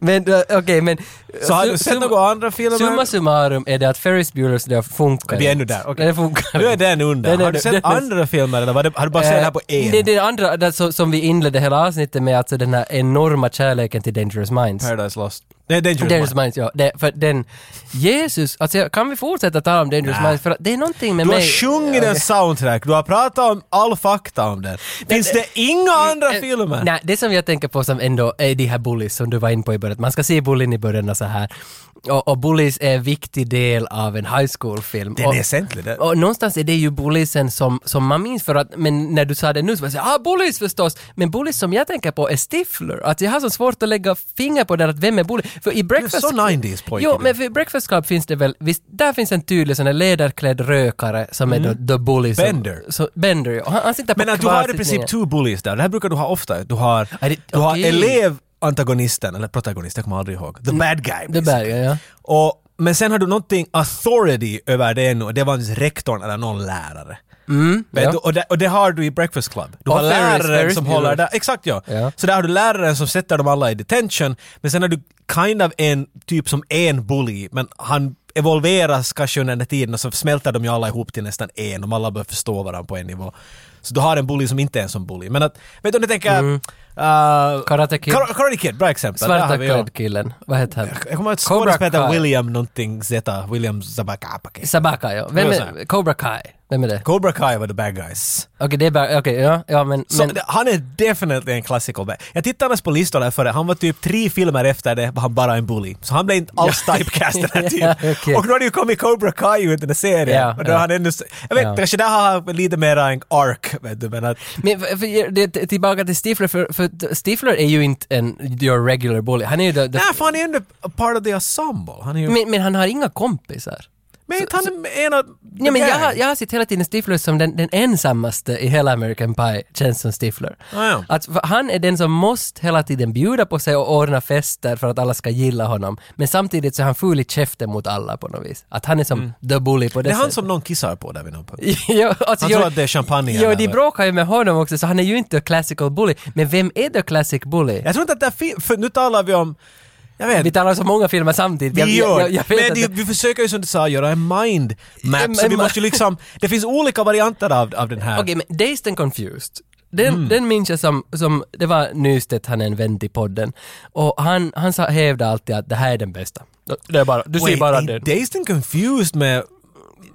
[SPEAKER 2] Men eh, okej, men...
[SPEAKER 1] Så har du
[SPEAKER 2] sum-
[SPEAKER 1] sett
[SPEAKER 2] sum-
[SPEAKER 1] några andra filmer?
[SPEAKER 2] Summa summarum är det att Ferris Bueller's Day funkar
[SPEAKER 1] Vi är
[SPEAKER 2] inte.
[SPEAKER 1] ännu där, okej.
[SPEAKER 2] Den funkar
[SPEAKER 1] Nu är
[SPEAKER 2] inte.
[SPEAKER 1] den under.
[SPEAKER 2] Den är
[SPEAKER 1] Har du
[SPEAKER 2] nu-
[SPEAKER 1] sett
[SPEAKER 2] den är-
[SPEAKER 1] andra filmer eller var det, har du bara sett det här på E.
[SPEAKER 2] Eh,
[SPEAKER 1] en?
[SPEAKER 2] Det är det andra där, som, som vi inledde hela avsnittet med, alltså den här enorma kärleken till Dangerous Minds.
[SPEAKER 1] Paradise Lost. Nej, Dangerous Mind.
[SPEAKER 2] Dangerous Minds, ja. Det, för den... Jesus, alltså jag- kan vi fortsätta tala om Dangerous
[SPEAKER 1] Nä.
[SPEAKER 2] Minds? För att det är någonting med
[SPEAKER 1] Du har
[SPEAKER 2] mig...
[SPEAKER 1] sjungit den soundtrack, du har pratat om all fakta om den. Finns det inga andra
[SPEAKER 2] Eh,
[SPEAKER 1] filmer?
[SPEAKER 2] Nej, det som jag tänker på som ändå är de här bullies som du var inne på i början. Man ska se bullin i början och så här. Och, och bullies är en viktig del av en high school-film.
[SPEAKER 1] Den
[SPEAKER 2] och,
[SPEAKER 1] är väsentlig. den.
[SPEAKER 2] och någonstans är det ju bullisen som, som man minns för att, men när du sa det nu så var jag så här, ah bullies förstås, men bullies som jag tänker på är Stifler. Att jag har så svårt att lägga finger på det, att vem är bully? För i Breakfast...
[SPEAKER 1] så 90s pojke,
[SPEAKER 2] Jo,
[SPEAKER 1] du.
[SPEAKER 2] men för i Breakfast Club finns det väl, visst, där finns en tydlig sån här ledarklädd rökare som är då the bully. Som,
[SPEAKER 1] Mm. Bender.
[SPEAKER 2] Så, Bender, ja. Och Han, han sitter på
[SPEAKER 1] Men att du har i
[SPEAKER 2] kvarsittningen.
[SPEAKER 1] princip two bullies där, det här brukar du ha ofta. Du har,
[SPEAKER 2] Ja, det-
[SPEAKER 1] du har
[SPEAKER 2] okej. Mm.
[SPEAKER 1] elevantagonisten, eller protagonist, jag kommer aldrig ihåg. The bad guy.
[SPEAKER 2] Det där, ja, ja.
[SPEAKER 1] Och, men sen har du någonting authority över det ännu och det var just rektorn eller någon lärare. Vet
[SPEAKER 2] Mm, ja. Oh,
[SPEAKER 1] du, och, det, och det har du i Breakfast Club. Du
[SPEAKER 2] Och
[SPEAKER 1] har
[SPEAKER 2] Ferris-
[SPEAKER 1] läraren
[SPEAKER 2] Ferris
[SPEAKER 1] som
[SPEAKER 2] Bueller.
[SPEAKER 1] håller där. Exakt ja.
[SPEAKER 2] Ja.
[SPEAKER 1] Så där har du läraren som sätter dem alla i detention. Men sen har du kind of en typ som en bully, men han evolveras kanske under den här tiden och så smälter de ju alla ihop till nästan en, om alla börjar förstå varandra på en nivå. Så du har en bully som inte är en sån bully. Men att, vet du om du tänker... Mm.
[SPEAKER 2] Karate Kid.
[SPEAKER 1] Karate Kid, bra exempel. Där har
[SPEAKER 2] Svarta
[SPEAKER 1] vi, ja.
[SPEAKER 2] klädd-killen. Vad heter han?
[SPEAKER 1] Jag kommer ihåg att
[SPEAKER 2] Cobra
[SPEAKER 1] skådespelaren heter
[SPEAKER 2] Kai.
[SPEAKER 1] William någonting Zeta, William Zabakapake.
[SPEAKER 2] Sabaka, ja. Vem
[SPEAKER 1] Det var så
[SPEAKER 2] är, Cobra Kai. Vem är det?
[SPEAKER 1] Cobra Kai var the bad guys.
[SPEAKER 2] Okej, det är bara... Okej, ja, ja men...
[SPEAKER 1] Så
[SPEAKER 2] men
[SPEAKER 1] det- han är definitivt en classical bad. Jag tittade annars på listor där före, han var typ tre filmer efter det var han bara en bully. Så han blev inte alls typecast den här tiden.
[SPEAKER 2] Ja, okej.
[SPEAKER 1] Och nu har det ju kommit Cobra Kai ut den här serien.
[SPEAKER 2] Ja,
[SPEAKER 1] och då
[SPEAKER 2] ja.
[SPEAKER 1] har han ännu... s- Jag vet
[SPEAKER 2] Ja.
[SPEAKER 1] inte, kanske där har han lite mera en ark, vet du, men att...
[SPEAKER 2] men för, för, det, tillbaka till Stifler, för, för Stifler är ju inte en your regular bully. Han är ju the, the,
[SPEAKER 1] Nej, för han är ju ändå part of the ensemble. Han är ju... Men,
[SPEAKER 2] men, men han har inga kompisar.
[SPEAKER 1] inte han är en av...
[SPEAKER 2] Ja, men jag, har- jag har sett hela tiden Stifler som den, den ensammaste i hela American Pie, känns som Stifler.
[SPEAKER 1] Ah, ja.
[SPEAKER 2] Att för han är den som måste hela tiden bjuda på sig och ordna fester för att alla ska gilla honom. Men samtidigt så är han full i käften mot alla på något vis. Att han är som the bully på det,
[SPEAKER 1] Mm. Det är han
[SPEAKER 2] sättet.
[SPEAKER 1] som någon kissar på där vid någon punkt.
[SPEAKER 2] ja, alltså,
[SPEAKER 1] Han
[SPEAKER 2] jo,
[SPEAKER 1] tror att det är champagne.
[SPEAKER 2] Jo,
[SPEAKER 1] eller-
[SPEAKER 2] de bråkar ju med honom också, så han är ju inte a classical bully. Men vem är the classic bully?
[SPEAKER 1] Jag tror inte att det finns, för nu talar vi om, jag vet,
[SPEAKER 2] Vi talar så många filmer samtidigt.
[SPEAKER 1] vi gör,
[SPEAKER 2] vet
[SPEAKER 1] men
[SPEAKER 2] att
[SPEAKER 1] det, vi försöker ju som du sa göra en mind map,
[SPEAKER 2] En-
[SPEAKER 1] så
[SPEAKER 2] en
[SPEAKER 1] vi
[SPEAKER 2] ma-
[SPEAKER 1] måste ju liksom, det finns olika varianter av, av den här.
[SPEAKER 2] Okej, men Dazed and Confused. Den,
[SPEAKER 1] Mm.
[SPEAKER 2] den minns jag som, som, det var Nystedt, han är en vän till podden. Och han, han sa, hävdade alltid att det här är den bästa. Det är bara, du
[SPEAKER 1] Wait, är Dazed and confused med,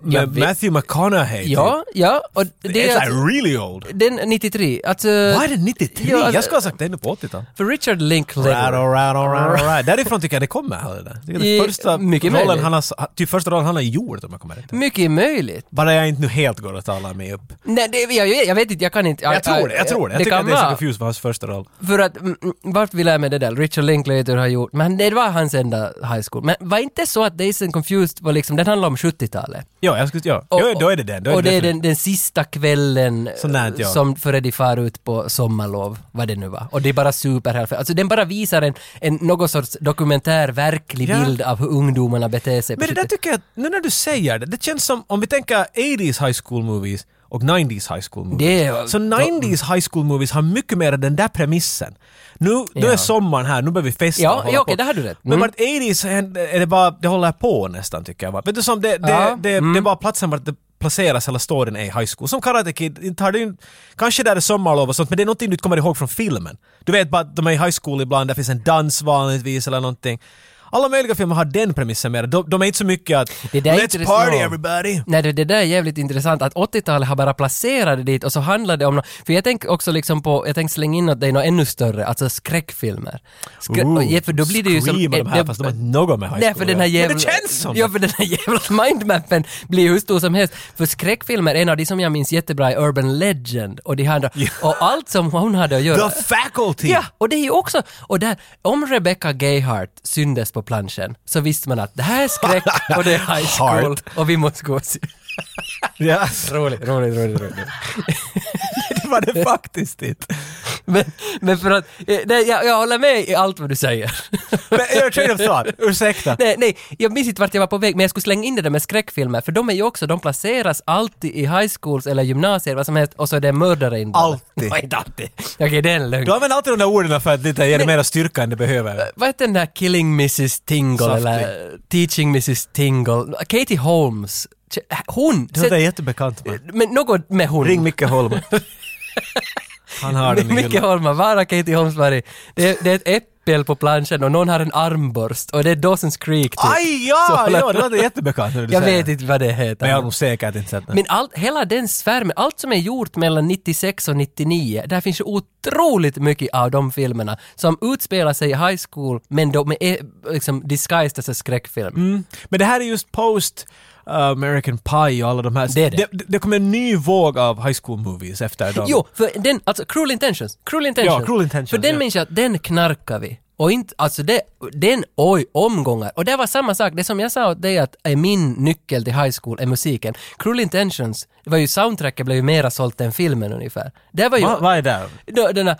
[SPEAKER 2] Jag
[SPEAKER 1] med
[SPEAKER 2] vet-
[SPEAKER 1] Matthew McConaughey?
[SPEAKER 2] Ja, ja. Och det
[SPEAKER 1] Det
[SPEAKER 2] är
[SPEAKER 1] är
[SPEAKER 2] alltså,
[SPEAKER 1] like really old.
[SPEAKER 2] den 93. Alltså,
[SPEAKER 1] Vad är det 93?
[SPEAKER 2] Ja, alltså-
[SPEAKER 1] jag skulle ha sagt det ännu på 80-talet.
[SPEAKER 2] för Richard Linklater.
[SPEAKER 1] Rattle, rattle, rattle, rattle. Därifrån tycker jag det kommer. här, Det Det är
[SPEAKER 2] I-
[SPEAKER 1] den första
[SPEAKER 2] mycket
[SPEAKER 1] rollen
[SPEAKER 2] möjligt.
[SPEAKER 1] han har, typ första rollen han har gjort om jag kommer rätt ihåg.
[SPEAKER 2] Mycket möjligt.
[SPEAKER 1] Bara jag inte nu helt går att tala mig upp.
[SPEAKER 2] Nej, det, jag, jag, jag vet inte, jag kan inte.
[SPEAKER 1] Jag tror det, jag tror det. Jag tycker
[SPEAKER 2] kan
[SPEAKER 1] att Dazed and
[SPEAKER 2] vara.
[SPEAKER 1] confused var hans första roll.
[SPEAKER 2] För att, mm, mm, vart vill jag med det där? Richard Linklater har gjort, men det var hans enda high school. Men var inte så att Dazed and Confused var liksom, den handlar om 70-talet?
[SPEAKER 1] Ja, jag skulle, ja. ja, då är det den. Då är
[SPEAKER 2] och det är
[SPEAKER 1] definitivt-
[SPEAKER 2] den, den sista kvällen
[SPEAKER 1] Sånt där,
[SPEAKER 2] eh,
[SPEAKER 1] ja.
[SPEAKER 2] som före de far ut på sommarlov, vad det nu var. Och det är bara superhärligt. Alltså den bara visar en, en någon sorts dokumentär, verklig
[SPEAKER 1] Ja.
[SPEAKER 2] bild av hur ungdomarna beter sig. på
[SPEAKER 1] Men det där
[SPEAKER 2] sitt-
[SPEAKER 1] tycker jag, att- nu när du säger det, det känns som om vi tänker 80s high school movies och 90s high school movies.
[SPEAKER 2] Det är-
[SPEAKER 1] så 90s high school movies har mycket mer den där premissen. Nu, nu
[SPEAKER 2] Ja.
[SPEAKER 1] är sommaren här, nu behöver vi festa
[SPEAKER 2] Ja,
[SPEAKER 1] och hålla
[SPEAKER 2] ja, okej,
[SPEAKER 1] på.
[SPEAKER 2] där har du rätt.
[SPEAKER 1] Men
[SPEAKER 2] Mm.
[SPEAKER 1] vart 80s är är det bara, det håller på nästan tycker jag. va? Vet du som det, det,
[SPEAKER 2] Ja, Mm.
[SPEAKER 1] det, det är bara platsen vart det placeras hela storyn är i high school. Som Karate Kid, inte har det ju- kanske där är sommarlov och sånt men det är någonting du inte kommer ihåg från filmen. Du vet bara att de är i high school ibland, där finns en dans vanligtvis eller någonting. Alla möjliga filmer har den premissen mer. De, de är inte så mycket att
[SPEAKER 2] Det där är
[SPEAKER 1] “Let's
[SPEAKER 2] intressant.
[SPEAKER 1] party everybody”.
[SPEAKER 2] Nej, det, det där är jävligt intressant att 80-talet har bara placerat det dit och så handlar det om nå- För jag tänker också liksom på, jag tänker slänga in åt dig något ännu större, alltså skräckfilmer. Skrä- och, ja, för då blir det ju som...
[SPEAKER 1] Scream och de här,
[SPEAKER 2] det-
[SPEAKER 1] fast eh, de har inte något med high
[SPEAKER 2] Nej,
[SPEAKER 1] school
[SPEAKER 2] för den här
[SPEAKER 1] att göra.
[SPEAKER 2] jävla...
[SPEAKER 1] Men det känns som
[SPEAKER 2] Ja, för den här jävla mindmappen blir hur stor som helst. För skräckfilmer, en av de som jag minns jättebra är Urban Legend och de andra. Och allt som hon hade att göra.
[SPEAKER 1] The faculty!
[SPEAKER 2] Ja, och det är ju också, och där, om Rebecca Gayhart syndes på planschen så visste man att det här är skräck och det är high school
[SPEAKER 1] Heart.
[SPEAKER 2] och vi måste gå och se.
[SPEAKER 1] Ja,
[SPEAKER 2] Roligt, roligt, roligt, roligt.
[SPEAKER 1] det var det faktiskt inte.
[SPEAKER 2] Men, men för att, eh, nej, jag, jag håller med i allt vad du säger.
[SPEAKER 1] Men your train of thought, ursäkta.
[SPEAKER 2] nej, nej, jag minns inte vart jag var på väg, men jag skulle slänga in det där med skräckfilmer, för de är ju också, de placeras alltid i high schools eller gymnasier, vad som helst, och så är det mördare inblandade.
[SPEAKER 1] Alltid.
[SPEAKER 2] Nej, inte alltid. Okej, det är en lögn.
[SPEAKER 1] Du använder alltid de där orden för att lite ge det mera styrka än det behöver.
[SPEAKER 2] Vad heter den där Killing Mrs Tingle
[SPEAKER 1] Softly.
[SPEAKER 2] eller Teaching Mrs Tingle? Katie Holmes. Tje- Hon!
[SPEAKER 1] Det
[SPEAKER 2] Sätt-
[SPEAKER 1] låter jättebekant man.
[SPEAKER 2] Men något med hon.
[SPEAKER 1] Ring Micke Holm. Han har den i
[SPEAKER 2] Micke
[SPEAKER 1] hyllan.
[SPEAKER 2] Holma, var har Katie Holmes varit? Det, är- det är ett äppel på planschen och någon har en armborst och det är Dawson's Creek typ.
[SPEAKER 1] Aj ja, ja, det låter jättebekant när du
[SPEAKER 2] jag
[SPEAKER 1] säger
[SPEAKER 2] vet
[SPEAKER 1] det.
[SPEAKER 2] inte vad det heter.
[SPEAKER 1] Men jag har nog säkert inte sett den.
[SPEAKER 2] Men allt, hela den sfärmen, allt som är gjort mellan 96 och 99, där finns ju otroligt mycket av de filmerna som utspelar sig i high school, men de är liksom disguised as a skräckfilm.
[SPEAKER 1] Men det här är just post uh, American Pie och alla de här.
[SPEAKER 2] Det är det.
[SPEAKER 1] Det, kommer en ny våg av high school movies efter dem.
[SPEAKER 2] Jo, för den, alltså Cruel Intentions. Cruel Intentions.
[SPEAKER 1] Ja, Cruel Intentions,
[SPEAKER 2] För den
[SPEAKER 1] ja.
[SPEAKER 2] minns jag att den knarkar vi. Och inte, alltså det, den, oj, omgångar. Och det var samma sak, det som jag sa åt dig att är min nyckel till high school är musiken. Cruel Intentions, det var ju soundtracket blev ju mera sålt än filmen ungefär. Det var ju...
[SPEAKER 1] Va, vad är det?
[SPEAKER 2] Då, den där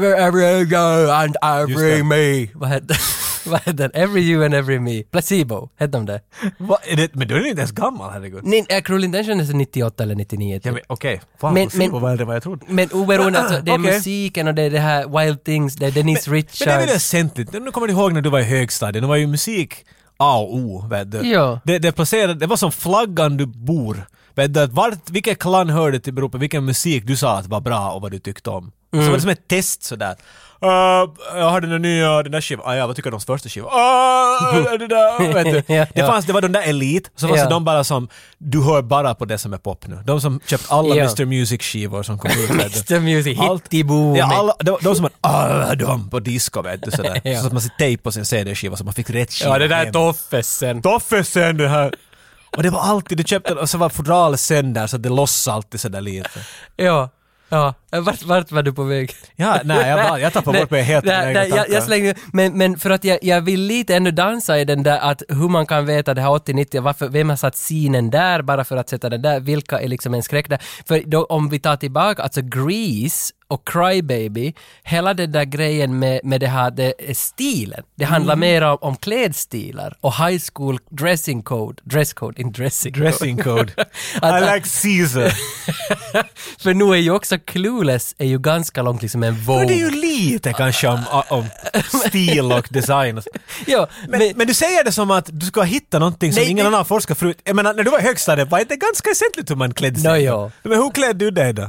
[SPEAKER 2] Every you go and every
[SPEAKER 1] det.
[SPEAKER 2] me. Vad hette vad hette den? Every you and every me. Placebo, hette de det?
[SPEAKER 1] Va, är det? Men då är den inte ens gammal, herregud.
[SPEAKER 2] Ni, äh, Cruel Intentions är 98 eller 99. typ.
[SPEAKER 1] Ja, men Okej, fan
[SPEAKER 2] Men-
[SPEAKER 1] men, men,
[SPEAKER 2] men-
[SPEAKER 1] vad är det vad jag trodde?
[SPEAKER 2] Men oberoende, alltså, det är
[SPEAKER 1] Okej.
[SPEAKER 2] musiken och det är det här Wild Things, det är Denise
[SPEAKER 1] Men det är väl
[SPEAKER 2] Richards.
[SPEAKER 1] väsentligt? Nu kommer du ihåg när du var i högstadiet, det var ju musik A och O. Vet du.
[SPEAKER 2] Ja.
[SPEAKER 1] Det, det, placerade, det var som flaggan du bor. Vet du, att vart, vilket klan hörde till beror på vilken musik du sa att var bra och vad du tyckte om. Så var det som ett test sådär. Uh, jag har den där nya, den där skivan. Ah, ja, vad tycker du om första skivan? Uh, det där, vet du.
[SPEAKER 2] Ja,
[SPEAKER 1] Det
[SPEAKER 2] ja.
[SPEAKER 1] fanns, det var de där elit, så fanns
[SPEAKER 2] Ja.
[SPEAKER 1] det de bara som, du hör bara på det som är pop nu. De som köpt alla
[SPEAKER 2] Ja.
[SPEAKER 1] Mr Music-skivor som kom ut. vet du.
[SPEAKER 2] Mr Music,
[SPEAKER 1] Allt-
[SPEAKER 2] Hittibo.
[SPEAKER 1] Ja, alla, de, de som man alla de på disco vet du sådär.
[SPEAKER 2] Ja.
[SPEAKER 1] Så att man ser tejp på sin CD-skiva så man fick rätt skiva
[SPEAKER 2] ja, det där
[SPEAKER 1] hem.
[SPEAKER 2] är Toffesen.
[SPEAKER 1] Toffe sen det här! Och det var alltid, du köpte och så var fodralet sen där så att det lossade alltid sådär lite.
[SPEAKER 2] Ja. Ja, vart, vart var du på väg?
[SPEAKER 1] Ja, nej, jag bara- jag tappar bort mig helt i
[SPEAKER 2] Nej,
[SPEAKER 1] mina
[SPEAKER 2] nej,
[SPEAKER 1] egna
[SPEAKER 2] jag, jag
[SPEAKER 1] tankar.
[SPEAKER 2] slänger, men, men för att jag, jag vill lite ännu dansa i den där att hur man kan veta det här 80-90, varför, vem har satt scenen där bara för att sätta den där, vilka är liksom en skräck där? För då, om vi tar tillbaka, alltså Grease och Cry Baby, hela den där grejen med, med det här det, är stilen, det
[SPEAKER 1] Mm.
[SPEAKER 2] handlar mer om, om klädstilar och high school dressing code, dress code, inte dressing code.
[SPEAKER 1] Dressing code.
[SPEAKER 2] Att-
[SPEAKER 1] I like Caesar.
[SPEAKER 2] För nu är ju också Clueless är ju ganska långt liksom en
[SPEAKER 1] Men det är
[SPEAKER 2] Vogue.
[SPEAKER 1] ju lite kanske om, om stil och design. och så.
[SPEAKER 2] Ja,
[SPEAKER 1] Men, men, du säger det som att du ska hitta någonting som
[SPEAKER 2] Nej,
[SPEAKER 1] ingen
[SPEAKER 2] det-
[SPEAKER 1] annan forskat förut. Jag menar, när du var i högstadiet var det ganska väsentligt hur man klädde sig.
[SPEAKER 2] Nå, ja.
[SPEAKER 1] Men hur klädde du dig då?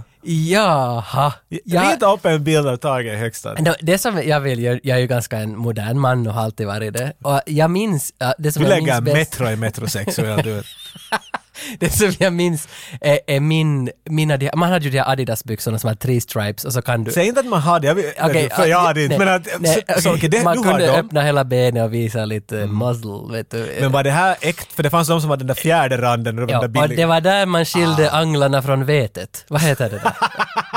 [SPEAKER 2] Jaha. Ja,
[SPEAKER 1] Rita upp en bild av Tage i högstadiet.
[SPEAKER 2] Nå, det som jag vill, jag jag är ju ganska en modern man och har alltid varit det. Och jag minns, ja, det som
[SPEAKER 1] Du
[SPEAKER 2] jag
[SPEAKER 1] lägger
[SPEAKER 2] minns
[SPEAKER 1] en
[SPEAKER 2] bäst,
[SPEAKER 1] Metro i Metro 6 och jag du vet.
[SPEAKER 2] det som jag minns är, är min, mina, de- man hade ju de här Adidas-byxorna som hade tre stripes och så kan du...
[SPEAKER 1] Säg inte att man har det, jag vet,
[SPEAKER 2] Okej,
[SPEAKER 1] för jag har det inte.
[SPEAKER 2] nej,
[SPEAKER 1] Men att,
[SPEAKER 2] nej,
[SPEAKER 1] så, så,
[SPEAKER 2] okej,
[SPEAKER 1] okej, det,
[SPEAKER 2] man
[SPEAKER 1] du har
[SPEAKER 2] kunde
[SPEAKER 1] dem. Mm.
[SPEAKER 2] öppna hela benet och visa lite muzzle, vet du.
[SPEAKER 1] Men var det här äkt? För det fanns de som hade den där fjärde randen och de
[SPEAKER 2] Ja,
[SPEAKER 1] där
[SPEAKER 2] och
[SPEAKER 1] billiga.
[SPEAKER 2] det var där man skilde
[SPEAKER 1] Ah.
[SPEAKER 2] anglarna från vetet. Vad heter det där?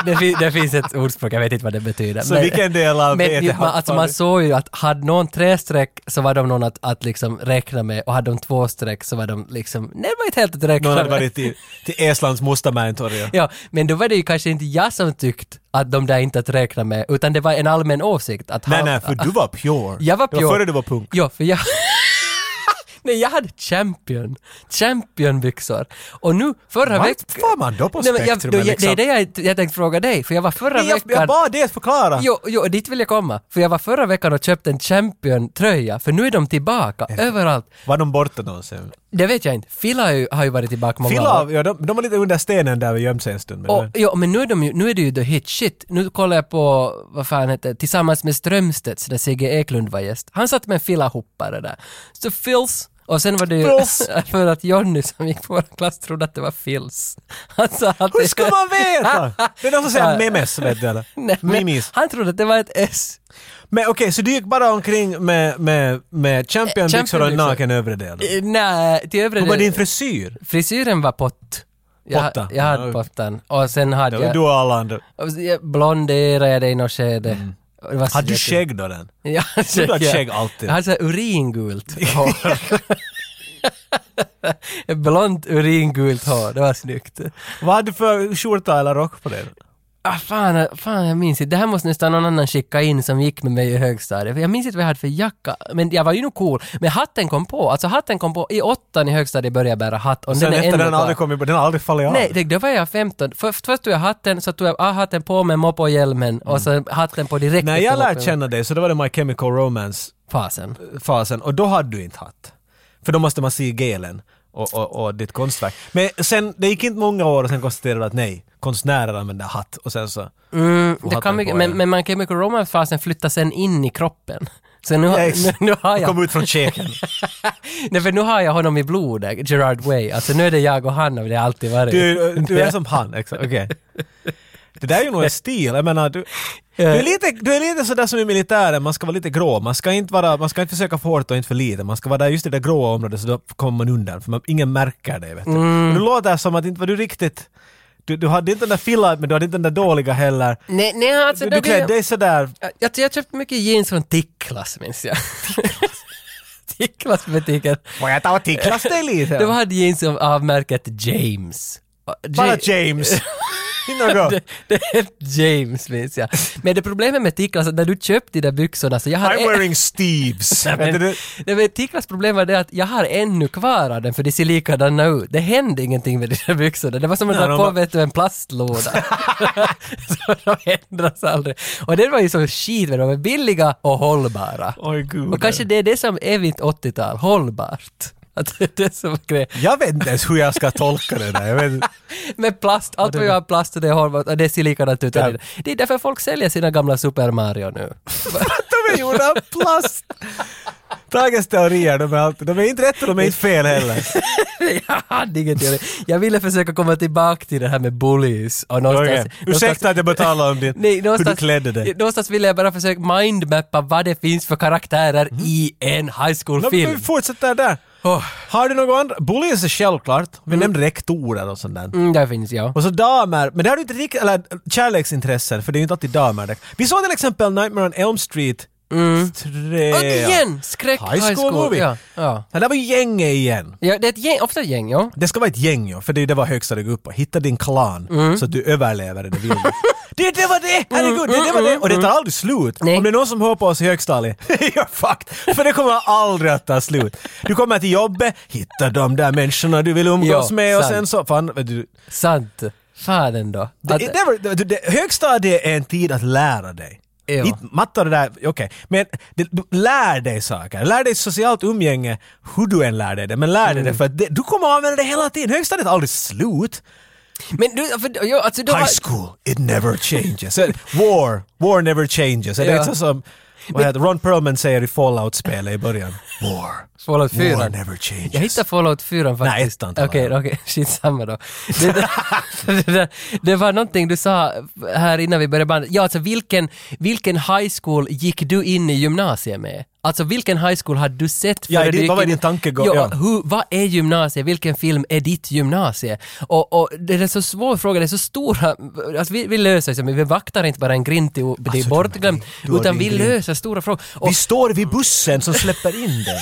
[SPEAKER 2] det, fin- det finns ett ordspråk, jag vet inte vad det betyder.
[SPEAKER 1] Så vilken del av
[SPEAKER 2] men,
[SPEAKER 1] vetet
[SPEAKER 2] ju- man,
[SPEAKER 1] har-
[SPEAKER 2] alltså, man såg ju att hade någon tre streck så var de någon att, att liksom räkna med och hade de två streck så var de liksom, nej det var inte helt att räkna
[SPEAKER 1] Någon hade
[SPEAKER 2] med.
[SPEAKER 1] varit till, till Estlands Mustamäentorget.
[SPEAKER 2] Ja, men då var det ju kanske inte jag som tyckt att de där inte att räkna med, utan det var en allmän åsikt att
[SPEAKER 1] Nej,
[SPEAKER 2] ha-
[SPEAKER 1] nej, för du var pure.
[SPEAKER 2] Jag var
[SPEAKER 1] Det
[SPEAKER 2] pure.
[SPEAKER 1] var före du var punk.
[SPEAKER 2] Ja, för jag... Nej, jag hade champion. Championbyxor. Och nu, förra
[SPEAKER 1] Vad
[SPEAKER 2] veckan...
[SPEAKER 1] var man då på
[SPEAKER 2] jag,
[SPEAKER 1] spektrumet,
[SPEAKER 2] jag- Det är
[SPEAKER 1] liksom?
[SPEAKER 2] det jag, jag tänkte fråga dig, för jag var förra
[SPEAKER 1] Nej, Jag,
[SPEAKER 2] veckan...
[SPEAKER 1] jag bad dig att förklara.
[SPEAKER 2] Jo, jo, dit vill jag komma. För jag var förra veckan och köpte en Champion-tröja, för nu är de tillbaka överallt.
[SPEAKER 1] Var de borta någonsin?
[SPEAKER 2] Det vet jag inte. Fila har ju, har ju varit tillbaka många år.
[SPEAKER 1] Filav, ja, de, de var lite under stenen där och gömde sig en stund. Men
[SPEAKER 2] Och, ja, men nu är, de ju, nu är det ju the hit shit. Nu kollar jag på, vad fan heter det, Tillsammans med Strömstedts där Sigge Eklund var gäst. Han satt med en filahoppare där. Så Phils, och sen var det ju
[SPEAKER 1] Phils.
[SPEAKER 2] för att Jonny som gick på vår klass trodde att det var Phils. Han sa att
[SPEAKER 1] Hur ska man veta? Det är de som säger memes, vet du eller?
[SPEAKER 2] Nej, men
[SPEAKER 1] Mimis.
[SPEAKER 2] Han trodde att det var ett S.
[SPEAKER 1] Men okej, så du gick bara omkring med, med,
[SPEAKER 2] Eh,
[SPEAKER 1] med championbyxor och en
[SPEAKER 2] Championbyxor.
[SPEAKER 1] naken övre del?
[SPEAKER 2] Eh, Nej, till övre
[SPEAKER 1] Hur var din
[SPEAKER 2] delen.
[SPEAKER 1] frisyr?
[SPEAKER 2] Frisyren var pott. Jag,
[SPEAKER 1] Potta.
[SPEAKER 2] Jag hade
[SPEAKER 1] Ja.
[SPEAKER 2] pottan. Och sen hade
[SPEAKER 1] Det var du
[SPEAKER 2] jag,
[SPEAKER 1] och alla andra.
[SPEAKER 2] jag blonderade jag det i något skede. Och det var
[SPEAKER 1] Mm.
[SPEAKER 2] så
[SPEAKER 1] Hade du
[SPEAKER 2] jätte-
[SPEAKER 1] skägg då den?
[SPEAKER 2] Ja, alltså,
[SPEAKER 1] du har
[SPEAKER 2] ja.
[SPEAKER 1] skägg alltid.
[SPEAKER 2] Jag hade såhär uringult hår. Ett Blont uringult hår, det var snyggt.
[SPEAKER 1] Vad hade du för skjorta eller rock på dig?
[SPEAKER 2] Ah, fan, fan, jag minns inte. Det här måste nästan någon annan skicka in som gick med mig i högstadiet. För jag minns inte vad jag hade för jacka. Men jag var ju nog cool. Men hatten kom på. Alltså hatten kom på. I åttan i högstadiet började jag bära hatt. Och
[SPEAKER 1] Sen
[SPEAKER 2] den är
[SPEAKER 1] efter
[SPEAKER 2] ändå
[SPEAKER 1] den har
[SPEAKER 2] kvar.
[SPEAKER 1] aldrig kommit, den har aldrig fallit av.
[SPEAKER 2] Nej, det, då var jag 15. Först, först tog jag hatten, så tog jag ah, hatten på mig, mopp och hjälmen. Och så hatten på direkt.
[SPEAKER 1] När
[SPEAKER 2] efter
[SPEAKER 1] Mm. jag lärde
[SPEAKER 2] moppen.
[SPEAKER 1] känna dig så då var det My Chemical Romance-fasen
[SPEAKER 2] Fasen.
[SPEAKER 1] och då hade du inte hatt. För då måste man se gelen och, och, och ditt konstverk. Men sen, det gick inte många år och sen konstaterade du att nej, konstnärer använder hatt och sen så...
[SPEAKER 2] Mm, det
[SPEAKER 1] hatten
[SPEAKER 2] kan mycket,
[SPEAKER 1] på
[SPEAKER 2] men,
[SPEAKER 1] er.
[SPEAKER 2] men man kan mycket romance-fasen flytta sen in i kroppen. Så nu, har-
[SPEAKER 1] Ja, ex-
[SPEAKER 2] nu, nu har
[SPEAKER 1] Jag
[SPEAKER 2] jag,
[SPEAKER 1] kom ut från käken.
[SPEAKER 2] nej, för nu har jag honom i blodet, Gerard Way. Alltså nu är det jag och han och det har alltid varit.
[SPEAKER 1] Du, eh, du är som han, exakt. Okej. Det där är ju nog en stil. Jag menar, du, du,
[SPEAKER 2] Eh.
[SPEAKER 1] är lite, du är lite sådär som i militären, man ska vara lite grå. Man ska inte, vara, man ska inte försöka för hårt och inte för lite. Man ska vara där just i det där gråa området så då kommer man undan. För man, ingen märker dig. Vet du.
[SPEAKER 2] Mm.
[SPEAKER 1] Och du låter som att inte var du riktigt... Du, du hade inte den där fillat men du hade inte den där dåliga heller.
[SPEAKER 2] nej, nej, alltså,
[SPEAKER 1] Du,
[SPEAKER 2] det
[SPEAKER 1] du
[SPEAKER 2] blir-
[SPEAKER 1] klädde dig sådär...
[SPEAKER 2] jag, jag, jag köpte mycket jeans från Ticklas, minns jag. Ticklas butiken.
[SPEAKER 1] Får jag ta och ticklas dig lite?
[SPEAKER 2] Det var jeans av, av märket James. Och
[SPEAKER 1] Bara
[SPEAKER 2] Ja-
[SPEAKER 1] James. Något.
[SPEAKER 2] Det, det är James minns jag. Men det problemet med Tiklas, att när du köpte de där byxorna så jag har...
[SPEAKER 1] I'm wearing Steves.
[SPEAKER 2] Nej,
[SPEAKER 1] Vet
[SPEAKER 2] men,
[SPEAKER 1] du,
[SPEAKER 2] nej, men Tiklas problem var det att jag har ännu kvar av den för de ser likadana ut. Det hände ingenting med de där byxorna. Det var som att
[SPEAKER 1] Nej,
[SPEAKER 2] dra
[SPEAKER 1] de
[SPEAKER 2] på
[SPEAKER 1] var-
[SPEAKER 2] vet du, en plastlåda. så de ändras aldrig. Och det var ju så skit, men de var billiga och hållbara.
[SPEAKER 1] Oj, Oh, gud.
[SPEAKER 2] Och kanske det är det som är mitt 80-tal, hållbart. Att det är det som är grejen.
[SPEAKER 1] Jag vet inte ens hur jag ska tolka det där. Jag vet, inte.
[SPEAKER 2] Med plast, allt vad jag har plast och det är hållbart och det ser likadant ut.
[SPEAKER 1] Ja.
[SPEAKER 2] Det är därför folk säljer sina gamla Super Mario nu.
[SPEAKER 1] de är gjorda av plast! Tages teorier, de är, alltid, de är inte rätt och de är inte fel heller.
[SPEAKER 2] jag hade inget att göra. Jag ville försöka komma tillbaka till det här med bullies och någonstans...
[SPEAKER 1] Okej. Ursäkta att jag bara talar om det,
[SPEAKER 2] Nej,
[SPEAKER 1] hur
[SPEAKER 2] någonstans,
[SPEAKER 1] du klädde dig.
[SPEAKER 2] Någonstans ville jag bara försöka mindmappa vad det finns för karaktärer i en high
[SPEAKER 1] Nå, Mm. men
[SPEAKER 2] school-film.
[SPEAKER 1] vi fortsätter där.
[SPEAKER 2] Åh.
[SPEAKER 1] Har du något annat? Bullies är självklart. Vi nämnde rektorer och sånt där.
[SPEAKER 2] Mm, där finns jag.
[SPEAKER 1] Och så damer, men det har du inte riktigt, eller kärleksintressen, för det är ju inte alltid damer där. Vi såg till exempel Nightmare on Elm Street 3.
[SPEAKER 2] Mm. Och igen! Skräck
[SPEAKER 1] High school movie.
[SPEAKER 2] Ja, ja.
[SPEAKER 1] Ja, det var ju gänget igen.
[SPEAKER 2] ja, det är ett gäng, ofta ett gäng, ja.
[SPEAKER 1] Det ska vara ett gäng ju, för det är ju det var högsta du går upp på. Hitta din klan
[SPEAKER 2] Mm.
[SPEAKER 1] så att du överlever i det vilda. Det, det var det! Herregud, det, det
[SPEAKER 2] Mm,
[SPEAKER 1] var det! Och det tar aldrig slut.
[SPEAKER 2] Nej.
[SPEAKER 1] Om det är någon som hör på oss i högstadiet, you're fucked! För det kommer aldrig att ta slut. Du kommer till jobbet, hitta de där människorna du vill umgås
[SPEAKER 2] Ja,
[SPEAKER 1] med och
[SPEAKER 2] sant.
[SPEAKER 1] sen så... Fan, vet du,
[SPEAKER 2] Sant. Fan ändå.
[SPEAKER 1] det,
[SPEAKER 2] Att-
[SPEAKER 1] det, var- det, det, högstadiet är en tid att lära dig.
[SPEAKER 2] Ja.
[SPEAKER 1] Inte matte och det där, okej. Men det, du, lär dig saker. Lär dig socialt umgänge, hur du än lär dig det. Men lär dig det för att det, du kommer använda det hela tiden. Högstadiet är aldrig slut.
[SPEAKER 2] Men du, för, ja, alltså, du har,
[SPEAKER 1] High school, it never changes. Eh, War, war never changes. Är Det
[SPEAKER 2] Ja.
[SPEAKER 1] är så som vad heter, Ron Perlman säger i Fallout-spelet i början. War,
[SPEAKER 2] Fallout 4.
[SPEAKER 1] war never changes.
[SPEAKER 2] Jag hittade Fallout 4 faktiskt.
[SPEAKER 1] Nej, ettan
[SPEAKER 2] Okej,
[SPEAKER 1] talar
[SPEAKER 2] okej,
[SPEAKER 1] jag om.
[SPEAKER 2] skitsamma då. Det, det, det, det var någonting du sa här innan vi började bandet. Ja, alltså vilken, vilken high school gick du in i gymnasiet med? Alltså vilken high school hade du sett
[SPEAKER 1] Ja,
[SPEAKER 2] före
[SPEAKER 1] det-
[SPEAKER 2] du gick
[SPEAKER 1] vad var
[SPEAKER 2] in-
[SPEAKER 1] din tankegång?
[SPEAKER 2] Ja,
[SPEAKER 1] Ja.
[SPEAKER 2] hur, vad är gymnasiet? Vilken film är ditt gymnasie? Och, och det är en så svår fråga, det är så stora... Alltså vi, vi löser det, men vi vaktar inte bara en grind till det är
[SPEAKER 1] Alltså,
[SPEAKER 2] bortglömt,
[SPEAKER 1] du har din
[SPEAKER 2] utan vi
[SPEAKER 1] grind.
[SPEAKER 2] löser stora frågor. Och
[SPEAKER 1] Vi står vid bussen som släpper in det.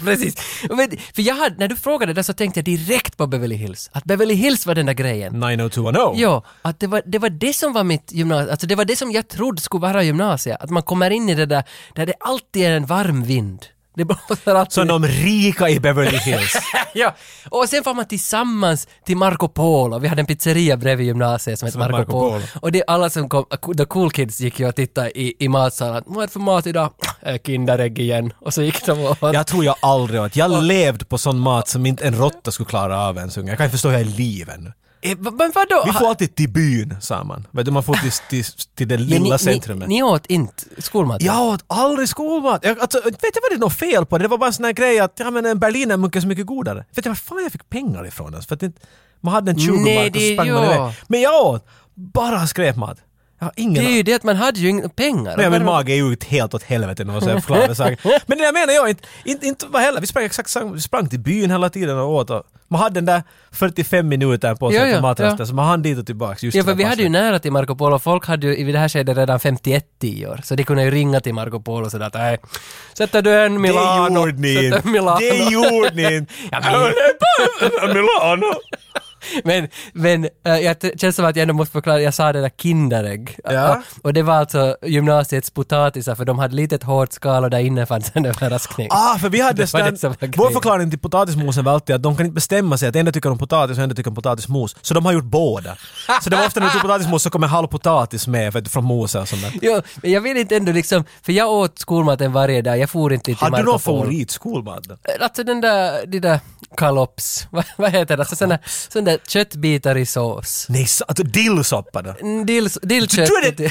[SPEAKER 2] Precis. Men, för jag hade, när du frågade det så tänkte jag direkt på Beverly Hills. Att Beverly Hills var den där grejen.
[SPEAKER 1] 90210.
[SPEAKER 2] Ja, att det var, det var det som var mitt gymnasium, alltså det var det som jag trodde skulle vara gymnasiet. Att man kommer in i det där, där det alltid är en varm vind. Det blåser alltid.
[SPEAKER 1] Som de rika i Beverly Hills.
[SPEAKER 2] ja. Och sen får man tillsammans till Marco Polo. Vi hade en pizzeria bredvid gymnasiet som hette Marco,
[SPEAKER 1] hette Marco
[SPEAKER 2] Polo.
[SPEAKER 1] Polo.
[SPEAKER 2] Och det är alla som kom, the cool kids gick ju och tittade i, i matsalen. Vad är det för mat idag? Äh, Kinderägg igen. Och så gick de och åt.
[SPEAKER 1] Jag tror jag aldrig åt. Jag levde på sån mat som inte en råtta skulle klara av ens unge. Jag kan inte förstå hur jag är i livet ännu.
[SPEAKER 2] Eh, Men vadå?
[SPEAKER 1] Vi får alltid till byn, sa man. Vet du, man får till, till, till det
[SPEAKER 2] Men
[SPEAKER 1] lilla centrumet.
[SPEAKER 2] Ni, ni åt inte skolmat?
[SPEAKER 1] Jag åt aldrig skolmat. Jag, alltså, vet jag vad det är något fel på det? Det var bara en sån här grej att ja, men en berlinermunk är så mycket godare. Vet du vad fan jag fick pengar ifrån? Alltså, för att det, inte- man hade en 20
[SPEAKER 2] Nej,
[SPEAKER 1] mark och
[SPEAKER 2] det-
[SPEAKER 1] så sprang man
[SPEAKER 2] ja.
[SPEAKER 1] iväg. Men jag åt bara skräpmat. Jag har ingen
[SPEAKER 2] Det är ju det att man hade ju inga pengar.
[SPEAKER 1] Nej, min mage är ju ut helt åt helvete nu och så jag förklarar saker. Men det där menar jag inte, inte, inte vad heller. Vi sprang exakt samma, vi sprang till byn hela tiden och åt och man hade den där 45 minuter på sig
[SPEAKER 2] Ja, ja,
[SPEAKER 1] på matrasten
[SPEAKER 2] ja.
[SPEAKER 1] så man hann dit och tillbaks just
[SPEAKER 2] Ja,
[SPEAKER 1] till
[SPEAKER 2] för
[SPEAKER 1] det
[SPEAKER 2] vi
[SPEAKER 1] här
[SPEAKER 2] hade ju
[SPEAKER 1] passet.
[SPEAKER 2] nära till Marco Polo. Folk hade ju i det här skedet redan 51 år, så de kunde ju ringa till Marco Polo sådär att nej, sätter du en Milano,
[SPEAKER 1] Det gjorde ni
[SPEAKER 2] sätter
[SPEAKER 1] inte!
[SPEAKER 2] en Milano.
[SPEAKER 1] Det gjorde ni inte!
[SPEAKER 2] Ja, men-
[SPEAKER 1] Milano!
[SPEAKER 2] Men, men äh, jag t- känns som att jag ändå måste förklara, jag sa det där Kinderägg.
[SPEAKER 1] Ja.
[SPEAKER 2] Och, och det var alltså gymnasiets potatisar, för de hade litet hårt skal och där inne fanns en överraskning.
[SPEAKER 1] Ah, för vi hade
[SPEAKER 2] Det var det
[SPEAKER 1] sån,
[SPEAKER 2] som var grejen.
[SPEAKER 1] Vår förklaring till potatismosen var alltid att de kan inte bestämma sig att en tycker om potatis och en tycker om potatismos. Så de har gjort båda. Så det var ofta när du tog potatismos så kom en halv potatis med för, att- från mosen och sånt där.
[SPEAKER 2] Jo, men jag vill inte ändå liksom, för jag åt skolmaten varje dag, jag for inte till
[SPEAKER 1] Hade du
[SPEAKER 2] Marco
[SPEAKER 1] någon
[SPEAKER 2] Polo.
[SPEAKER 1] favoritskolmat? då?
[SPEAKER 2] Alltså den där, de där kalops, vad, vad heter det? Alltså sån där, sån där köttbitar i sås.
[SPEAKER 1] Nej, sa- alltså dillsoppa då?
[SPEAKER 2] Mm, Dills, dillkött.
[SPEAKER 1] Du är det,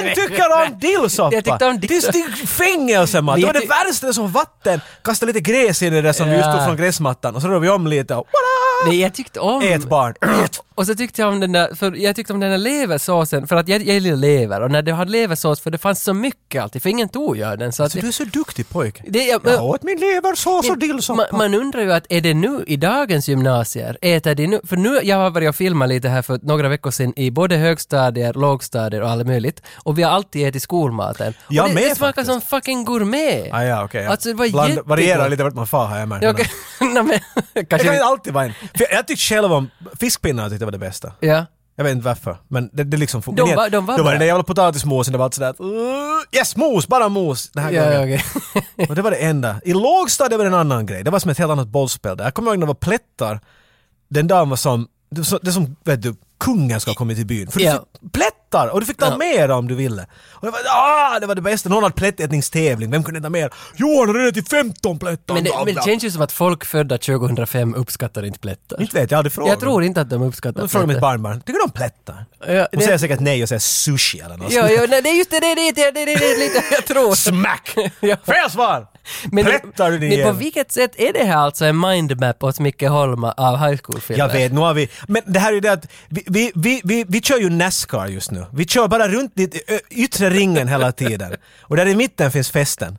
[SPEAKER 1] ingen tycker om dillsoppa!
[SPEAKER 2] Jag tyckte om
[SPEAKER 1] Det är sti- fängelsemat! Det var
[SPEAKER 2] Men jag
[SPEAKER 1] det värsta, det är som vatten! Kasta lite gräs in i det där som vi just
[SPEAKER 2] Ja.
[SPEAKER 1] tog från gräsmattan och så rör vi om lite och voila!
[SPEAKER 2] Nej, jag tyckte om...
[SPEAKER 1] Ät barn!
[SPEAKER 2] Mm. Och så tyckte jag om den där, för jag tyckte om den där leversåsen, för att jag, jag gillar lever och när du hade leversås, för det fanns så mycket alltid, för ingen tog ju den. Så att
[SPEAKER 1] Så Alltså, du är så duktig pojke.
[SPEAKER 2] det, jag,
[SPEAKER 1] Jag åt min leversås och
[SPEAKER 2] man,
[SPEAKER 1] dillsoppa.
[SPEAKER 2] man undrar ju att är det nu i dagens gymnasier, äter de nu, för nu, jag har varit och filmat lite här för några veckor sedan i både högstadier, lågstadier och allt möjligt och vi har alltid ätit skolmaten.
[SPEAKER 1] Jag
[SPEAKER 2] och det,
[SPEAKER 1] med
[SPEAKER 2] det smakar
[SPEAKER 1] faktiskt.
[SPEAKER 2] som fucking gourmet.
[SPEAKER 1] Ah, ja, okej. ja.
[SPEAKER 2] Alltså det var
[SPEAKER 1] Bland-
[SPEAKER 2] jättegott.
[SPEAKER 1] Varierar lite vart man far har jag märkt.
[SPEAKER 2] Ja, okej. Nej, men,
[SPEAKER 1] Det
[SPEAKER 2] kanske
[SPEAKER 1] kan inte alltid vara en. För jag, jag tyckte själv om fiskpinnar tyckte jag var det bästa.
[SPEAKER 2] Ja.
[SPEAKER 1] Jag vet inte varför, men det, det liksom...
[SPEAKER 2] De var- de var
[SPEAKER 1] då var
[SPEAKER 2] bra.
[SPEAKER 1] det den jävla potatismosen, det var allt sådär att, "Uh, Yes, mos! Bara mos! Den här
[SPEAKER 2] Ja,
[SPEAKER 1] gången.
[SPEAKER 2] ja, okej.
[SPEAKER 1] Och det var det enda. I lågstadiet var det en annan grej. Det var som ett helt annat bollspel. där. Jag kommer ihåg när det var plättar. Den dagen var som, det är som- det är som vet du, kungen ska ha kommit till byn. För
[SPEAKER 2] Ja.
[SPEAKER 1] du fick plättar och du fick ta
[SPEAKER 2] Ja.
[SPEAKER 1] mer om du ville. Och det var, ah, det var det bästa. Någon hade plättätningstävling. Vem kunde ta mer? Johan har redan till 15 plättar!
[SPEAKER 2] men, det,
[SPEAKER 1] Bla,
[SPEAKER 2] men
[SPEAKER 1] bla.
[SPEAKER 2] det känns ju som att folk födda 2005 uppskattar inte plättar.
[SPEAKER 1] Inte vet jag, jag har aldrig frågat.
[SPEAKER 2] Jag tror inte att de uppskattar
[SPEAKER 1] Jag frågade mitt
[SPEAKER 2] plättar.
[SPEAKER 1] barnbarn, tycker du om plättar?
[SPEAKER 2] Ja,
[SPEAKER 1] Hon säger
[SPEAKER 2] det,
[SPEAKER 1] säkert nej och säger sushi eller något
[SPEAKER 2] ja, ja, nej, det är just det, det är det, det, är det, det, är det lite, jag tror.
[SPEAKER 1] Smack!
[SPEAKER 2] Ja.
[SPEAKER 1] Fel svar!
[SPEAKER 2] Men,
[SPEAKER 1] Plättar du din
[SPEAKER 2] men på
[SPEAKER 1] jävel.
[SPEAKER 2] vilket sätt är det här alltså en mindmap åt Micke Holma av high school-filmer?
[SPEAKER 1] Jag vet, nu har vi... Men det här är ju det att vi, vi, vi, vi, vi kör ju Nascar just nu. Vi kör bara runt i ö, yttre ringen hela tiden. Och där i mitten finns festen.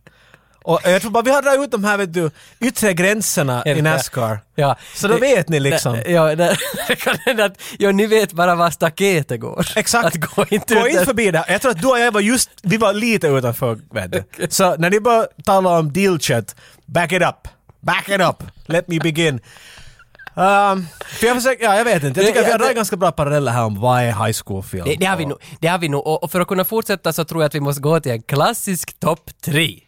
[SPEAKER 1] Och jag tror bara vi har dragit ut de här vet du, yttre gränserna i Nascar.
[SPEAKER 2] Ja.
[SPEAKER 1] Så då
[SPEAKER 2] Det-
[SPEAKER 1] vet ni liksom.
[SPEAKER 2] Nej, Ja, det, det kan hända att, ja, ni vet bara var staketet går.
[SPEAKER 1] Exakt.
[SPEAKER 2] Att gå inte
[SPEAKER 1] Gå
[SPEAKER 2] ut
[SPEAKER 1] inte
[SPEAKER 2] där.
[SPEAKER 1] förbi där. Jag tror att du och jag var just, vi var lite utanför vet du. Så när ni börjar tala om dealchat, back it up. Back it up. Let me begin. Ehm, för jag försöker, ja jag vet inte. Jag tycker att vi har dragit ganska bra paralleller här om vad är high school-film.
[SPEAKER 2] Det, det har vi nog. Det har vi nog. Och, och för att kunna fortsätta så tror jag att vi måste gå till en klassisk topp tre.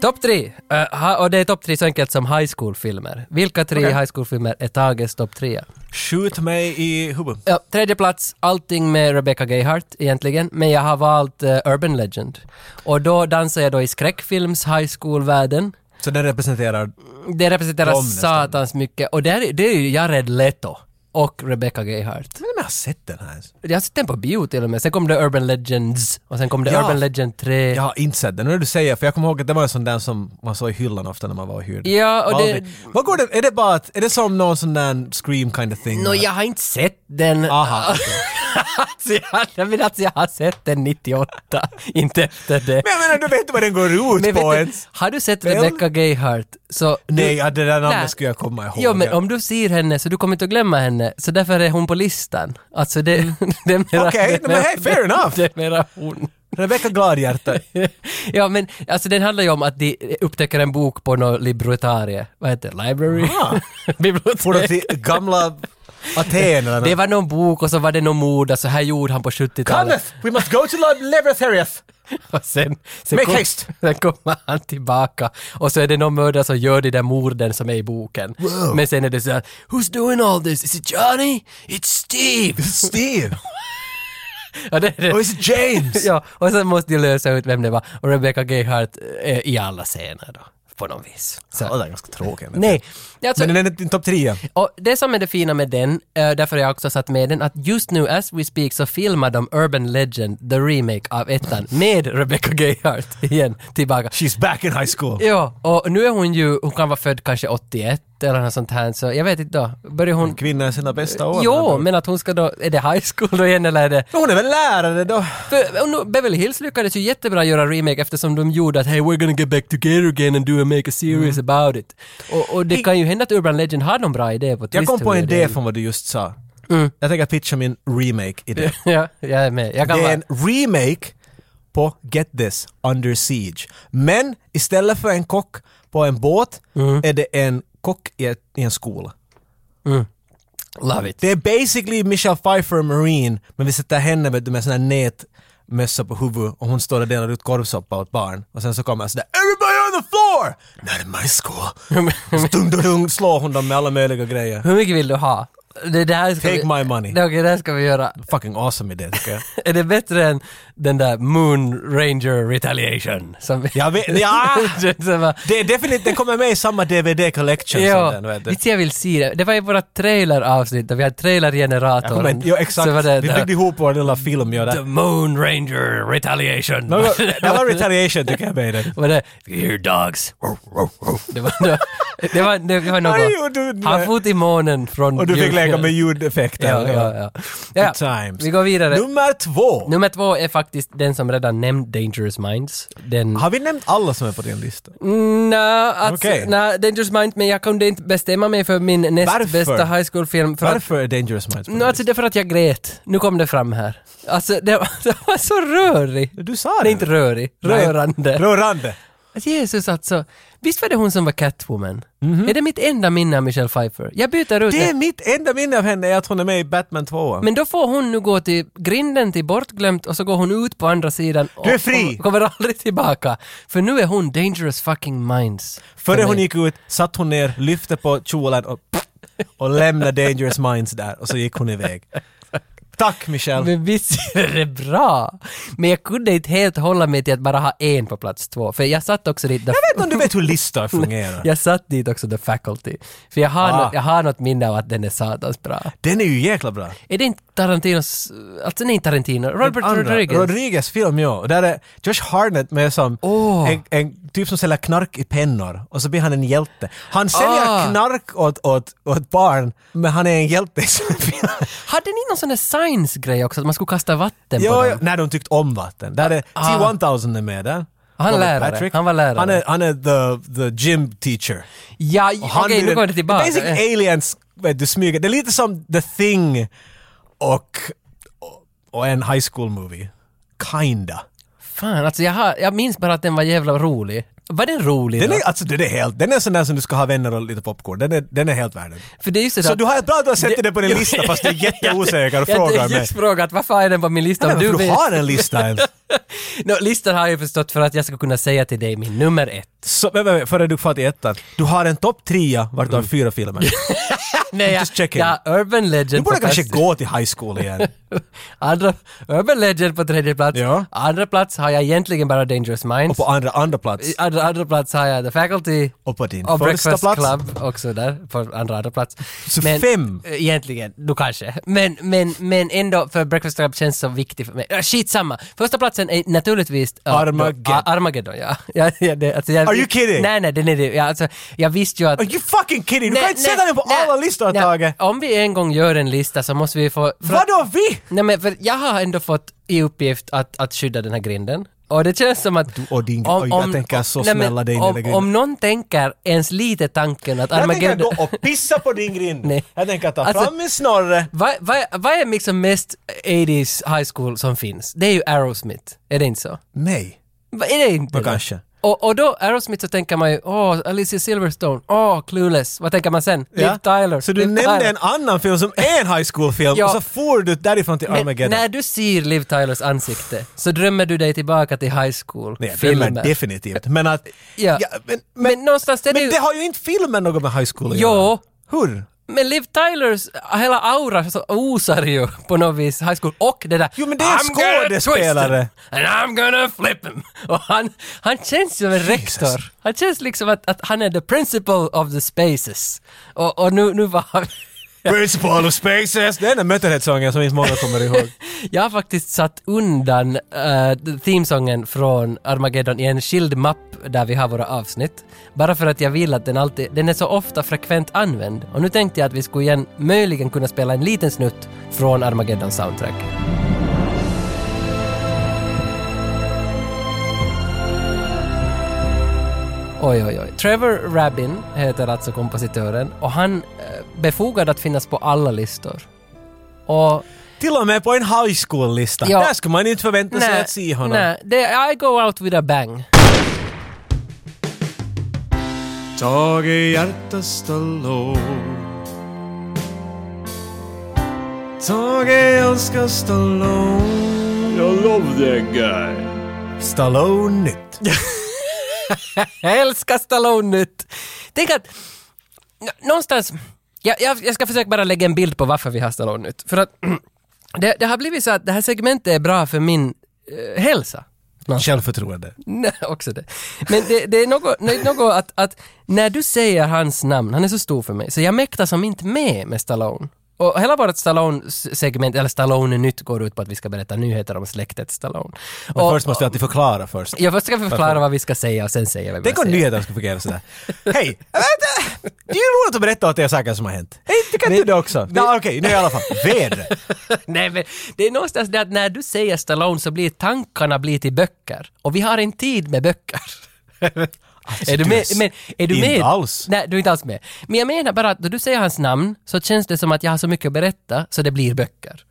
[SPEAKER 2] Topp tre! Eh, ha- och det är topp tre så enkelt som high school-filmer. Vilka tre
[SPEAKER 1] Okej.
[SPEAKER 2] high school-filmer är Tages topp trea?
[SPEAKER 1] Skjut mig i huvudet.
[SPEAKER 2] Ja, tredje plats, allting med Rebecca Gayheart egentligen, men jag har valt eh, Urban Legend. Och då dansar jag då i skräckfilms high school-världen.
[SPEAKER 1] Så den representerar...
[SPEAKER 2] Det representerar
[SPEAKER 1] De nästan.
[SPEAKER 2] satans mycket, och där, är- det är ju Jared Leto och Rebecca Gayheart.
[SPEAKER 1] Men jag har sett den här ens.
[SPEAKER 2] Jag har sett den på bio till och med, sen kom det Urban Legends, och sen kom det
[SPEAKER 1] Ja.
[SPEAKER 2] Urban Legend 3.
[SPEAKER 1] Jag har inte sett den. Nu när du säger, för jag kommer ihåg att det var en sån där som man såg i hyllan ofta när man var och hyrde.
[SPEAKER 2] Ja, och det-
[SPEAKER 1] Aldrig. Vad går det... Är det bara att... Är det som någon sån där scream kind of thing?
[SPEAKER 2] Nå, jag har inte sett den.
[SPEAKER 1] Aha, okej.
[SPEAKER 2] alltså, jag, jag menar alltså, jag har sett den 98, inte efter det.
[SPEAKER 1] Men jag menar, du vet inte vad den går ut
[SPEAKER 2] Men
[SPEAKER 1] på
[SPEAKER 2] vet du,
[SPEAKER 1] ens.
[SPEAKER 2] har du sett
[SPEAKER 1] Väl?
[SPEAKER 2] Rebecca Gayheart så...
[SPEAKER 1] Nej, ja, det där
[SPEAKER 2] Nej.
[SPEAKER 1] namnet skulle jag komma ihåg.
[SPEAKER 2] Jo men om du ser henne så du kommer inte att glömma henne, så därför är hon på listan. Alltså det, det är mera...
[SPEAKER 1] Mm. Okej,
[SPEAKER 2] det är
[SPEAKER 1] men hey, fair enough.
[SPEAKER 2] Det är mera hon.
[SPEAKER 1] Rebecca Gladhjärta.
[SPEAKER 2] ja men alltså den handlar ju om att de upptäcker en bok på något libretarie, vad heter det, library?
[SPEAKER 1] Ah. Får du
[SPEAKER 2] Bibliotek.
[SPEAKER 1] till gamla Aten eller
[SPEAKER 2] Det
[SPEAKER 1] något?
[SPEAKER 2] var någon bok och så var det någon mord, alltså här gjorde han på 70-talet.
[SPEAKER 1] Kenneth, we must go to Leveretheriath!
[SPEAKER 2] Och sen, sen,
[SPEAKER 1] Make haste!
[SPEAKER 2] sen kommer han tillbaka och så är det någon mördare som gör de där morden som är i boken. Men sen är det så här, Who's doing all this? Is it Johnny? It's Steve!
[SPEAKER 1] Steve!
[SPEAKER 2] Ja, det, det.
[SPEAKER 1] Och is it James?
[SPEAKER 2] Ja, och sen måste de lösa ut vem det var. Och Rebecca Gayheart eh, i alla scener då, på något vis.
[SPEAKER 1] Ja,
[SPEAKER 2] Så.
[SPEAKER 1] Det är ganska tråkigt.
[SPEAKER 2] Nej, alltså,
[SPEAKER 1] Men den är inte i topp tre.
[SPEAKER 2] och det som är det fina med den, eh, därför har jag också satt med den, att just nu as we speak så filmar de Urban Legend, the remake av ettan, med Rebecca Gayheart igen tillbaka.
[SPEAKER 1] She's back in high school.
[SPEAKER 2] Ja, och nu är hon ju, hon kan vara född kanske 81 eller något sånt här, så jag vet inte då. Börjar hon...
[SPEAKER 1] Kvinna i sina bästa år.
[SPEAKER 2] Jo, men att hon ska då, är det high school då igen eller är det...
[SPEAKER 1] Hon är väl lärare då?
[SPEAKER 2] För och nu, Beverly Hills lyckades ju jättebra göra remake eftersom de gjorde att hey we're gonna get back together again and do a make a series
[SPEAKER 1] Mm.
[SPEAKER 2] about it. Och, och det kan ju hända att Urban Legend har någon bra idé på
[SPEAKER 1] Jag kom på en
[SPEAKER 2] twist-hur det Mm.
[SPEAKER 1] idé
[SPEAKER 2] är.
[SPEAKER 1] från vad du just sa. Jag tänker pitcha min remake-idé.
[SPEAKER 2] Ja, jag är med. Jag kan
[SPEAKER 1] Det
[SPEAKER 2] vara...
[SPEAKER 1] är en remake på Get This, Under Siege. Men istället för en kock på en båt är det en kock i, ett, i en skola.
[SPEAKER 2] Love it.
[SPEAKER 1] Det är basically Michelle Pfeiffer Marine, men vi sätter henne med, med sån här nätmössa på huvudet och hon står och delar ut korvsoppa åt barn. Och sen så kommer sådär “Everybody on the floor!” “Not in my school!” Så Dung, dung, dung, slår hon dem med alla möjliga grejer.
[SPEAKER 2] Hur mycket vill du ha? Det där ska
[SPEAKER 1] Take
[SPEAKER 2] vi...
[SPEAKER 1] my money.
[SPEAKER 2] Det, okej, det här ska vi göra.
[SPEAKER 1] Fucking awesome idé tycker jag.
[SPEAKER 2] Är det bättre än den där Moon Ranger Retaliation? Som vi...
[SPEAKER 1] Jag vet, ja!
[SPEAKER 2] Som var-
[SPEAKER 1] Det är definitivt, den kommer med i samma DVD collection
[SPEAKER 2] Ja,
[SPEAKER 1] som den. Vet du.
[SPEAKER 2] visst jag vill se det. Det var ju våra traileravsnitt och vi hade
[SPEAKER 1] Jag kommer
[SPEAKER 2] trailergeneratorn.
[SPEAKER 1] inte- Jo, exakt.
[SPEAKER 2] Så var det
[SPEAKER 1] Vi
[SPEAKER 2] där-
[SPEAKER 1] byggde ihop vår lilla film, ja,
[SPEAKER 2] The
[SPEAKER 1] där.
[SPEAKER 2] Moon Ranger Retaliation.
[SPEAKER 1] Något- Det var retaliation tycker jag med den.
[SPEAKER 2] Vad det? You hear dogs. Det var, det var, det var, det var
[SPEAKER 1] Vad gjorde
[SPEAKER 2] något.
[SPEAKER 1] du?
[SPEAKER 2] Han fot i månen från...
[SPEAKER 1] Och du fick leka med
[SPEAKER 2] ja,
[SPEAKER 1] ljudeffekter.
[SPEAKER 2] ja, ja. ja. ja.
[SPEAKER 1] Good times.
[SPEAKER 2] Vi går vidare.
[SPEAKER 1] Nummer två.
[SPEAKER 2] Nummer två är faktiskt den som redan nämnt Dangerous Minds. Den...
[SPEAKER 1] Har vi nämnt alla som är på din lista?
[SPEAKER 2] Nja, alltså,
[SPEAKER 1] Okej.
[SPEAKER 2] nja, Dangerous Minds, men jag kunde inte bestämma mig för min näst
[SPEAKER 1] Varför?
[SPEAKER 2] bästa high school-film. För att
[SPEAKER 1] Varför är Dangerous Minds på din
[SPEAKER 2] No, alltså
[SPEAKER 1] lista?
[SPEAKER 2] det är för att jag grät. Nu kom det fram här. Alltså det var, det var så rörig.
[SPEAKER 1] Du sa det.
[SPEAKER 2] Nej, inte rörig.
[SPEAKER 1] Nej.
[SPEAKER 2] Rörande.
[SPEAKER 1] Rörande.
[SPEAKER 2] Att Jesus alltså, visst var det hon som var Catwoman? Är det mitt enda minne av Michelle Pfeiffer? Jag byter ut
[SPEAKER 1] Mhm. Det är mitt enda minne av henne är att hon är med i Batman 2.
[SPEAKER 2] Men då får hon nu gå till grinden till bortglömt och så går hon ut på andra sidan och
[SPEAKER 1] Du är fri!
[SPEAKER 2] och kommer aldrig tillbaka. För nu är hon dangerous fucking minds.
[SPEAKER 1] Före
[SPEAKER 2] För
[SPEAKER 1] hon
[SPEAKER 2] mig.
[SPEAKER 1] gick ut satt hon ner, lyfte på kjolen och, och lämnade Dangerous Minds där och så gick hon iväg. Tack Michelle!
[SPEAKER 2] Men visst är det bra? Men jag kunde inte helt hålla mig till att bara ha en på plats två, för jag satt också dit...
[SPEAKER 1] Jag vet inte om du vet hur listor fungerar?
[SPEAKER 2] jag satt dit också The Faculty, för jag har,
[SPEAKER 1] Ah.
[SPEAKER 2] något, jag har något minne av att den är satans bra.
[SPEAKER 1] Den är ju jäkla bra.
[SPEAKER 2] Är det inte Tarantinos... Alltså nej, Tarantino. Robert
[SPEAKER 1] Andra,
[SPEAKER 2] Rodriguez.
[SPEAKER 1] Rodriguez film, ja. Och Där är Josh Harnett med som
[SPEAKER 2] Åh.
[SPEAKER 1] en, en typ som säljer knark i pennor och så blir han en hjälte. Han säljer
[SPEAKER 2] Ah.
[SPEAKER 1] knark åt, åt, åt barn, men han är en hjälte i sin film.
[SPEAKER 2] Hade ni någon sån där science-grej också, att man skulle kasta vatten på
[SPEAKER 1] Jo,
[SPEAKER 2] dem?
[SPEAKER 1] jo, när de tyckte om vatten. Där är
[SPEAKER 2] Ah.
[SPEAKER 1] T-1000 är med där.
[SPEAKER 2] Han
[SPEAKER 1] Robert
[SPEAKER 2] lärare. Han var lärare.
[SPEAKER 1] Han är, han är the, the gym teacher.
[SPEAKER 2] Ja, j-
[SPEAKER 1] Och han
[SPEAKER 2] okej,
[SPEAKER 1] blir
[SPEAKER 2] nu
[SPEAKER 1] en-
[SPEAKER 2] går det tillbaka.
[SPEAKER 1] Basic
[SPEAKER 2] Eh,
[SPEAKER 1] aliens, vet du, smyger. Det är lite som The Thing och, och en high school movie. Kinda.
[SPEAKER 2] Fan, alltså jag, har, jag minns bara att den var jävla rolig. Var den rolig
[SPEAKER 1] Den
[SPEAKER 2] då?
[SPEAKER 1] är, alltså, den är helt, den är sån där som du ska ha vänner och lite popcorn. Den är, den är helt värd den.
[SPEAKER 2] För det är just det
[SPEAKER 1] Så
[SPEAKER 2] att-
[SPEAKER 1] du har ett bra att du har sett
[SPEAKER 2] Det-
[SPEAKER 1] det på din
[SPEAKER 2] Jo,
[SPEAKER 1] lista fast du är jätteosäker och
[SPEAKER 2] Jag
[SPEAKER 1] frågar
[SPEAKER 2] tänkte
[SPEAKER 1] mig.
[SPEAKER 2] just fråga att varför är den på min lista
[SPEAKER 1] Men
[SPEAKER 2] om du
[SPEAKER 1] du
[SPEAKER 2] vet?
[SPEAKER 1] har en lista ens.
[SPEAKER 2] No, listan har jag ju förstått för att jag ska kunna säga till dig min nummer ett.
[SPEAKER 1] Så, vä- vä- vä- före du far till ettan. Du har en topp trea vart du har fyra filmer.
[SPEAKER 2] Nej, jag,
[SPEAKER 1] Just checking.
[SPEAKER 2] jag har Urban Legend
[SPEAKER 1] Du borde
[SPEAKER 2] på
[SPEAKER 1] kanske
[SPEAKER 2] plats-
[SPEAKER 1] gå till high school igen.
[SPEAKER 2] Andra, Urban Legend på tredje plats.
[SPEAKER 1] Ja.
[SPEAKER 2] Andra plats har jag egentligen bara Dangerous Minds.
[SPEAKER 1] På andra, andra plats.
[SPEAKER 2] Andra, andra plats har jag The Faculty.
[SPEAKER 1] Och på din
[SPEAKER 2] Och
[SPEAKER 1] första
[SPEAKER 2] Breakfast
[SPEAKER 1] plats.
[SPEAKER 2] Club också där, på andra, andra plats.
[SPEAKER 1] Så fem.
[SPEAKER 2] eh, Egentligen, då kanske. Men, men, men ändå, för Breakfast Club känns så viktig för mig. Äh, Skitsamma! Första platsen är naturligtvis... ja,
[SPEAKER 1] Armageddon.
[SPEAKER 2] Ar- Armageddon, ja. ja, ja det, alltså, jag,
[SPEAKER 1] Are you kidding?
[SPEAKER 2] Nej, nej, den är det. Ja, alltså, jag visste ju att...
[SPEAKER 1] Are you fucking kidding? Du
[SPEAKER 2] Nej,
[SPEAKER 1] kan inte
[SPEAKER 2] nej,
[SPEAKER 1] sätta den på
[SPEAKER 2] nej,
[SPEAKER 1] alla listor,
[SPEAKER 2] nej.
[SPEAKER 1] Tage!
[SPEAKER 2] Om vi en gång gör en lista så måste vi få... för att-
[SPEAKER 1] Vadå vi?
[SPEAKER 2] Nej men för jag har ändå fått i uppgift att, att skydda den här grinden. Och det känns som att...
[SPEAKER 1] och din- oj, jag tänker så
[SPEAKER 2] nej, men
[SPEAKER 1] smälla dig in i den
[SPEAKER 2] om,
[SPEAKER 1] där grinden.
[SPEAKER 2] om någon tänker ens lite tanken att
[SPEAKER 1] Jag tänker
[SPEAKER 2] Armageddon...
[SPEAKER 1] gå och pissa på din grind.
[SPEAKER 2] Nej.
[SPEAKER 1] Jag tänker ta
[SPEAKER 2] Alltså-
[SPEAKER 1] fram min snorre.
[SPEAKER 2] Vad vad- vad är liksom mest 80s high school som finns? Det är ju Aerosmith, är det inte så?
[SPEAKER 1] Nej.
[SPEAKER 2] Va, är det inte
[SPEAKER 1] Nå,
[SPEAKER 2] det?
[SPEAKER 1] kanske.
[SPEAKER 2] Och, och då, Aerosmith så tänker man ju, åh, Alicia Silverstone, åh, Clueless. Vad tänker man sen? Liv Tyler.
[SPEAKER 1] Så du
[SPEAKER 2] Liv
[SPEAKER 1] nämnde
[SPEAKER 2] Tyler.
[SPEAKER 1] en annan film som är en high school-film
[SPEAKER 2] Ja.
[SPEAKER 1] och så for du därifrån till
[SPEAKER 2] Men
[SPEAKER 1] Armageddon.
[SPEAKER 2] när du ser Liv Tylers ansikte så drömmer du dig tillbaka till high school
[SPEAKER 1] Nej, det är
[SPEAKER 2] filmer.
[SPEAKER 1] definitivt. Men att...
[SPEAKER 2] Ja.
[SPEAKER 1] men, men,
[SPEAKER 2] men någonstans är det
[SPEAKER 1] men
[SPEAKER 2] ju...
[SPEAKER 1] det har ju inte filmen något med high school att
[SPEAKER 2] Jo.
[SPEAKER 1] göra. Hur?
[SPEAKER 2] Men Liv Tylers hela aura så osar ju på något vis high school och det där
[SPEAKER 1] Jo, men det är en
[SPEAKER 2] "I'm gonna
[SPEAKER 1] skådespelare."
[SPEAKER 2] twist him, And I'm gonna flip him! Och han, han känns som en rektor. Han känns liksom att, att han är the principal of the spaces. Och, och nu, nu var han...
[SPEAKER 1] Principal of Spaces! Det är den där Mötterhead-sången som inte många kommer ihåg.
[SPEAKER 2] Jag har faktiskt satt undan uh, themesången från Armageddon i en skild mapp där vi har våra avsnitt. Bara för att jag vill att den alltid, den är så ofta frekvent använd. Och nu tänkte jag att vi skulle igen möjligen kunna spela en liten snutt från Armageddon soundtrack. Oj, oj, oj. Trevor Rabin heter alltså kompositören och han eh, befogad att finnas på alla listor. Och
[SPEAKER 1] Till och med på en high school-lista.
[SPEAKER 2] Ja.
[SPEAKER 1] Där skulle man inte förvänta sig
[SPEAKER 2] Nej,
[SPEAKER 1] att se honom.
[SPEAKER 2] Nej, det, I go out with a bang.
[SPEAKER 3] Tage hjärta Stallone Tage älskar Stallone Jag love that guy
[SPEAKER 1] Stallone nytt.
[SPEAKER 2] Jag älskar Stallone nytt. Tänk att n- någonstans, jag, jag, jag ska försöka bara lägga en bild på varför vi har Stallone nytt. För att det, det har blivit så att det här segmentet är bra för min eh, hälsa.
[SPEAKER 1] Självförtroende.
[SPEAKER 2] Nej, också det. Men det, det är något, nej, något att, att när du säger hans namn, han är så stor för mig, så jag mäktar som inte med med Stallone. Och hela vårt Stallone-segment, eller Stallone nytt, går ut på att vi ska berätta nyheter om släktet Stallone.
[SPEAKER 1] Men
[SPEAKER 2] Och-
[SPEAKER 1] först måste vi alltid förklara först.
[SPEAKER 2] Jag först ska förklara vad vi ska säga och sen säger vi vad
[SPEAKER 1] Tänk om
[SPEAKER 2] vi säger.
[SPEAKER 1] nyheterna skulle fungera sådär. Hej! äh, Vänta! Det är ju roligt att berätta åt er saker som har hänt. Hej, tycker inte du det också? Nej, okej, nu i alla fall. Vädret.
[SPEAKER 2] Nej men det är någonstans det att när du säger Stallone så blir tankarna blir till böcker och vi har en tid med böcker. Är du
[SPEAKER 1] du
[SPEAKER 2] med?
[SPEAKER 1] är s-
[SPEAKER 2] Men, är du
[SPEAKER 1] inte
[SPEAKER 2] med?
[SPEAKER 1] alls.
[SPEAKER 2] Nej, du är inte alls med. Men jag menar bara att då du säger hans namn så känns det som att jag har så mycket att berätta så det blir böcker.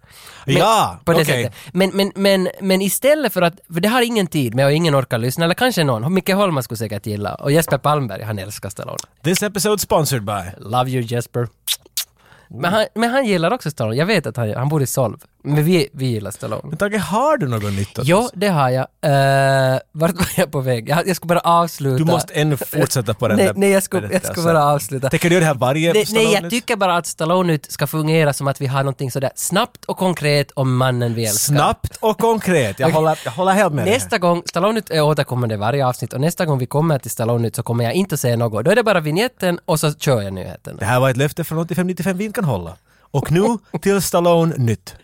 [SPEAKER 2] Men-
[SPEAKER 1] Ja,
[SPEAKER 2] på det
[SPEAKER 1] okej.
[SPEAKER 2] sättet. Men, men, men, men istället för att, för det har ingen tid med och ingen orkar lyssna, eller kanske någon, Micke Holma skulle säkert gilla och Jesper Palmberg, han älskar Stallone.
[SPEAKER 1] This episode sponsored by.
[SPEAKER 2] Love you Jesper. Men han, men han gillar också Stallone, jag vet att han, han bor i Solv. Men vi, vi gillar Stallone.
[SPEAKER 1] Men Tage, har du något nytt att
[SPEAKER 2] Jo, det har jag. Uh, vart var jag på väg? Jag, jag ska bara avsluta.
[SPEAKER 1] Du måste ännu fortsätta på den
[SPEAKER 2] nej,
[SPEAKER 1] där
[SPEAKER 2] nej, jag ska, jag
[SPEAKER 1] berättelsen.
[SPEAKER 2] ska bara avsluta.
[SPEAKER 1] Tänker du göra det här varje
[SPEAKER 2] Nej, nej, jag
[SPEAKER 1] Stallone-nytt?
[SPEAKER 2] tycker bara att Stallone ska fungera som att vi har någonting sådär snabbt och konkret om mannen vi älskar.
[SPEAKER 1] Snabbt och konkret. Jag, håller, jag håller helt med dig.
[SPEAKER 2] Nästa gång, Stallone är återkommande i varje avsnitt och nästa gång vi kommer till Stallone så kommer jag inte säga något. Då är det bara vignetten och så kör jag nyheten.
[SPEAKER 1] Det här var ett löfte från 85-95 vi inte kan hålla. Och nu till Stallone nytt.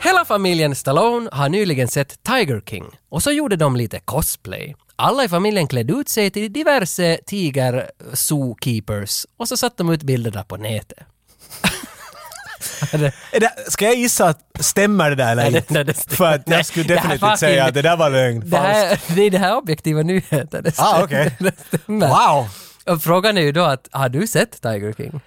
[SPEAKER 2] Hela familjen Stallone har nyligen sett Tiger King och så gjorde de lite cosplay. Alla i familjen klädde ut sig till diverse tiger zookeepers och så satte de ut bilderna på nätet.
[SPEAKER 1] Är det, ska jag gissa att stämmer det där eller
[SPEAKER 2] Nej, det-
[SPEAKER 1] inte?
[SPEAKER 2] nej, det stämmer.
[SPEAKER 1] För att jag skulle
[SPEAKER 2] Nej, det här
[SPEAKER 1] definitivt
[SPEAKER 2] fucking-
[SPEAKER 1] säga att det där var lögn.
[SPEAKER 2] Det,
[SPEAKER 1] Falskt.
[SPEAKER 2] här, det är det här objektiva nyheter. Det
[SPEAKER 1] Ah,
[SPEAKER 2] stämmer.
[SPEAKER 1] okej.
[SPEAKER 2] Det stämmer.
[SPEAKER 1] Wow!
[SPEAKER 2] Och frågan är ju då att, har du sett Tiger King?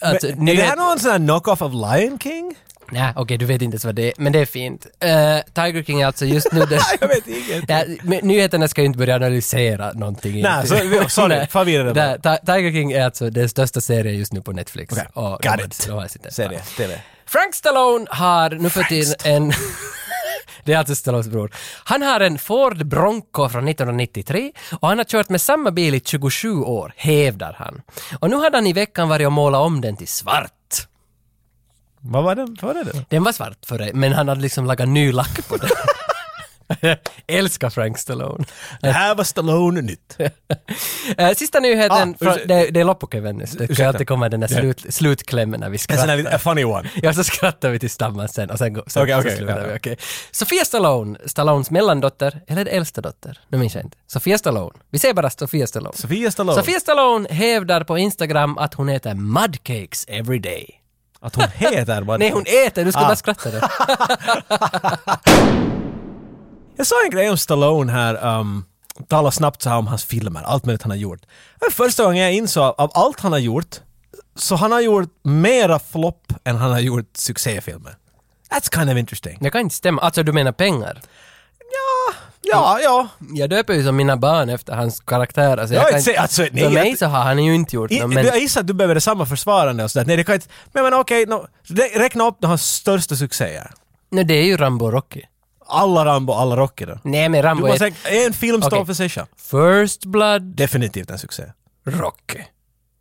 [SPEAKER 2] Alltså,
[SPEAKER 1] Men, är det här någon sån här knock-off of Lion King?
[SPEAKER 2] Nej, okej, du vet inte ens vad det är, men det är fint. Eh, Tiger King är alltså just nu... Det,
[SPEAKER 1] Jag vet inget.
[SPEAKER 2] Nej, men nyheterna ska ju inte börja analysera någonting.
[SPEAKER 1] Nej, så- vi- sorry,
[SPEAKER 2] Nej.
[SPEAKER 1] förvirrade
[SPEAKER 2] Nej, Ti- Tiger King är alltså den största serien just nu på Netflix.
[SPEAKER 1] Okej,
[SPEAKER 2] Och
[SPEAKER 1] got
[SPEAKER 2] de har-
[SPEAKER 1] it.
[SPEAKER 2] de har sitt-
[SPEAKER 1] Säg det, TV.
[SPEAKER 2] Frank Stallone har nu för tiden en... Det är alltså Stallones bror. Han har en Ford Bronco från 1993 och han har kört med samma bil i 27 år, hävdar han. Och nu hade han i veckan varit och målat om den till svart.
[SPEAKER 1] Vad var det? Vad var det? då?
[SPEAKER 2] Den var svart för dig, men han hade liksom lagat ny lack på den. Älskar Frank Stallone.
[SPEAKER 1] Det här var Stallone nytt.
[SPEAKER 2] Eh, Sista nyheten,
[SPEAKER 1] Ah,
[SPEAKER 2] från,
[SPEAKER 1] ursäkta.
[SPEAKER 2] det, det är Loppokevennis. Det
[SPEAKER 1] Ursäkta. Alltså,
[SPEAKER 2] kan alltid komma den där slut, slutklämmen när vi
[SPEAKER 1] En sån
[SPEAKER 2] skrattar.
[SPEAKER 1] här lite- a funny one.
[SPEAKER 2] Ja, så skrattar vi tillsammans sen och sen, går- sen
[SPEAKER 1] Okej,
[SPEAKER 2] så
[SPEAKER 1] okej,
[SPEAKER 2] slutar
[SPEAKER 1] ja.
[SPEAKER 2] vi. okej. Sofia Stallone, Stallones mellandotter, eller äldsta dotter? Nu minns jag inte. Sofia Stallone. Vi säger bara Sofia Stallone.
[SPEAKER 1] Sofia Stallone.
[SPEAKER 2] Sofia Stallone hävdar på Instagram att hon äter mudcakes every day.
[SPEAKER 1] Att hon heter bara
[SPEAKER 2] Nej, hon äter! Du ska
[SPEAKER 1] Ah.
[SPEAKER 2] bara skratta då.
[SPEAKER 1] Jag sa en grej om Stallone här, um, tala snabbt så här om hans filmer, allt möjligt han har gjort. Det var första gången jag insåg av allt han har gjort, så han har gjort mera flopp än han har gjort succéfilmer. That's kind of interesting.
[SPEAKER 2] Det kan inte stämma. Alltså, du menar pengar?
[SPEAKER 1] Ja, ja.
[SPEAKER 2] Jag döper ju som mina barn efter hans karaktär. Alltså,
[SPEAKER 1] Jag
[SPEAKER 2] kan
[SPEAKER 1] inte säga- alltså, nej,
[SPEAKER 2] för mig
[SPEAKER 1] jag-
[SPEAKER 2] så har han ju inte gjort
[SPEAKER 1] I,
[SPEAKER 2] något, men...
[SPEAKER 1] Jag gissar att du behöver samma försvarande och sådär. Nej, det kan inte... Men, men okej, nå- rä- räkna upp hans största succéer.
[SPEAKER 2] Nej, det är ju Rambo och Rocky.
[SPEAKER 1] Alla Rambo, alla Rocky då.
[SPEAKER 2] Nej, men
[SPEAKER 1] Du
[SPEAKER 2] Rambo är...
[SPEAKER 1] måste tänka, en film står
[SPEAKER 2] Okej.
[SPEAKER 1] för sig själv.
[SPEAKER 2] First Blood,
[SPEAKER 1] Definitivt en succé.
[SPEAKER 2] Rocky.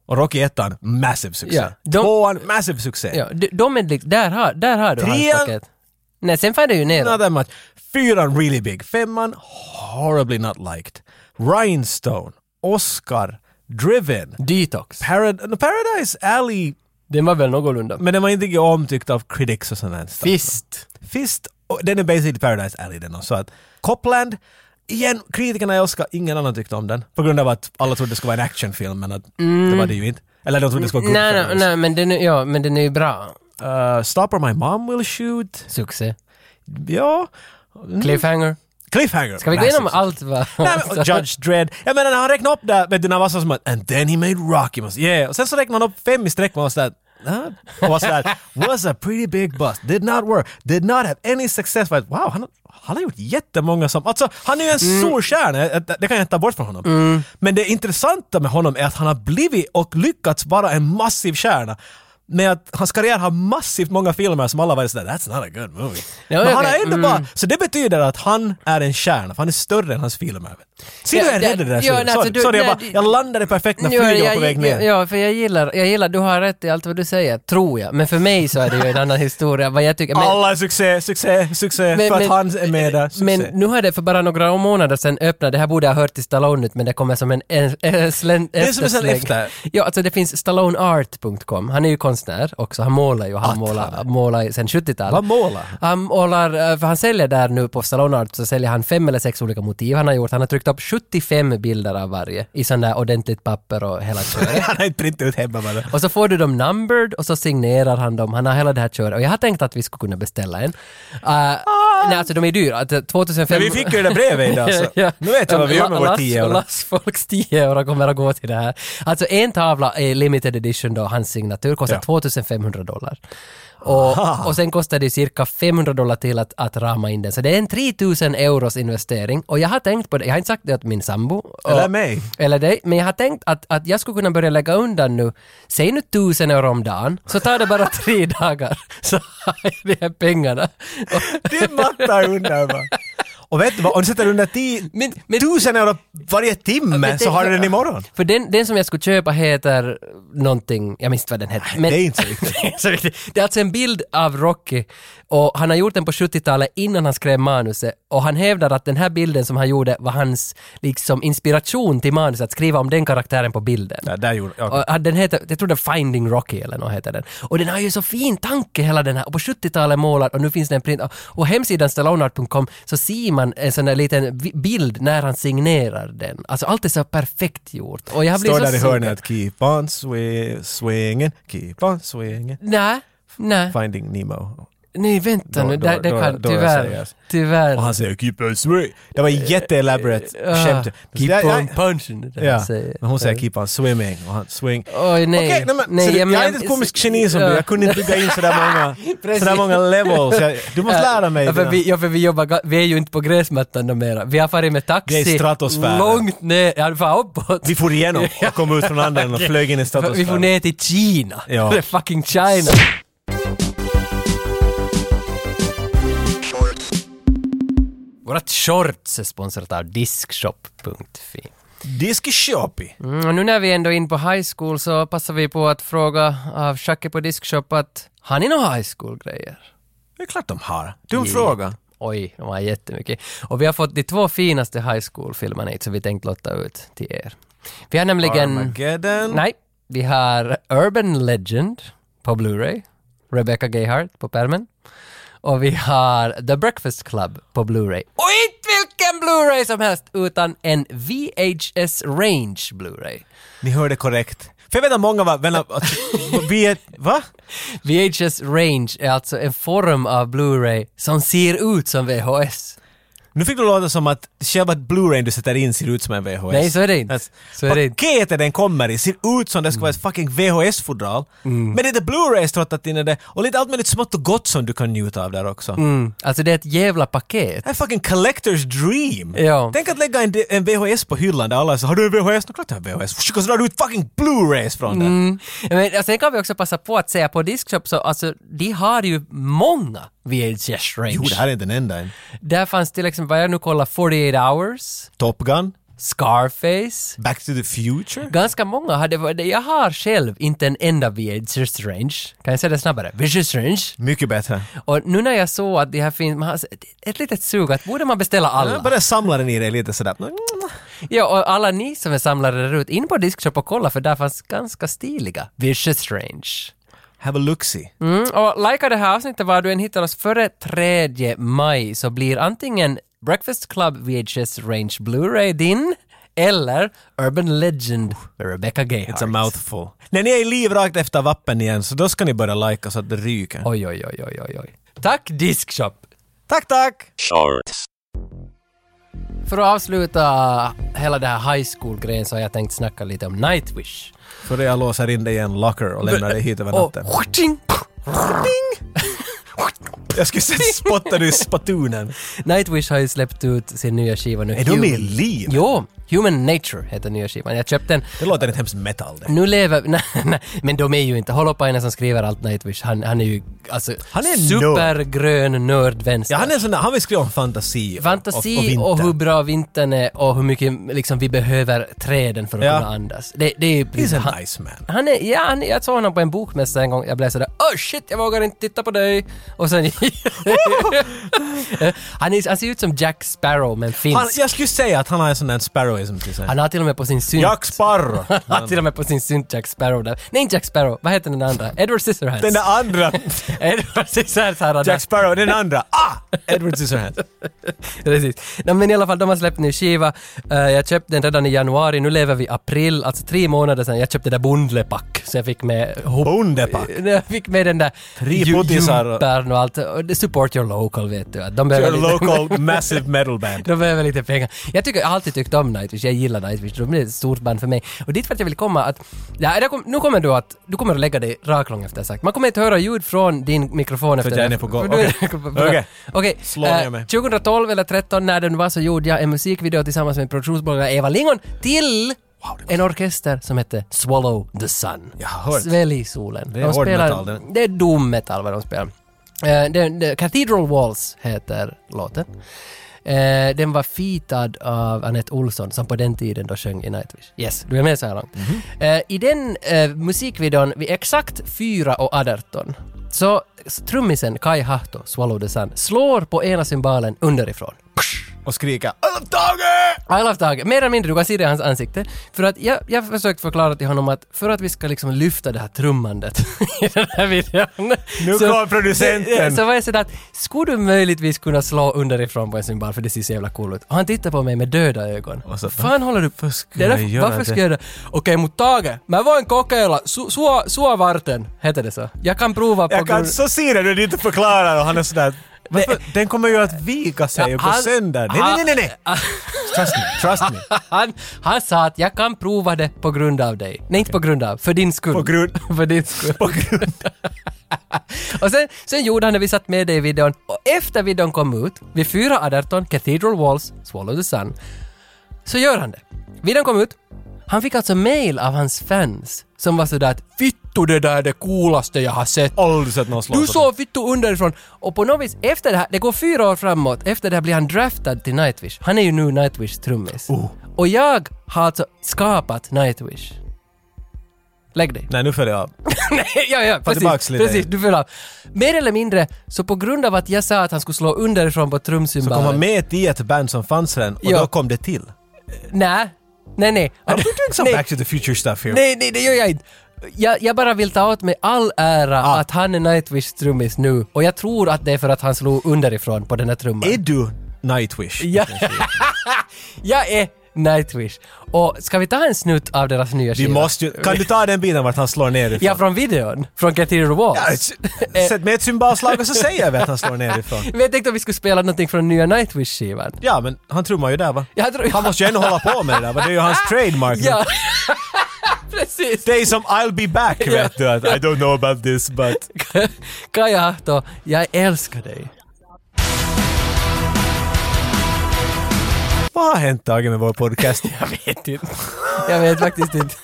[SPEAKER 1] Och Rocky 1, massive succé.
[SPEAKER 2] Ja, de-
[SPEAKER 1] Tvåan, massive succé.
[SPEAKER 2] Ja, de, de är liksom... Där har, där har du hans
[SPEAKER 1] Trean-
[SPEAKER 2] paket. Nej, sen får det ju ner.
[SPEAKER 1] Not that much. Fyran really big. Femman horribly not liked. Rhinestone. Oscar. Driven.
[SPEAKER 2] Detox.
[SPEAKER 1] Parad- no, Paradise Alley.
[SPEAKER 2] Den var väl någorlunda.
[SPEAKER 1] Men den var inte omtyckt av critics och sånt där. stuff.
[SPEAKER 2] Fist.
[SPEAKER 1] Fist. och Den är basically Paradise Alley den också. Så att Copland. Igen, kritikerna älskar, ingen annan tyckte om den. På grund av att alla trodde det skulle vara en actionfilm men att det var det ju inte. Eller de trodde det skulle vara
[SPEAKER 2] Mm. Nej, nej,
[SPEAKER 1] Goodfellas.
[SPEAKER 2] nej, men den är, ja, men den är ju bra.
[SPEAKER 1] Uh, Stop or My Mom Will Shoot.
[SPEAKER 2] Succé.
[SPEAKER 1] Ja.
[SPEAKER 2] Cliffhanger.
[SPEAKER 1] Cliffhanger.
[SPEAKER 2] Ska vi gå
[SPEAKER 1] Massive
[SPEAKER 2] igenom
[SPEAKER 1] success.
[SPEAKER 2] allt vad...
[SPEAKER 1] Mm. Nej, men, och Judge Dredd. Jag menar när han räknade upp det, vet du, när han var så som att “And then he made Rocky”. Man, så, yeah. Och sen så räknade han upp fem i sträck och man var sådär "Huh?" och var sådär “Was a pretty big bust, did not work, did not have any success”. But, wow, han, han har gjort jättemånga som... Alltså, han är ju en
[SPEAKER 2] Mm.
[SPEAKER 1] stor stjärna, eh, det kan jag inte ta bort från honom. Men det intressanta med honom är att han har blivit och lyckats vara en massiv stjärna. Men att hans karriär har massivt många filmer som alla har varit sådär “That's not a good movie”.
[SPEAKER 2] Ja,
[SPEAKER 1] Men han
[SPEAKER 2] okej,
[SPEAKER 1] har ändå
[SPEAKER 2] mm.
[SPEAKER 1] bara... Så det betyder att han är en stjärna, för han är större än hans filmer. Ser du,
[SPEAKER 2] Ja,
[SPEAKER 1] jag
[SPEAKER 2] det-
[SPEAKER 1] räddade det där
[SPEAKER 2] ja,
[SPEAKER 1] slutet.
[SPEAKER 2] nej,
[SPEAKER 1] Sorry,
[SPEAKER 2] alltså, du-
[SPEAKER 1] sorry jag,
[SPEAKER 2] nej,
[SPEAKER 1] bara,
[SPEAKER 2] du-
[SPEAKER 1] jag landade perfekt när
[SPEAKER 2] Jo,
[SPEAKER 1] flyget var
[SPEAKER 2] jag-
[SPEAKER 1] på väg
[SPEAKER 2] ja,
[SPEAKER 1] ner.
[SPEAKER 2] Ja, för jag gillar, jag gillar, du har rätt i allt vad du säger, tror jag. Men för mig så är det ju en annan historia, vad jag tycker. Men,
[SPEAKER 1] Alla är succé, succé, succé,
[SPEAKER 2] Men-
[SPEAKER 1] för att
[SPEAKER 2] men-
[SPEAKER 1] han är med där. Succé.
[SPEAKER 2] Men nu har det för bara några månader sedan öppnat, det här borde jag ha hört i Stallone ut men det kommer som en, en, en slän,
[SPEAKER 1] är som en sån
[SPEAKER 2] eftersläng.
[SPEAKER 1] efter.
[SPEAKER 2] Ja, alltså det finns stalloneart.com, han är ju konstnär också. Han målar ju, han målar, målar sen 70-talet.
[SPEAKER 1] Vad målar han?
[SPEAKER 2] Han målar, eh, för han säljer där nu på Salon Art så säljer han fem eller sex olika motiv han har gjort. Han har tryckt upp 75 bilder av varje i sån där ordentligt papper och hela köret.
[SPEAKER 1] Han har inte printat ut hemma bara.
[SPEAKER 2] Och så får du dem numbered och så signerar han dem. Han har hela det här köret. Och jag har tänkt att vi skulle kunna beställa en. Uh, Nej, alltså de är dyra. Att, eh, 2005...
[SPEAKER 1] Ah! Men vi fick ju det där brevet idag så
[SPEAKER 2] Ja.
[SPEAKER 1] nu vet jag vad vi gör med
[SPEAKER 2] Lass-
[SPEAKER 1] våra 10 euro.
[SPEAKER 2] Lass folks 10 euro kommer att gå till det här. Alltså en tavla är limited edition då, hans signatur, kostar
[SPEAKER 1] Ja.
[SPEAKER 2] 2500 dollar. Och, och sen kostar det cirka 500 dollar till att, att rama in den. Så det är en 3000 euros investering. Och jag har tänkt på det, jag har inte sagt det åt min sambo.
[SPEAKER 1] Eller
[SPEAKER 2] Och-
[SPEAKER 1] mig.
[SPEAKER 2] Eller dig. Men jag har tänkt att, att jag skulle kunna börja lägga undan nu, säg nu 1000 euro om dagen, så tar det bara tre dagar. Så har jag de här pengarna. Och,
[SPEAKER 1] Det mattar undan bara. Och vet du vad, om du sätter under 10
[SPEAKER 2] men, men
[SPEAKER 1] tusen euro varje timme
[SPEAKER 2] Men
[SPEAKER 1] så
[SPEAKER 2] tänk-
[SPEAKER 1] har du den imorgon.
[SPEAKER 2] För den, den som jag skulle köpa heter någonting, jag minns inte vad den heter. Men-
[SPEAKER 1] det är inte så viktigt.
[SPEAKER 2] Det är inte så viktigt. Det är alltså en bild av Rocky och han har gjort den på 70-talet innan han skrev manuset och han hävdar att den här bilden som han gjorde var hans liksom inspiration till manuset, att skriva om den karaktären på bilden.
[SPEAKER 1] Ja, där gjorde jag.
[SPEAKER 2] Och den heter, jag tror det är Finding Rocky eller något heter den. Och den har ju så fin tanke hela den här. Och på 70-talet målad och nu finns det en print. Och hemsidan stalloneart.com så ser man en sån där liten vi- bild när han signerar den. Alltså allt är så perfekt gjort. Och jag blir
[SPEAKER 1] Står
[SPEAKER 2] så
[SPEAKER 1] där i
[SPEAKER 2] sugen.
[SPEAKER 1] hörnet, keep on swi- swinging, keep on swinging.
[SPEAKER 2] Nej, nej.
[SPEAKER 1] Finding Nemo.
[SPEAKER 2] Nej, vänta
[SPEAKER 1] Då-
[SPEAKER 2] nu.
[SPEAKER 1] då-
[SPEAKER 2] Det, det
[SPEAKER 1] då-
[SPEAKER 2] kan
[SPEAKER 1] då jag
[SPEAKER 2] tyvärr.
[SPEAKER 1] säger-
[SPEAKER 2] Tyvärr.
[SPEAKER 1] Och han säger keep on swinging. Det var jätteelaborate
[SPEAKER 2] Ah,
[SPEAKER 1] skämt. Så
[SPEAKER 2] Eh, keep
[SPEAKER 1] jag- jag-
[SPEAKER 2] on punching. det han
[SPEAKER 1] Ja,
[SPEAKER 2] säger.
[SPEAKER 1] men hon säger keep on swimming och han swing.
[SPEAKER 2] Oj, nej.
[SPEAKER 1] Okej, nej, men,
[SPEAKER 2] Nej,
[SPEAKER 1] så du,
[SPEAKER 2] jag
[SPEAKER 1] jag,
[SPEAKER 2] menar-
[SPEAKER 1] är inte ett komiskt geni som du,
[SPEAKER 2] Ja.
[SPEAKER 1] jag kunde inte bygga in sådär många,
[SPEAKER 2] Precis.
[SPEAKER 1] sådär många levels. Jag, du måste lära mig.
[SPEAKER 2] Ja, för
[SPEAKER 1] dina-
[SPEAKER 2] vi, ja, för vi, jobbar, ga- vi är ju inte på gräsmattan då mera. Vi har farit med taxi.
[SPEAKER 1] Det är stratosfären.
[SPEAKER 2] Långt ner. Ja, fan uppåt.
[SPEAKER 1] Vi for igenom och kom ut från andra änden och flög in i
[SPEAKER 2] Vi får
[SPEAKER 1] stratosfären.
[SPEAKER 2] ner till Kina.
[SPEAKER 1] Ja.
[SPEAKER 2] Det är fucking China. Vårat shorts är sponsrat av Diskshop.fi.
[SPEAKER 1] Diskshoppi.
[SPEAKER 2] Mm, och nu när vi ändå är in på high school så passar vi på att fråga av Jackie på Diskshop att har ni några high school-grejer?
[SPEAKER 1] Det är klart de har. Dum fråga.
[SPEAKER 2] Oj, de har jättemycket. Och vi har fått de två finaste high school-filmerna hit, så vi tänkte lotta ut till er. Vi har nämligen...
[SPEAKER 1] Armageddon.
[SPEAKER 2] Nej, vi har Urban Legend på Blu-ray, Rebecca Gayheart på pärmen. Och vi har The Breakfast Club på Blu-ray. Och inte vilken Blu-ray som helst, utan en VHS Range Blu-ray.
[SPEAKER 1] Ni hörde korrekt. För jag vet att många var... Vänta, vi är... Va?
[SPEAKER 2] VHS Range är alltså en form av Blu-ray som ser ut som VHS.
[SPEAKER 1] Nu fick du låta som att själva Blu-rayn du sätter in ser ut som en VHS.
[SPEAKER 2] Nej, så är det inte.
[SPEAKER 1] Alltså,
[SPEAKER 2] Så är det inte.
[SPEAKER 1] paketet den kommer i ser ut som det ska vara ett fucking VHS-fodral.
[SPEAKER 2] Mm.
[SPEAKER 1] Men det är Blu-ray strottat in i det och lite allt möjligt smått och gott som du kan njuta av där också.
[SPEAKER 2] Mm. Alltså det är ett jävla paket.
[SPEAKER 1] Det är fucking collector's dream!
[SPEAKER 2] Ja.
[SPEAKER 1] Tänk att lägga en, en VHS på hyllan där alla säger “Har du en VHS?” “Nu klart jag har en VHS!” “Och så drar du ut fucking Blu-rays från den!”
[SPEAKER 2] Men alltså, sen kan vi också passa på att säga på Discshop så alltså de har ju många VHS range.
[SPEAKER 1] Jo, det här är inte den enda än.
[SPEAKER 2] Där fanns till exempel, vad jag nu kollar, 48 hours,
[SPEAKER 1] Top Gun,
[SPEAKER 2] Scarface.
[SPEAKER 1] Back to the Future.
[SPEAKER 2] Ganska många hade varit- jag har själv inte en enda VHS range. Kan jag säga det snabbare? VHS range.
[SPEAKER 1] Mycket bättre.
[SPEAKER 2] Och nu när jag såg att det här finns, man har ett- ett litet sug att borde man beställa alla?
[SPEAKER 1] Jag börjar samla den i dig lite sådär.
[SPEAKER 2] Ja, och alla ni som är samlare där ute, in på Discshop och kolla för där fanns ganska stiliga Vicious Range.
[SPEAKER 1] Have a look-see.
[SPEAKER 2] Mm, och likea det här avsnittet var du än hittar oss före 3 maj så blir antingen Breakfast Club VHS Range Blu-ray din eller Urban Legend med Rebecca Gayheart.
[SPEAKER 1] It's a mouthful. När ni är i liv rakt efter vappen igen så då ska ni börja lajka så att det ryker.
[SPEAKER 2] Oj, oj, oj, oj, oj, oj. Tack Discshop!
[SPEAKER 1] Tack, tack!
[SPEAKER 3] Shorts.
[SPEAKER 2] För att avsluta hela den här high school-grejen så har jag tänkt snacka lite om Nightwish.
[SPEAKER 1] Före jag låser in dig i en locker och lämnar dig hit över
[SPEAKER 2] Och...
[SPEAKER 1] natten.
[SPEAKER 2] Tjing!
[SPEAKER 1] Jag skulle säga spotta dig i spatunen.
[SPEAKER 2] Nightwish har ju släppt ut sin nya skiva nu.
[SPEAKER 1] Är de
[SPEAKER 2] Hum-
[SPEAKER 1] i liv?
[SPEAKER 2] Jo, Human Nature heter nya skivan. Jag köpte den.
[SPEAKER 1] Det låter inte hemskt metal det.
[SPEAKER 2] Nu lever... Nej, nej, men de är ju inte... Holopainen som skriver allt Nightwish, han, han är ju alltså...
[SPEAKER 1] Han är en
[SPEAKER 2] supergrön nördvänster.
[SPEAKER 1] Ja, han är en sån där, han vill skriva om fantasi, och-
[SPEAKER 2] Fantasi
[SPEAKER 1] och, och, vinter.
[SPEAKER 2] och, hur bra vintern är och hur mycket liksom, vi behöver träden för att
[SPEAKER 1] Ja.
[SPEAKER 2] kunna andas. Det, det är ju...
[SPEAKER 1] He's
[SPEAKER 2] han-
[SPEAKER 1] a nice man.
[SPEAKER 2] Han är, ja, han, jag såg honom på en bokmässa en gång, jag blev sådär ”Åh shit, jag vågar inte titta på dig” och sen han, är, han ser ut som Jack Sparrow men finsk.
[SPEAKER 1] Han, jag skulle säga att han har en sån där Sparrow Conway som till exempel.
[SPEAKER 2] Han har till och med på sin synt...
[SPEAKER 1] Jack Sparrow.
[SPEAKER 2] Han har till och med på sin synt Jack Sparrow där. Nej, inte Jack Sparrow. Vad heter den andra? Edward Scissorhands.
[SPEAKER 1] Den där andra.
[SPEAKER 2] Edward Scissorhands har han
[SPEAKER 1] Jack Sparrow, den andra. Ah! Edward Scissorhands.
[SPEAKER 2] Precis. Nej, men i alla fall, de har släppt ny skiva. Eh, jag köpte den redan i januari, nu lever vi i april, alltså tre månader sedan. Jag köpte det där bondlepack, så jag fick med ihop-
[SPEAKER 1] Bondepack.
[SPEAKER 2] Jag fick med den där
[SPEAKER 1] Tre
[SPEAKER 2] ju-
[SPEAKER 1] puttisar och-
[SPEAKER 2] jumpern och allt. Och det- Support your local, vet du. Att De behöver,
[SPEAKER 1] Your
[SPEAKER 2] lite,
[SPEAKER 1] local massive metal band.
[SPEAKER 2] de behöver lite pengar. Jag, tycker, jag har alltid tyckt om Nightwish, jag gillar Nightwish. De är ett stort band för mig. Och dit vart jag vill komma att... Ja, det kom, nu kommer du att... Du kommer att lägga dig raklång efter jag sagt. Man kommer inte höra ljud från din mikrofon efter
[SPEAKER 1] att jag är
[SPEAKER 2] det.
[SPEAKER 1] inne på golv.
[SPEAKER 2] För då
[SPEAKER 1] Okej.
[SPEAKER 2] är det-
[SPEAKER 1] Okej.
[SPEAKER 2] Okej,
[SPEAKER 1] Slå
[SPEAKER 2] eh,
[SPEAKER 1] ner mig.
[SPEAKER 2] 2012 eller 13 när den var så gjorde jag en musikvideo tillsammans med produktionsbolaget Eva Lingon till en orkester som hette Swallow the Sun.
[SPEAKER 1] Jag har hört.
[SPEAKER 2] Svälj solen.
[SPEAKER 1] Det är hård metall, det.
[SPEAKER 2] det är doom metal vad de spelar. Eh, det, det, Cathedral Walls heter låten. Eh, den var fitad av Anette Olsson som på den tiden då sjöng i Nightwish. Yes, du är med så här långt.
[SPEAKER 1] Mhm.
[SPEAKER 2] Eh, I den eh, musikvideon vid exakt 4 och 18 så trummisen Kai Hahto, Swallow the Sun, slår på ena cymbalen underifrån.
[SPEAKER 1] Och skrika "Alla Tage!
[SPEAKER 2] I love Tage, mer eller mindre, du kan se det i hans ansikte. För att jag, jag har försökt förklara till honom att för att vi ska liksom lyfta det här trummandet i den här videon.
[SPEAKER 1] Nu kom producenten.
[SPEAKER 2] Så, så var jag sådär att, skulle du möjligtvis kunna slå underifrån på en cymbal för det ser så jävla cool ut? Och han tittar på mig med döda ögon.
[SPEAKER 1] Och så,
[SPEAKER 2] Vad fan håller du på?
[SPEAKER 1] skulle jag göra
[SPEAKER 2] varför
[SPEAKER 1] det?
[SPEAKER 2] ska jag göra det? Okej, mut Tage, mä voin kokeilla, su, sua, sua varten, heter det så? Jag kan prova på
[SPEAKER 1] Jag kan
[SPEAKER 2] grund-
[SPEAKER 1] så se det när du inte förklarar och han är sådär "Varför? Den kommer ju att vika sig på
[SPEAKER 2] han-
[SPEAKER 1] söndag. Nej,
[SPEAKER 2] han-
[SPEAKER 1] nej, nej, nej, nej. Trust me, trust me.
[SPEAKER 2] Han, han sa att jag kan prova det på grund av dig. Nej, inte på grund av, för din skull.
[SPEAKER 1] På grund-
[SPEAKER 2] för din skull.
[SPEAKER 1] På grund
[SPEAKER 2] Och sen, sen gjorde han det, vi satt med det i videon. Och efter videon kom ut, vid 4.18, Cathedral Walls, Swallow the Sun, så gör han det. Videon kom ut. Han fick alltså mail av hans fans som var sådär att “Fitto, det där är det coolaste jag har sett”.
[SPEAKER 1] aldrig sett någon slå
[SPEAKER 2] Du
[SPEAKER 1] så.
[SPEAKER 2] såg Fitto underifrån! Och på något vis, efter det här, det går fyra år framåt, efter det här blir han draftad till Nightwish. Han är ju nu Nightwish trummis.
[SPEAKER 1] Oh.
[SPEAKER 2] Och jag har alltså skapat Nightwish. Lägg dig.
[SPEAKER 1] Nej, nu följer jag av.
[SPEAKER 2] Nej, ja, ja, precis.
[SPEAKER 1] tillbaks lite.
[SPEAKER 2] precis du föll av. Mer eller mindre, så på grund av att jag sa att han skulle slå underifrån på
[SPEAKER 1] Så kom han
[SPEAKER 2] trumcymbalen.
[SPEAKER 1] med i ett diet band som fanns redan och
[SPEAKER 2] Ja.
[SPEAKER 1] då kom det till.
[SPEAKER 2] Nej, nej, nej.
[SPEAKER 1] I'm doing some
[SPEAKER 2] Nej.
[SPEAKER 1] back to the future stuff here.
[SPEAKER 2] Nej, nej, det gör jag inte. Jag, jag bara vill ta åt mig all ära
[SPEAKER 1] Ah.
[SPEAKER 2] att han är Nightwish-trummis nu och jag tror att det är för att han slog underifrån på den här trumman.
[SPEAKER 1] Är du Nightwish?
[SPEAKER 2] Ja. jag är Nightwish. Och ska vi ta en snutt av deras nya
[SPEAKER 1] Vi
[SPEAKER 2] skiva?
[SPEAKER 1] måste ju, kan du ta den biten vart han slår ner ifrån?
[SPEAKER 2] Ja, från videon. Från Cathedral Walls.
[SPEAKER 1] Ja, s- Sätt med ett cymbalslag och så säger vi att han slår ner ifrån.
[SPEAKER 2] Men jag tänkte att vi skulle spela någonting från nya Nightwish-skivan.
[SPEAKER 1] Ja, men han trummar ju där va?
[SPEAKER 2] Jag tror...
[SPEAKER 1] Han måste ju ändå hålla på med det där, va? det är ju hans trademark. nu.
[SPEAKER 2] Ja. Precis.
[SPEAKER 1] Det är som I'll be back, vet du. Att I don't know about this, but...
[SPEAKER 2] Kaja Ahto, jag älskar dig.
[SPEAKER 1] Vad har hänt Tage med vår podcast?
[SPEAKER 2] Jag vet inte. Jag vet faktiskt inte.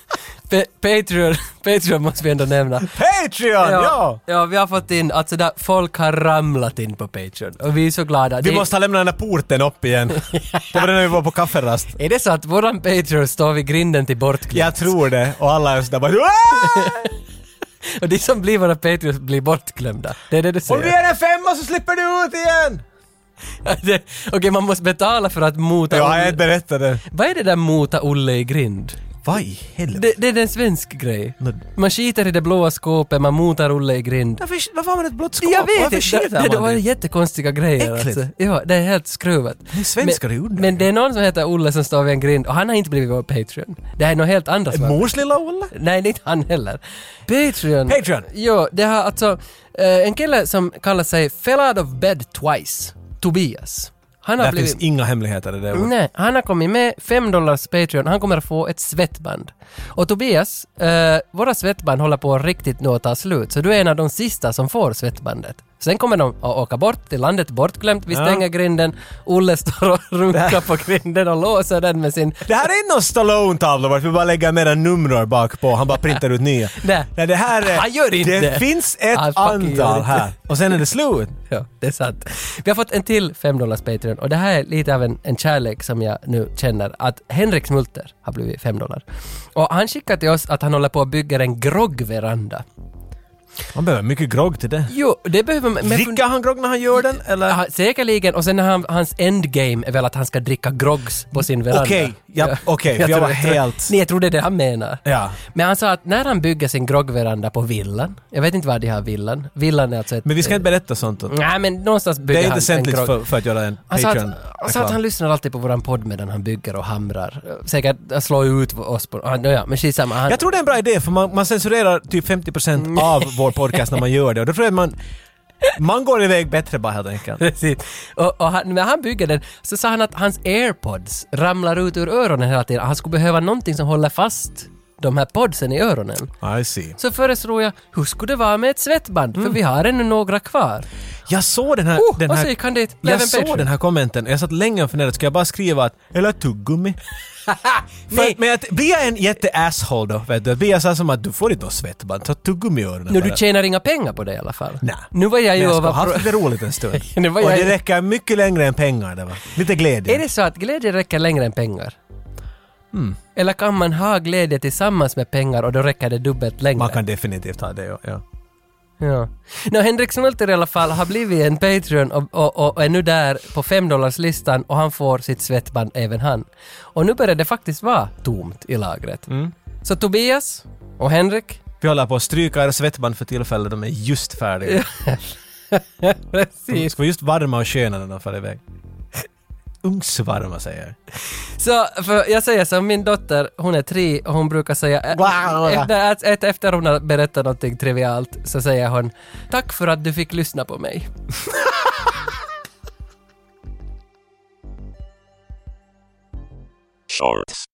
[SPEAKER 2] Pa- Patreon, Patreon måste vi ändå nämna.
[SPEAKER 1] Patreon! Ja!
[SPEAKER 2] ja, vi har fått in, alltså där folk har ramlat in på Patreon och vi är så glada.
[SPEAKER 1] Vi
[SPEAKER 2] Det-
[SPEAKER 1] måste ha lämnat den här porten upp igen. Det var det när vi var på kafferast.
[SPEAKER 2] Är det så att våran Patreon står vid grinden till bortklippt?
[SPEAKER 1] Jag tror det. Och alla är sådär bara "Aah!"
[SPEAKER 2] Och de som blir våra Patreons blir bortglömda. Det är det du
[SPEAKER 1] Om du
[SPEAKER 2] säger.
[SPEAKER 1] ger en femma så slipper du ut igen!
[SPEAKER 2] Det- Okej, man måste betala för att mota
[SPEAKER 1] Jag har
[SPEAKER 2] Olle.
[SPEAKER 1] inte berättat det.
[SPEAKER 2] Vad är det där mota Olle i grind?
[SPEAKER 1] Vad i helvete?
[SPEAKER 2] Det, det är en svensk grej.
[SPEAKER 1] Nå-
[SPEAKER 2] Man skiter i det blåa skåpet, man motar Olle i grind.
[SPEAKER 1] Varför, varför har man ett blått skåp?
[SPEAKER 2] Jag vet
[SPEAKER 1] varför
[SPEAKER 2] inte, det,
[SPEAKER 1] skiter
[SPEAKER 2] det, det
[SPEAKER 1] man
[SPEAKER 2] var
[SPEAKER 1] det?
[SPEAKER 2] jättekonstiga grejer
[SPEAKER 1] Äckligt.
[SPEAKER 2] alltså. Ja, det är helt skruvat.
[SPEAKER 1] Ni svenskar är ju
[SPEAKER 2] men,
[SPEAKER 1] underliga.
[SPEAKER 2] men det är någon som heter Olle som står vid en grind och han har inte blivit vår Patreon. Det här är något helt andra som har-
[SPEAKER 1] Mors lilla Olle?
[SPEAKER 2] Nej, det är inte han heller. Patreon.
[SPEAKER 1] Patreon.
[SPEAKER 2] Jo, det har alltså eh, en kille som kallar sig Fell out of bed twice, Tobias. Han har
[SPEAKER 1] Där
[SPEAKER 2] blivit...
[SPEAKER 1] finns inga hemligheter i det. ordet.
[SPEAKER 2] Nej, han har kommit med 5 dollars Patreon. Han kommer att få ett svettband. Och Tobias, eh, våra svettband håller på att riktigt nu att ta slut, så du är en av de sista som får svettbandet. Sen kommer de att åka bort till landet bortglömt. Vi
[SPEAKER 1] Ja.
[SPEAKER 2] stänger grinden. Olle står och runkar på grinden och låser den med sin...
[SPEAKER 1] Det här är inte någon Stallone-tavla vart vi bara lägger mera nummer bak på. Han bara printar ut nya.
[SPEAKER 2] Nej.
[SPEAKER 1] Nej, det här är...
[SPEAKER 2] Han gör inte
[SPEAKER 1] det.
[SPEAKER 2] det.
[SPEAKER 1] finns ett
[SPEAKER 2] Han fucking gör
[SPEAKER 1] antal
[SPEAKER 2] inte
[SPEAKER 1] här. Och sen är det slut.
[SPEAKER 2] Ja, det är sant. Vi har fått en till 5 dollars Patreon och det här är lite av en, en kärlek som jag nu känner att Henrik Smulter har blivit 5 dollar. Och han skickar till oss att han håller på att bygga en groggveranda.
[SPEAKER 1] Man behöver mycket grogg till det.
[SPEAKER 2] Jo, det behöver man... men-
[SPEAKER 1] Dricker han grogg när han gör den, eller?
[SPEAKER 2] Ja, säkerligen. Och sen när han, hans endgame är väl att han ska dricka groggs på sin veranda.
[SPEAKER 1] Okej, ja, okej, för jag
[SPEAKER 2] tror-
[SPEAKER 1] var
[SPEAKER 2] tror-
[SPEAKER 1] helt-
[SPEAKER 2] Nej, jag tror det är det han menar.
[SPEAKER 1] Ja.
[SPEAKER 2] Men han sa att när han bygger sin groggveranda på villan, jag vet inte var de har villan, villan är alltså ett...
[SPEAKER 1] Men vi ska inte berätta sånt. åt-
[SPEAKER 2] Nej, men någonstans bygger
[SPEAKER 1] Det är
[SPEAKER 2] han
[SPEAKER 1] inte sändligt
[SPEAKER 2] grogg-
[SPEAKER 1] för, för att göra en
[SPEAKER 2] Han sa, Alltså, att,
[SPEAKER 1] Patreon.
[SPEAKER 2] han sa att han lyssnar alltid på våran podd medan han bygger och hamrar. Säkert eh, slår ut oss på... Ah, ja, men skitsamma. Han,
[SPEAKER 1] Jag tror det är en bra idé för man, man censurerar typ
[SPEAKER 2] Mm.
[SPEAKER 1] 50% av vår podcast när man gör det och då tror jag att man, man går iväg bättre bara helt enkelt.
[SPEAKER 2] Precis. Och, och han, när han bygger den så sa han att hans airpods ramlar ut ur öronen hela tiden. Han skulle behöva någonting som håller fast de här podsen i öronen.
[SPEAKER 1] I see.
[SPEAKER 2] Så föreslog jag, hur skulle det vara med ett svettband?
[SPEAKER 1] Mm.
[SPEAKER 2] För vi har ännu några kvar.
[SPEAKER 1] Jag såg den här...
[SPEAKER 2] Oh,
[SPEAKER 1] den
[SPEAKER 2] och
[SPEAKER 1] här
[SPEAKER 2] så gick han dit. Blev
[SPEAKER 1] jag
[SPEAKER 2] en
[SPEAKER 1] såg
[SPEAKER 2] Patreon.
[SPEAKER 1] den här kommenten och jag satt länge och funderade, ska jag bara skriva att “eller tuggummi”? För,
[SPEAKER 2] Nej.
[SPEAKER 1] Men att, blir jag en jätte-asshole då? Vet du? Blir jag så här som att “du får inte ha svettband, ta tuggummi i öronen
[SPEAKER 2] Nu,
[SPEAKER 1] bara."
[SPEAKER 2] du tjänar inga pengar på det i alla fall.
[SPEAKER 1] Nej.
[SPEAKER 2] Nu var jag
[SPEAKER 1] Men
[SPEAKER 2] ju
[SPEAKER 1] jag
[SPEAKER 2] och
[SPEAKER 1] ska ha
[SPEAKER 2] var...
[SPEAKER 1] haft lite roligt en stund.
[SPEAKER 2] Nu var
[SPEAKER 1] och
[SPEAKER 2] jag-
[SPEAKER 1] det räcker mycket längre än pengar det va? Lite glädje.
[SPEAKER 2] Är det så att glädje räcker längre än pengar?
[SPEAKER 1] Mm.
[SPEAKER 2] Eller kan man ha glädje tillsammans med pengar och då räcker det dubbelt längre?
[SPEAKER 1] Man kan definitivt ha det ja. ja.
[SPEAKER 2] Ja. Nå, Henrik Smulter i alla fall har blivit en Patreon och, och, och är nu där på 5 listan och han får sitt svettband även han. Och nu börjar det faktiskt vara tomt i lagret.
[SPEAKER 1] Mm.
[SPEAKER 2] Så Tobias och Henrik,
[SPEAKER 1] Vi håller på att stryka era svettband för tillfället, de är just färdiga. De
[SPEAKER 2] precis.
[SPEAKER 1] ska vara just varma och sköna när de far iväg. Ugnsvarma säger jag.
[SPEAKER 2] Så för jag säger som min dotter, hon är tre och hon brukar säga, ä-
[SPEAKER 1] Wow.
[SPEAKER 2] efter, ä- ä- efter hon har berättat någonting trivialt så säger hon “Tack för att du fick lyssna på mig”.
[SPEAKER 3] Shorts.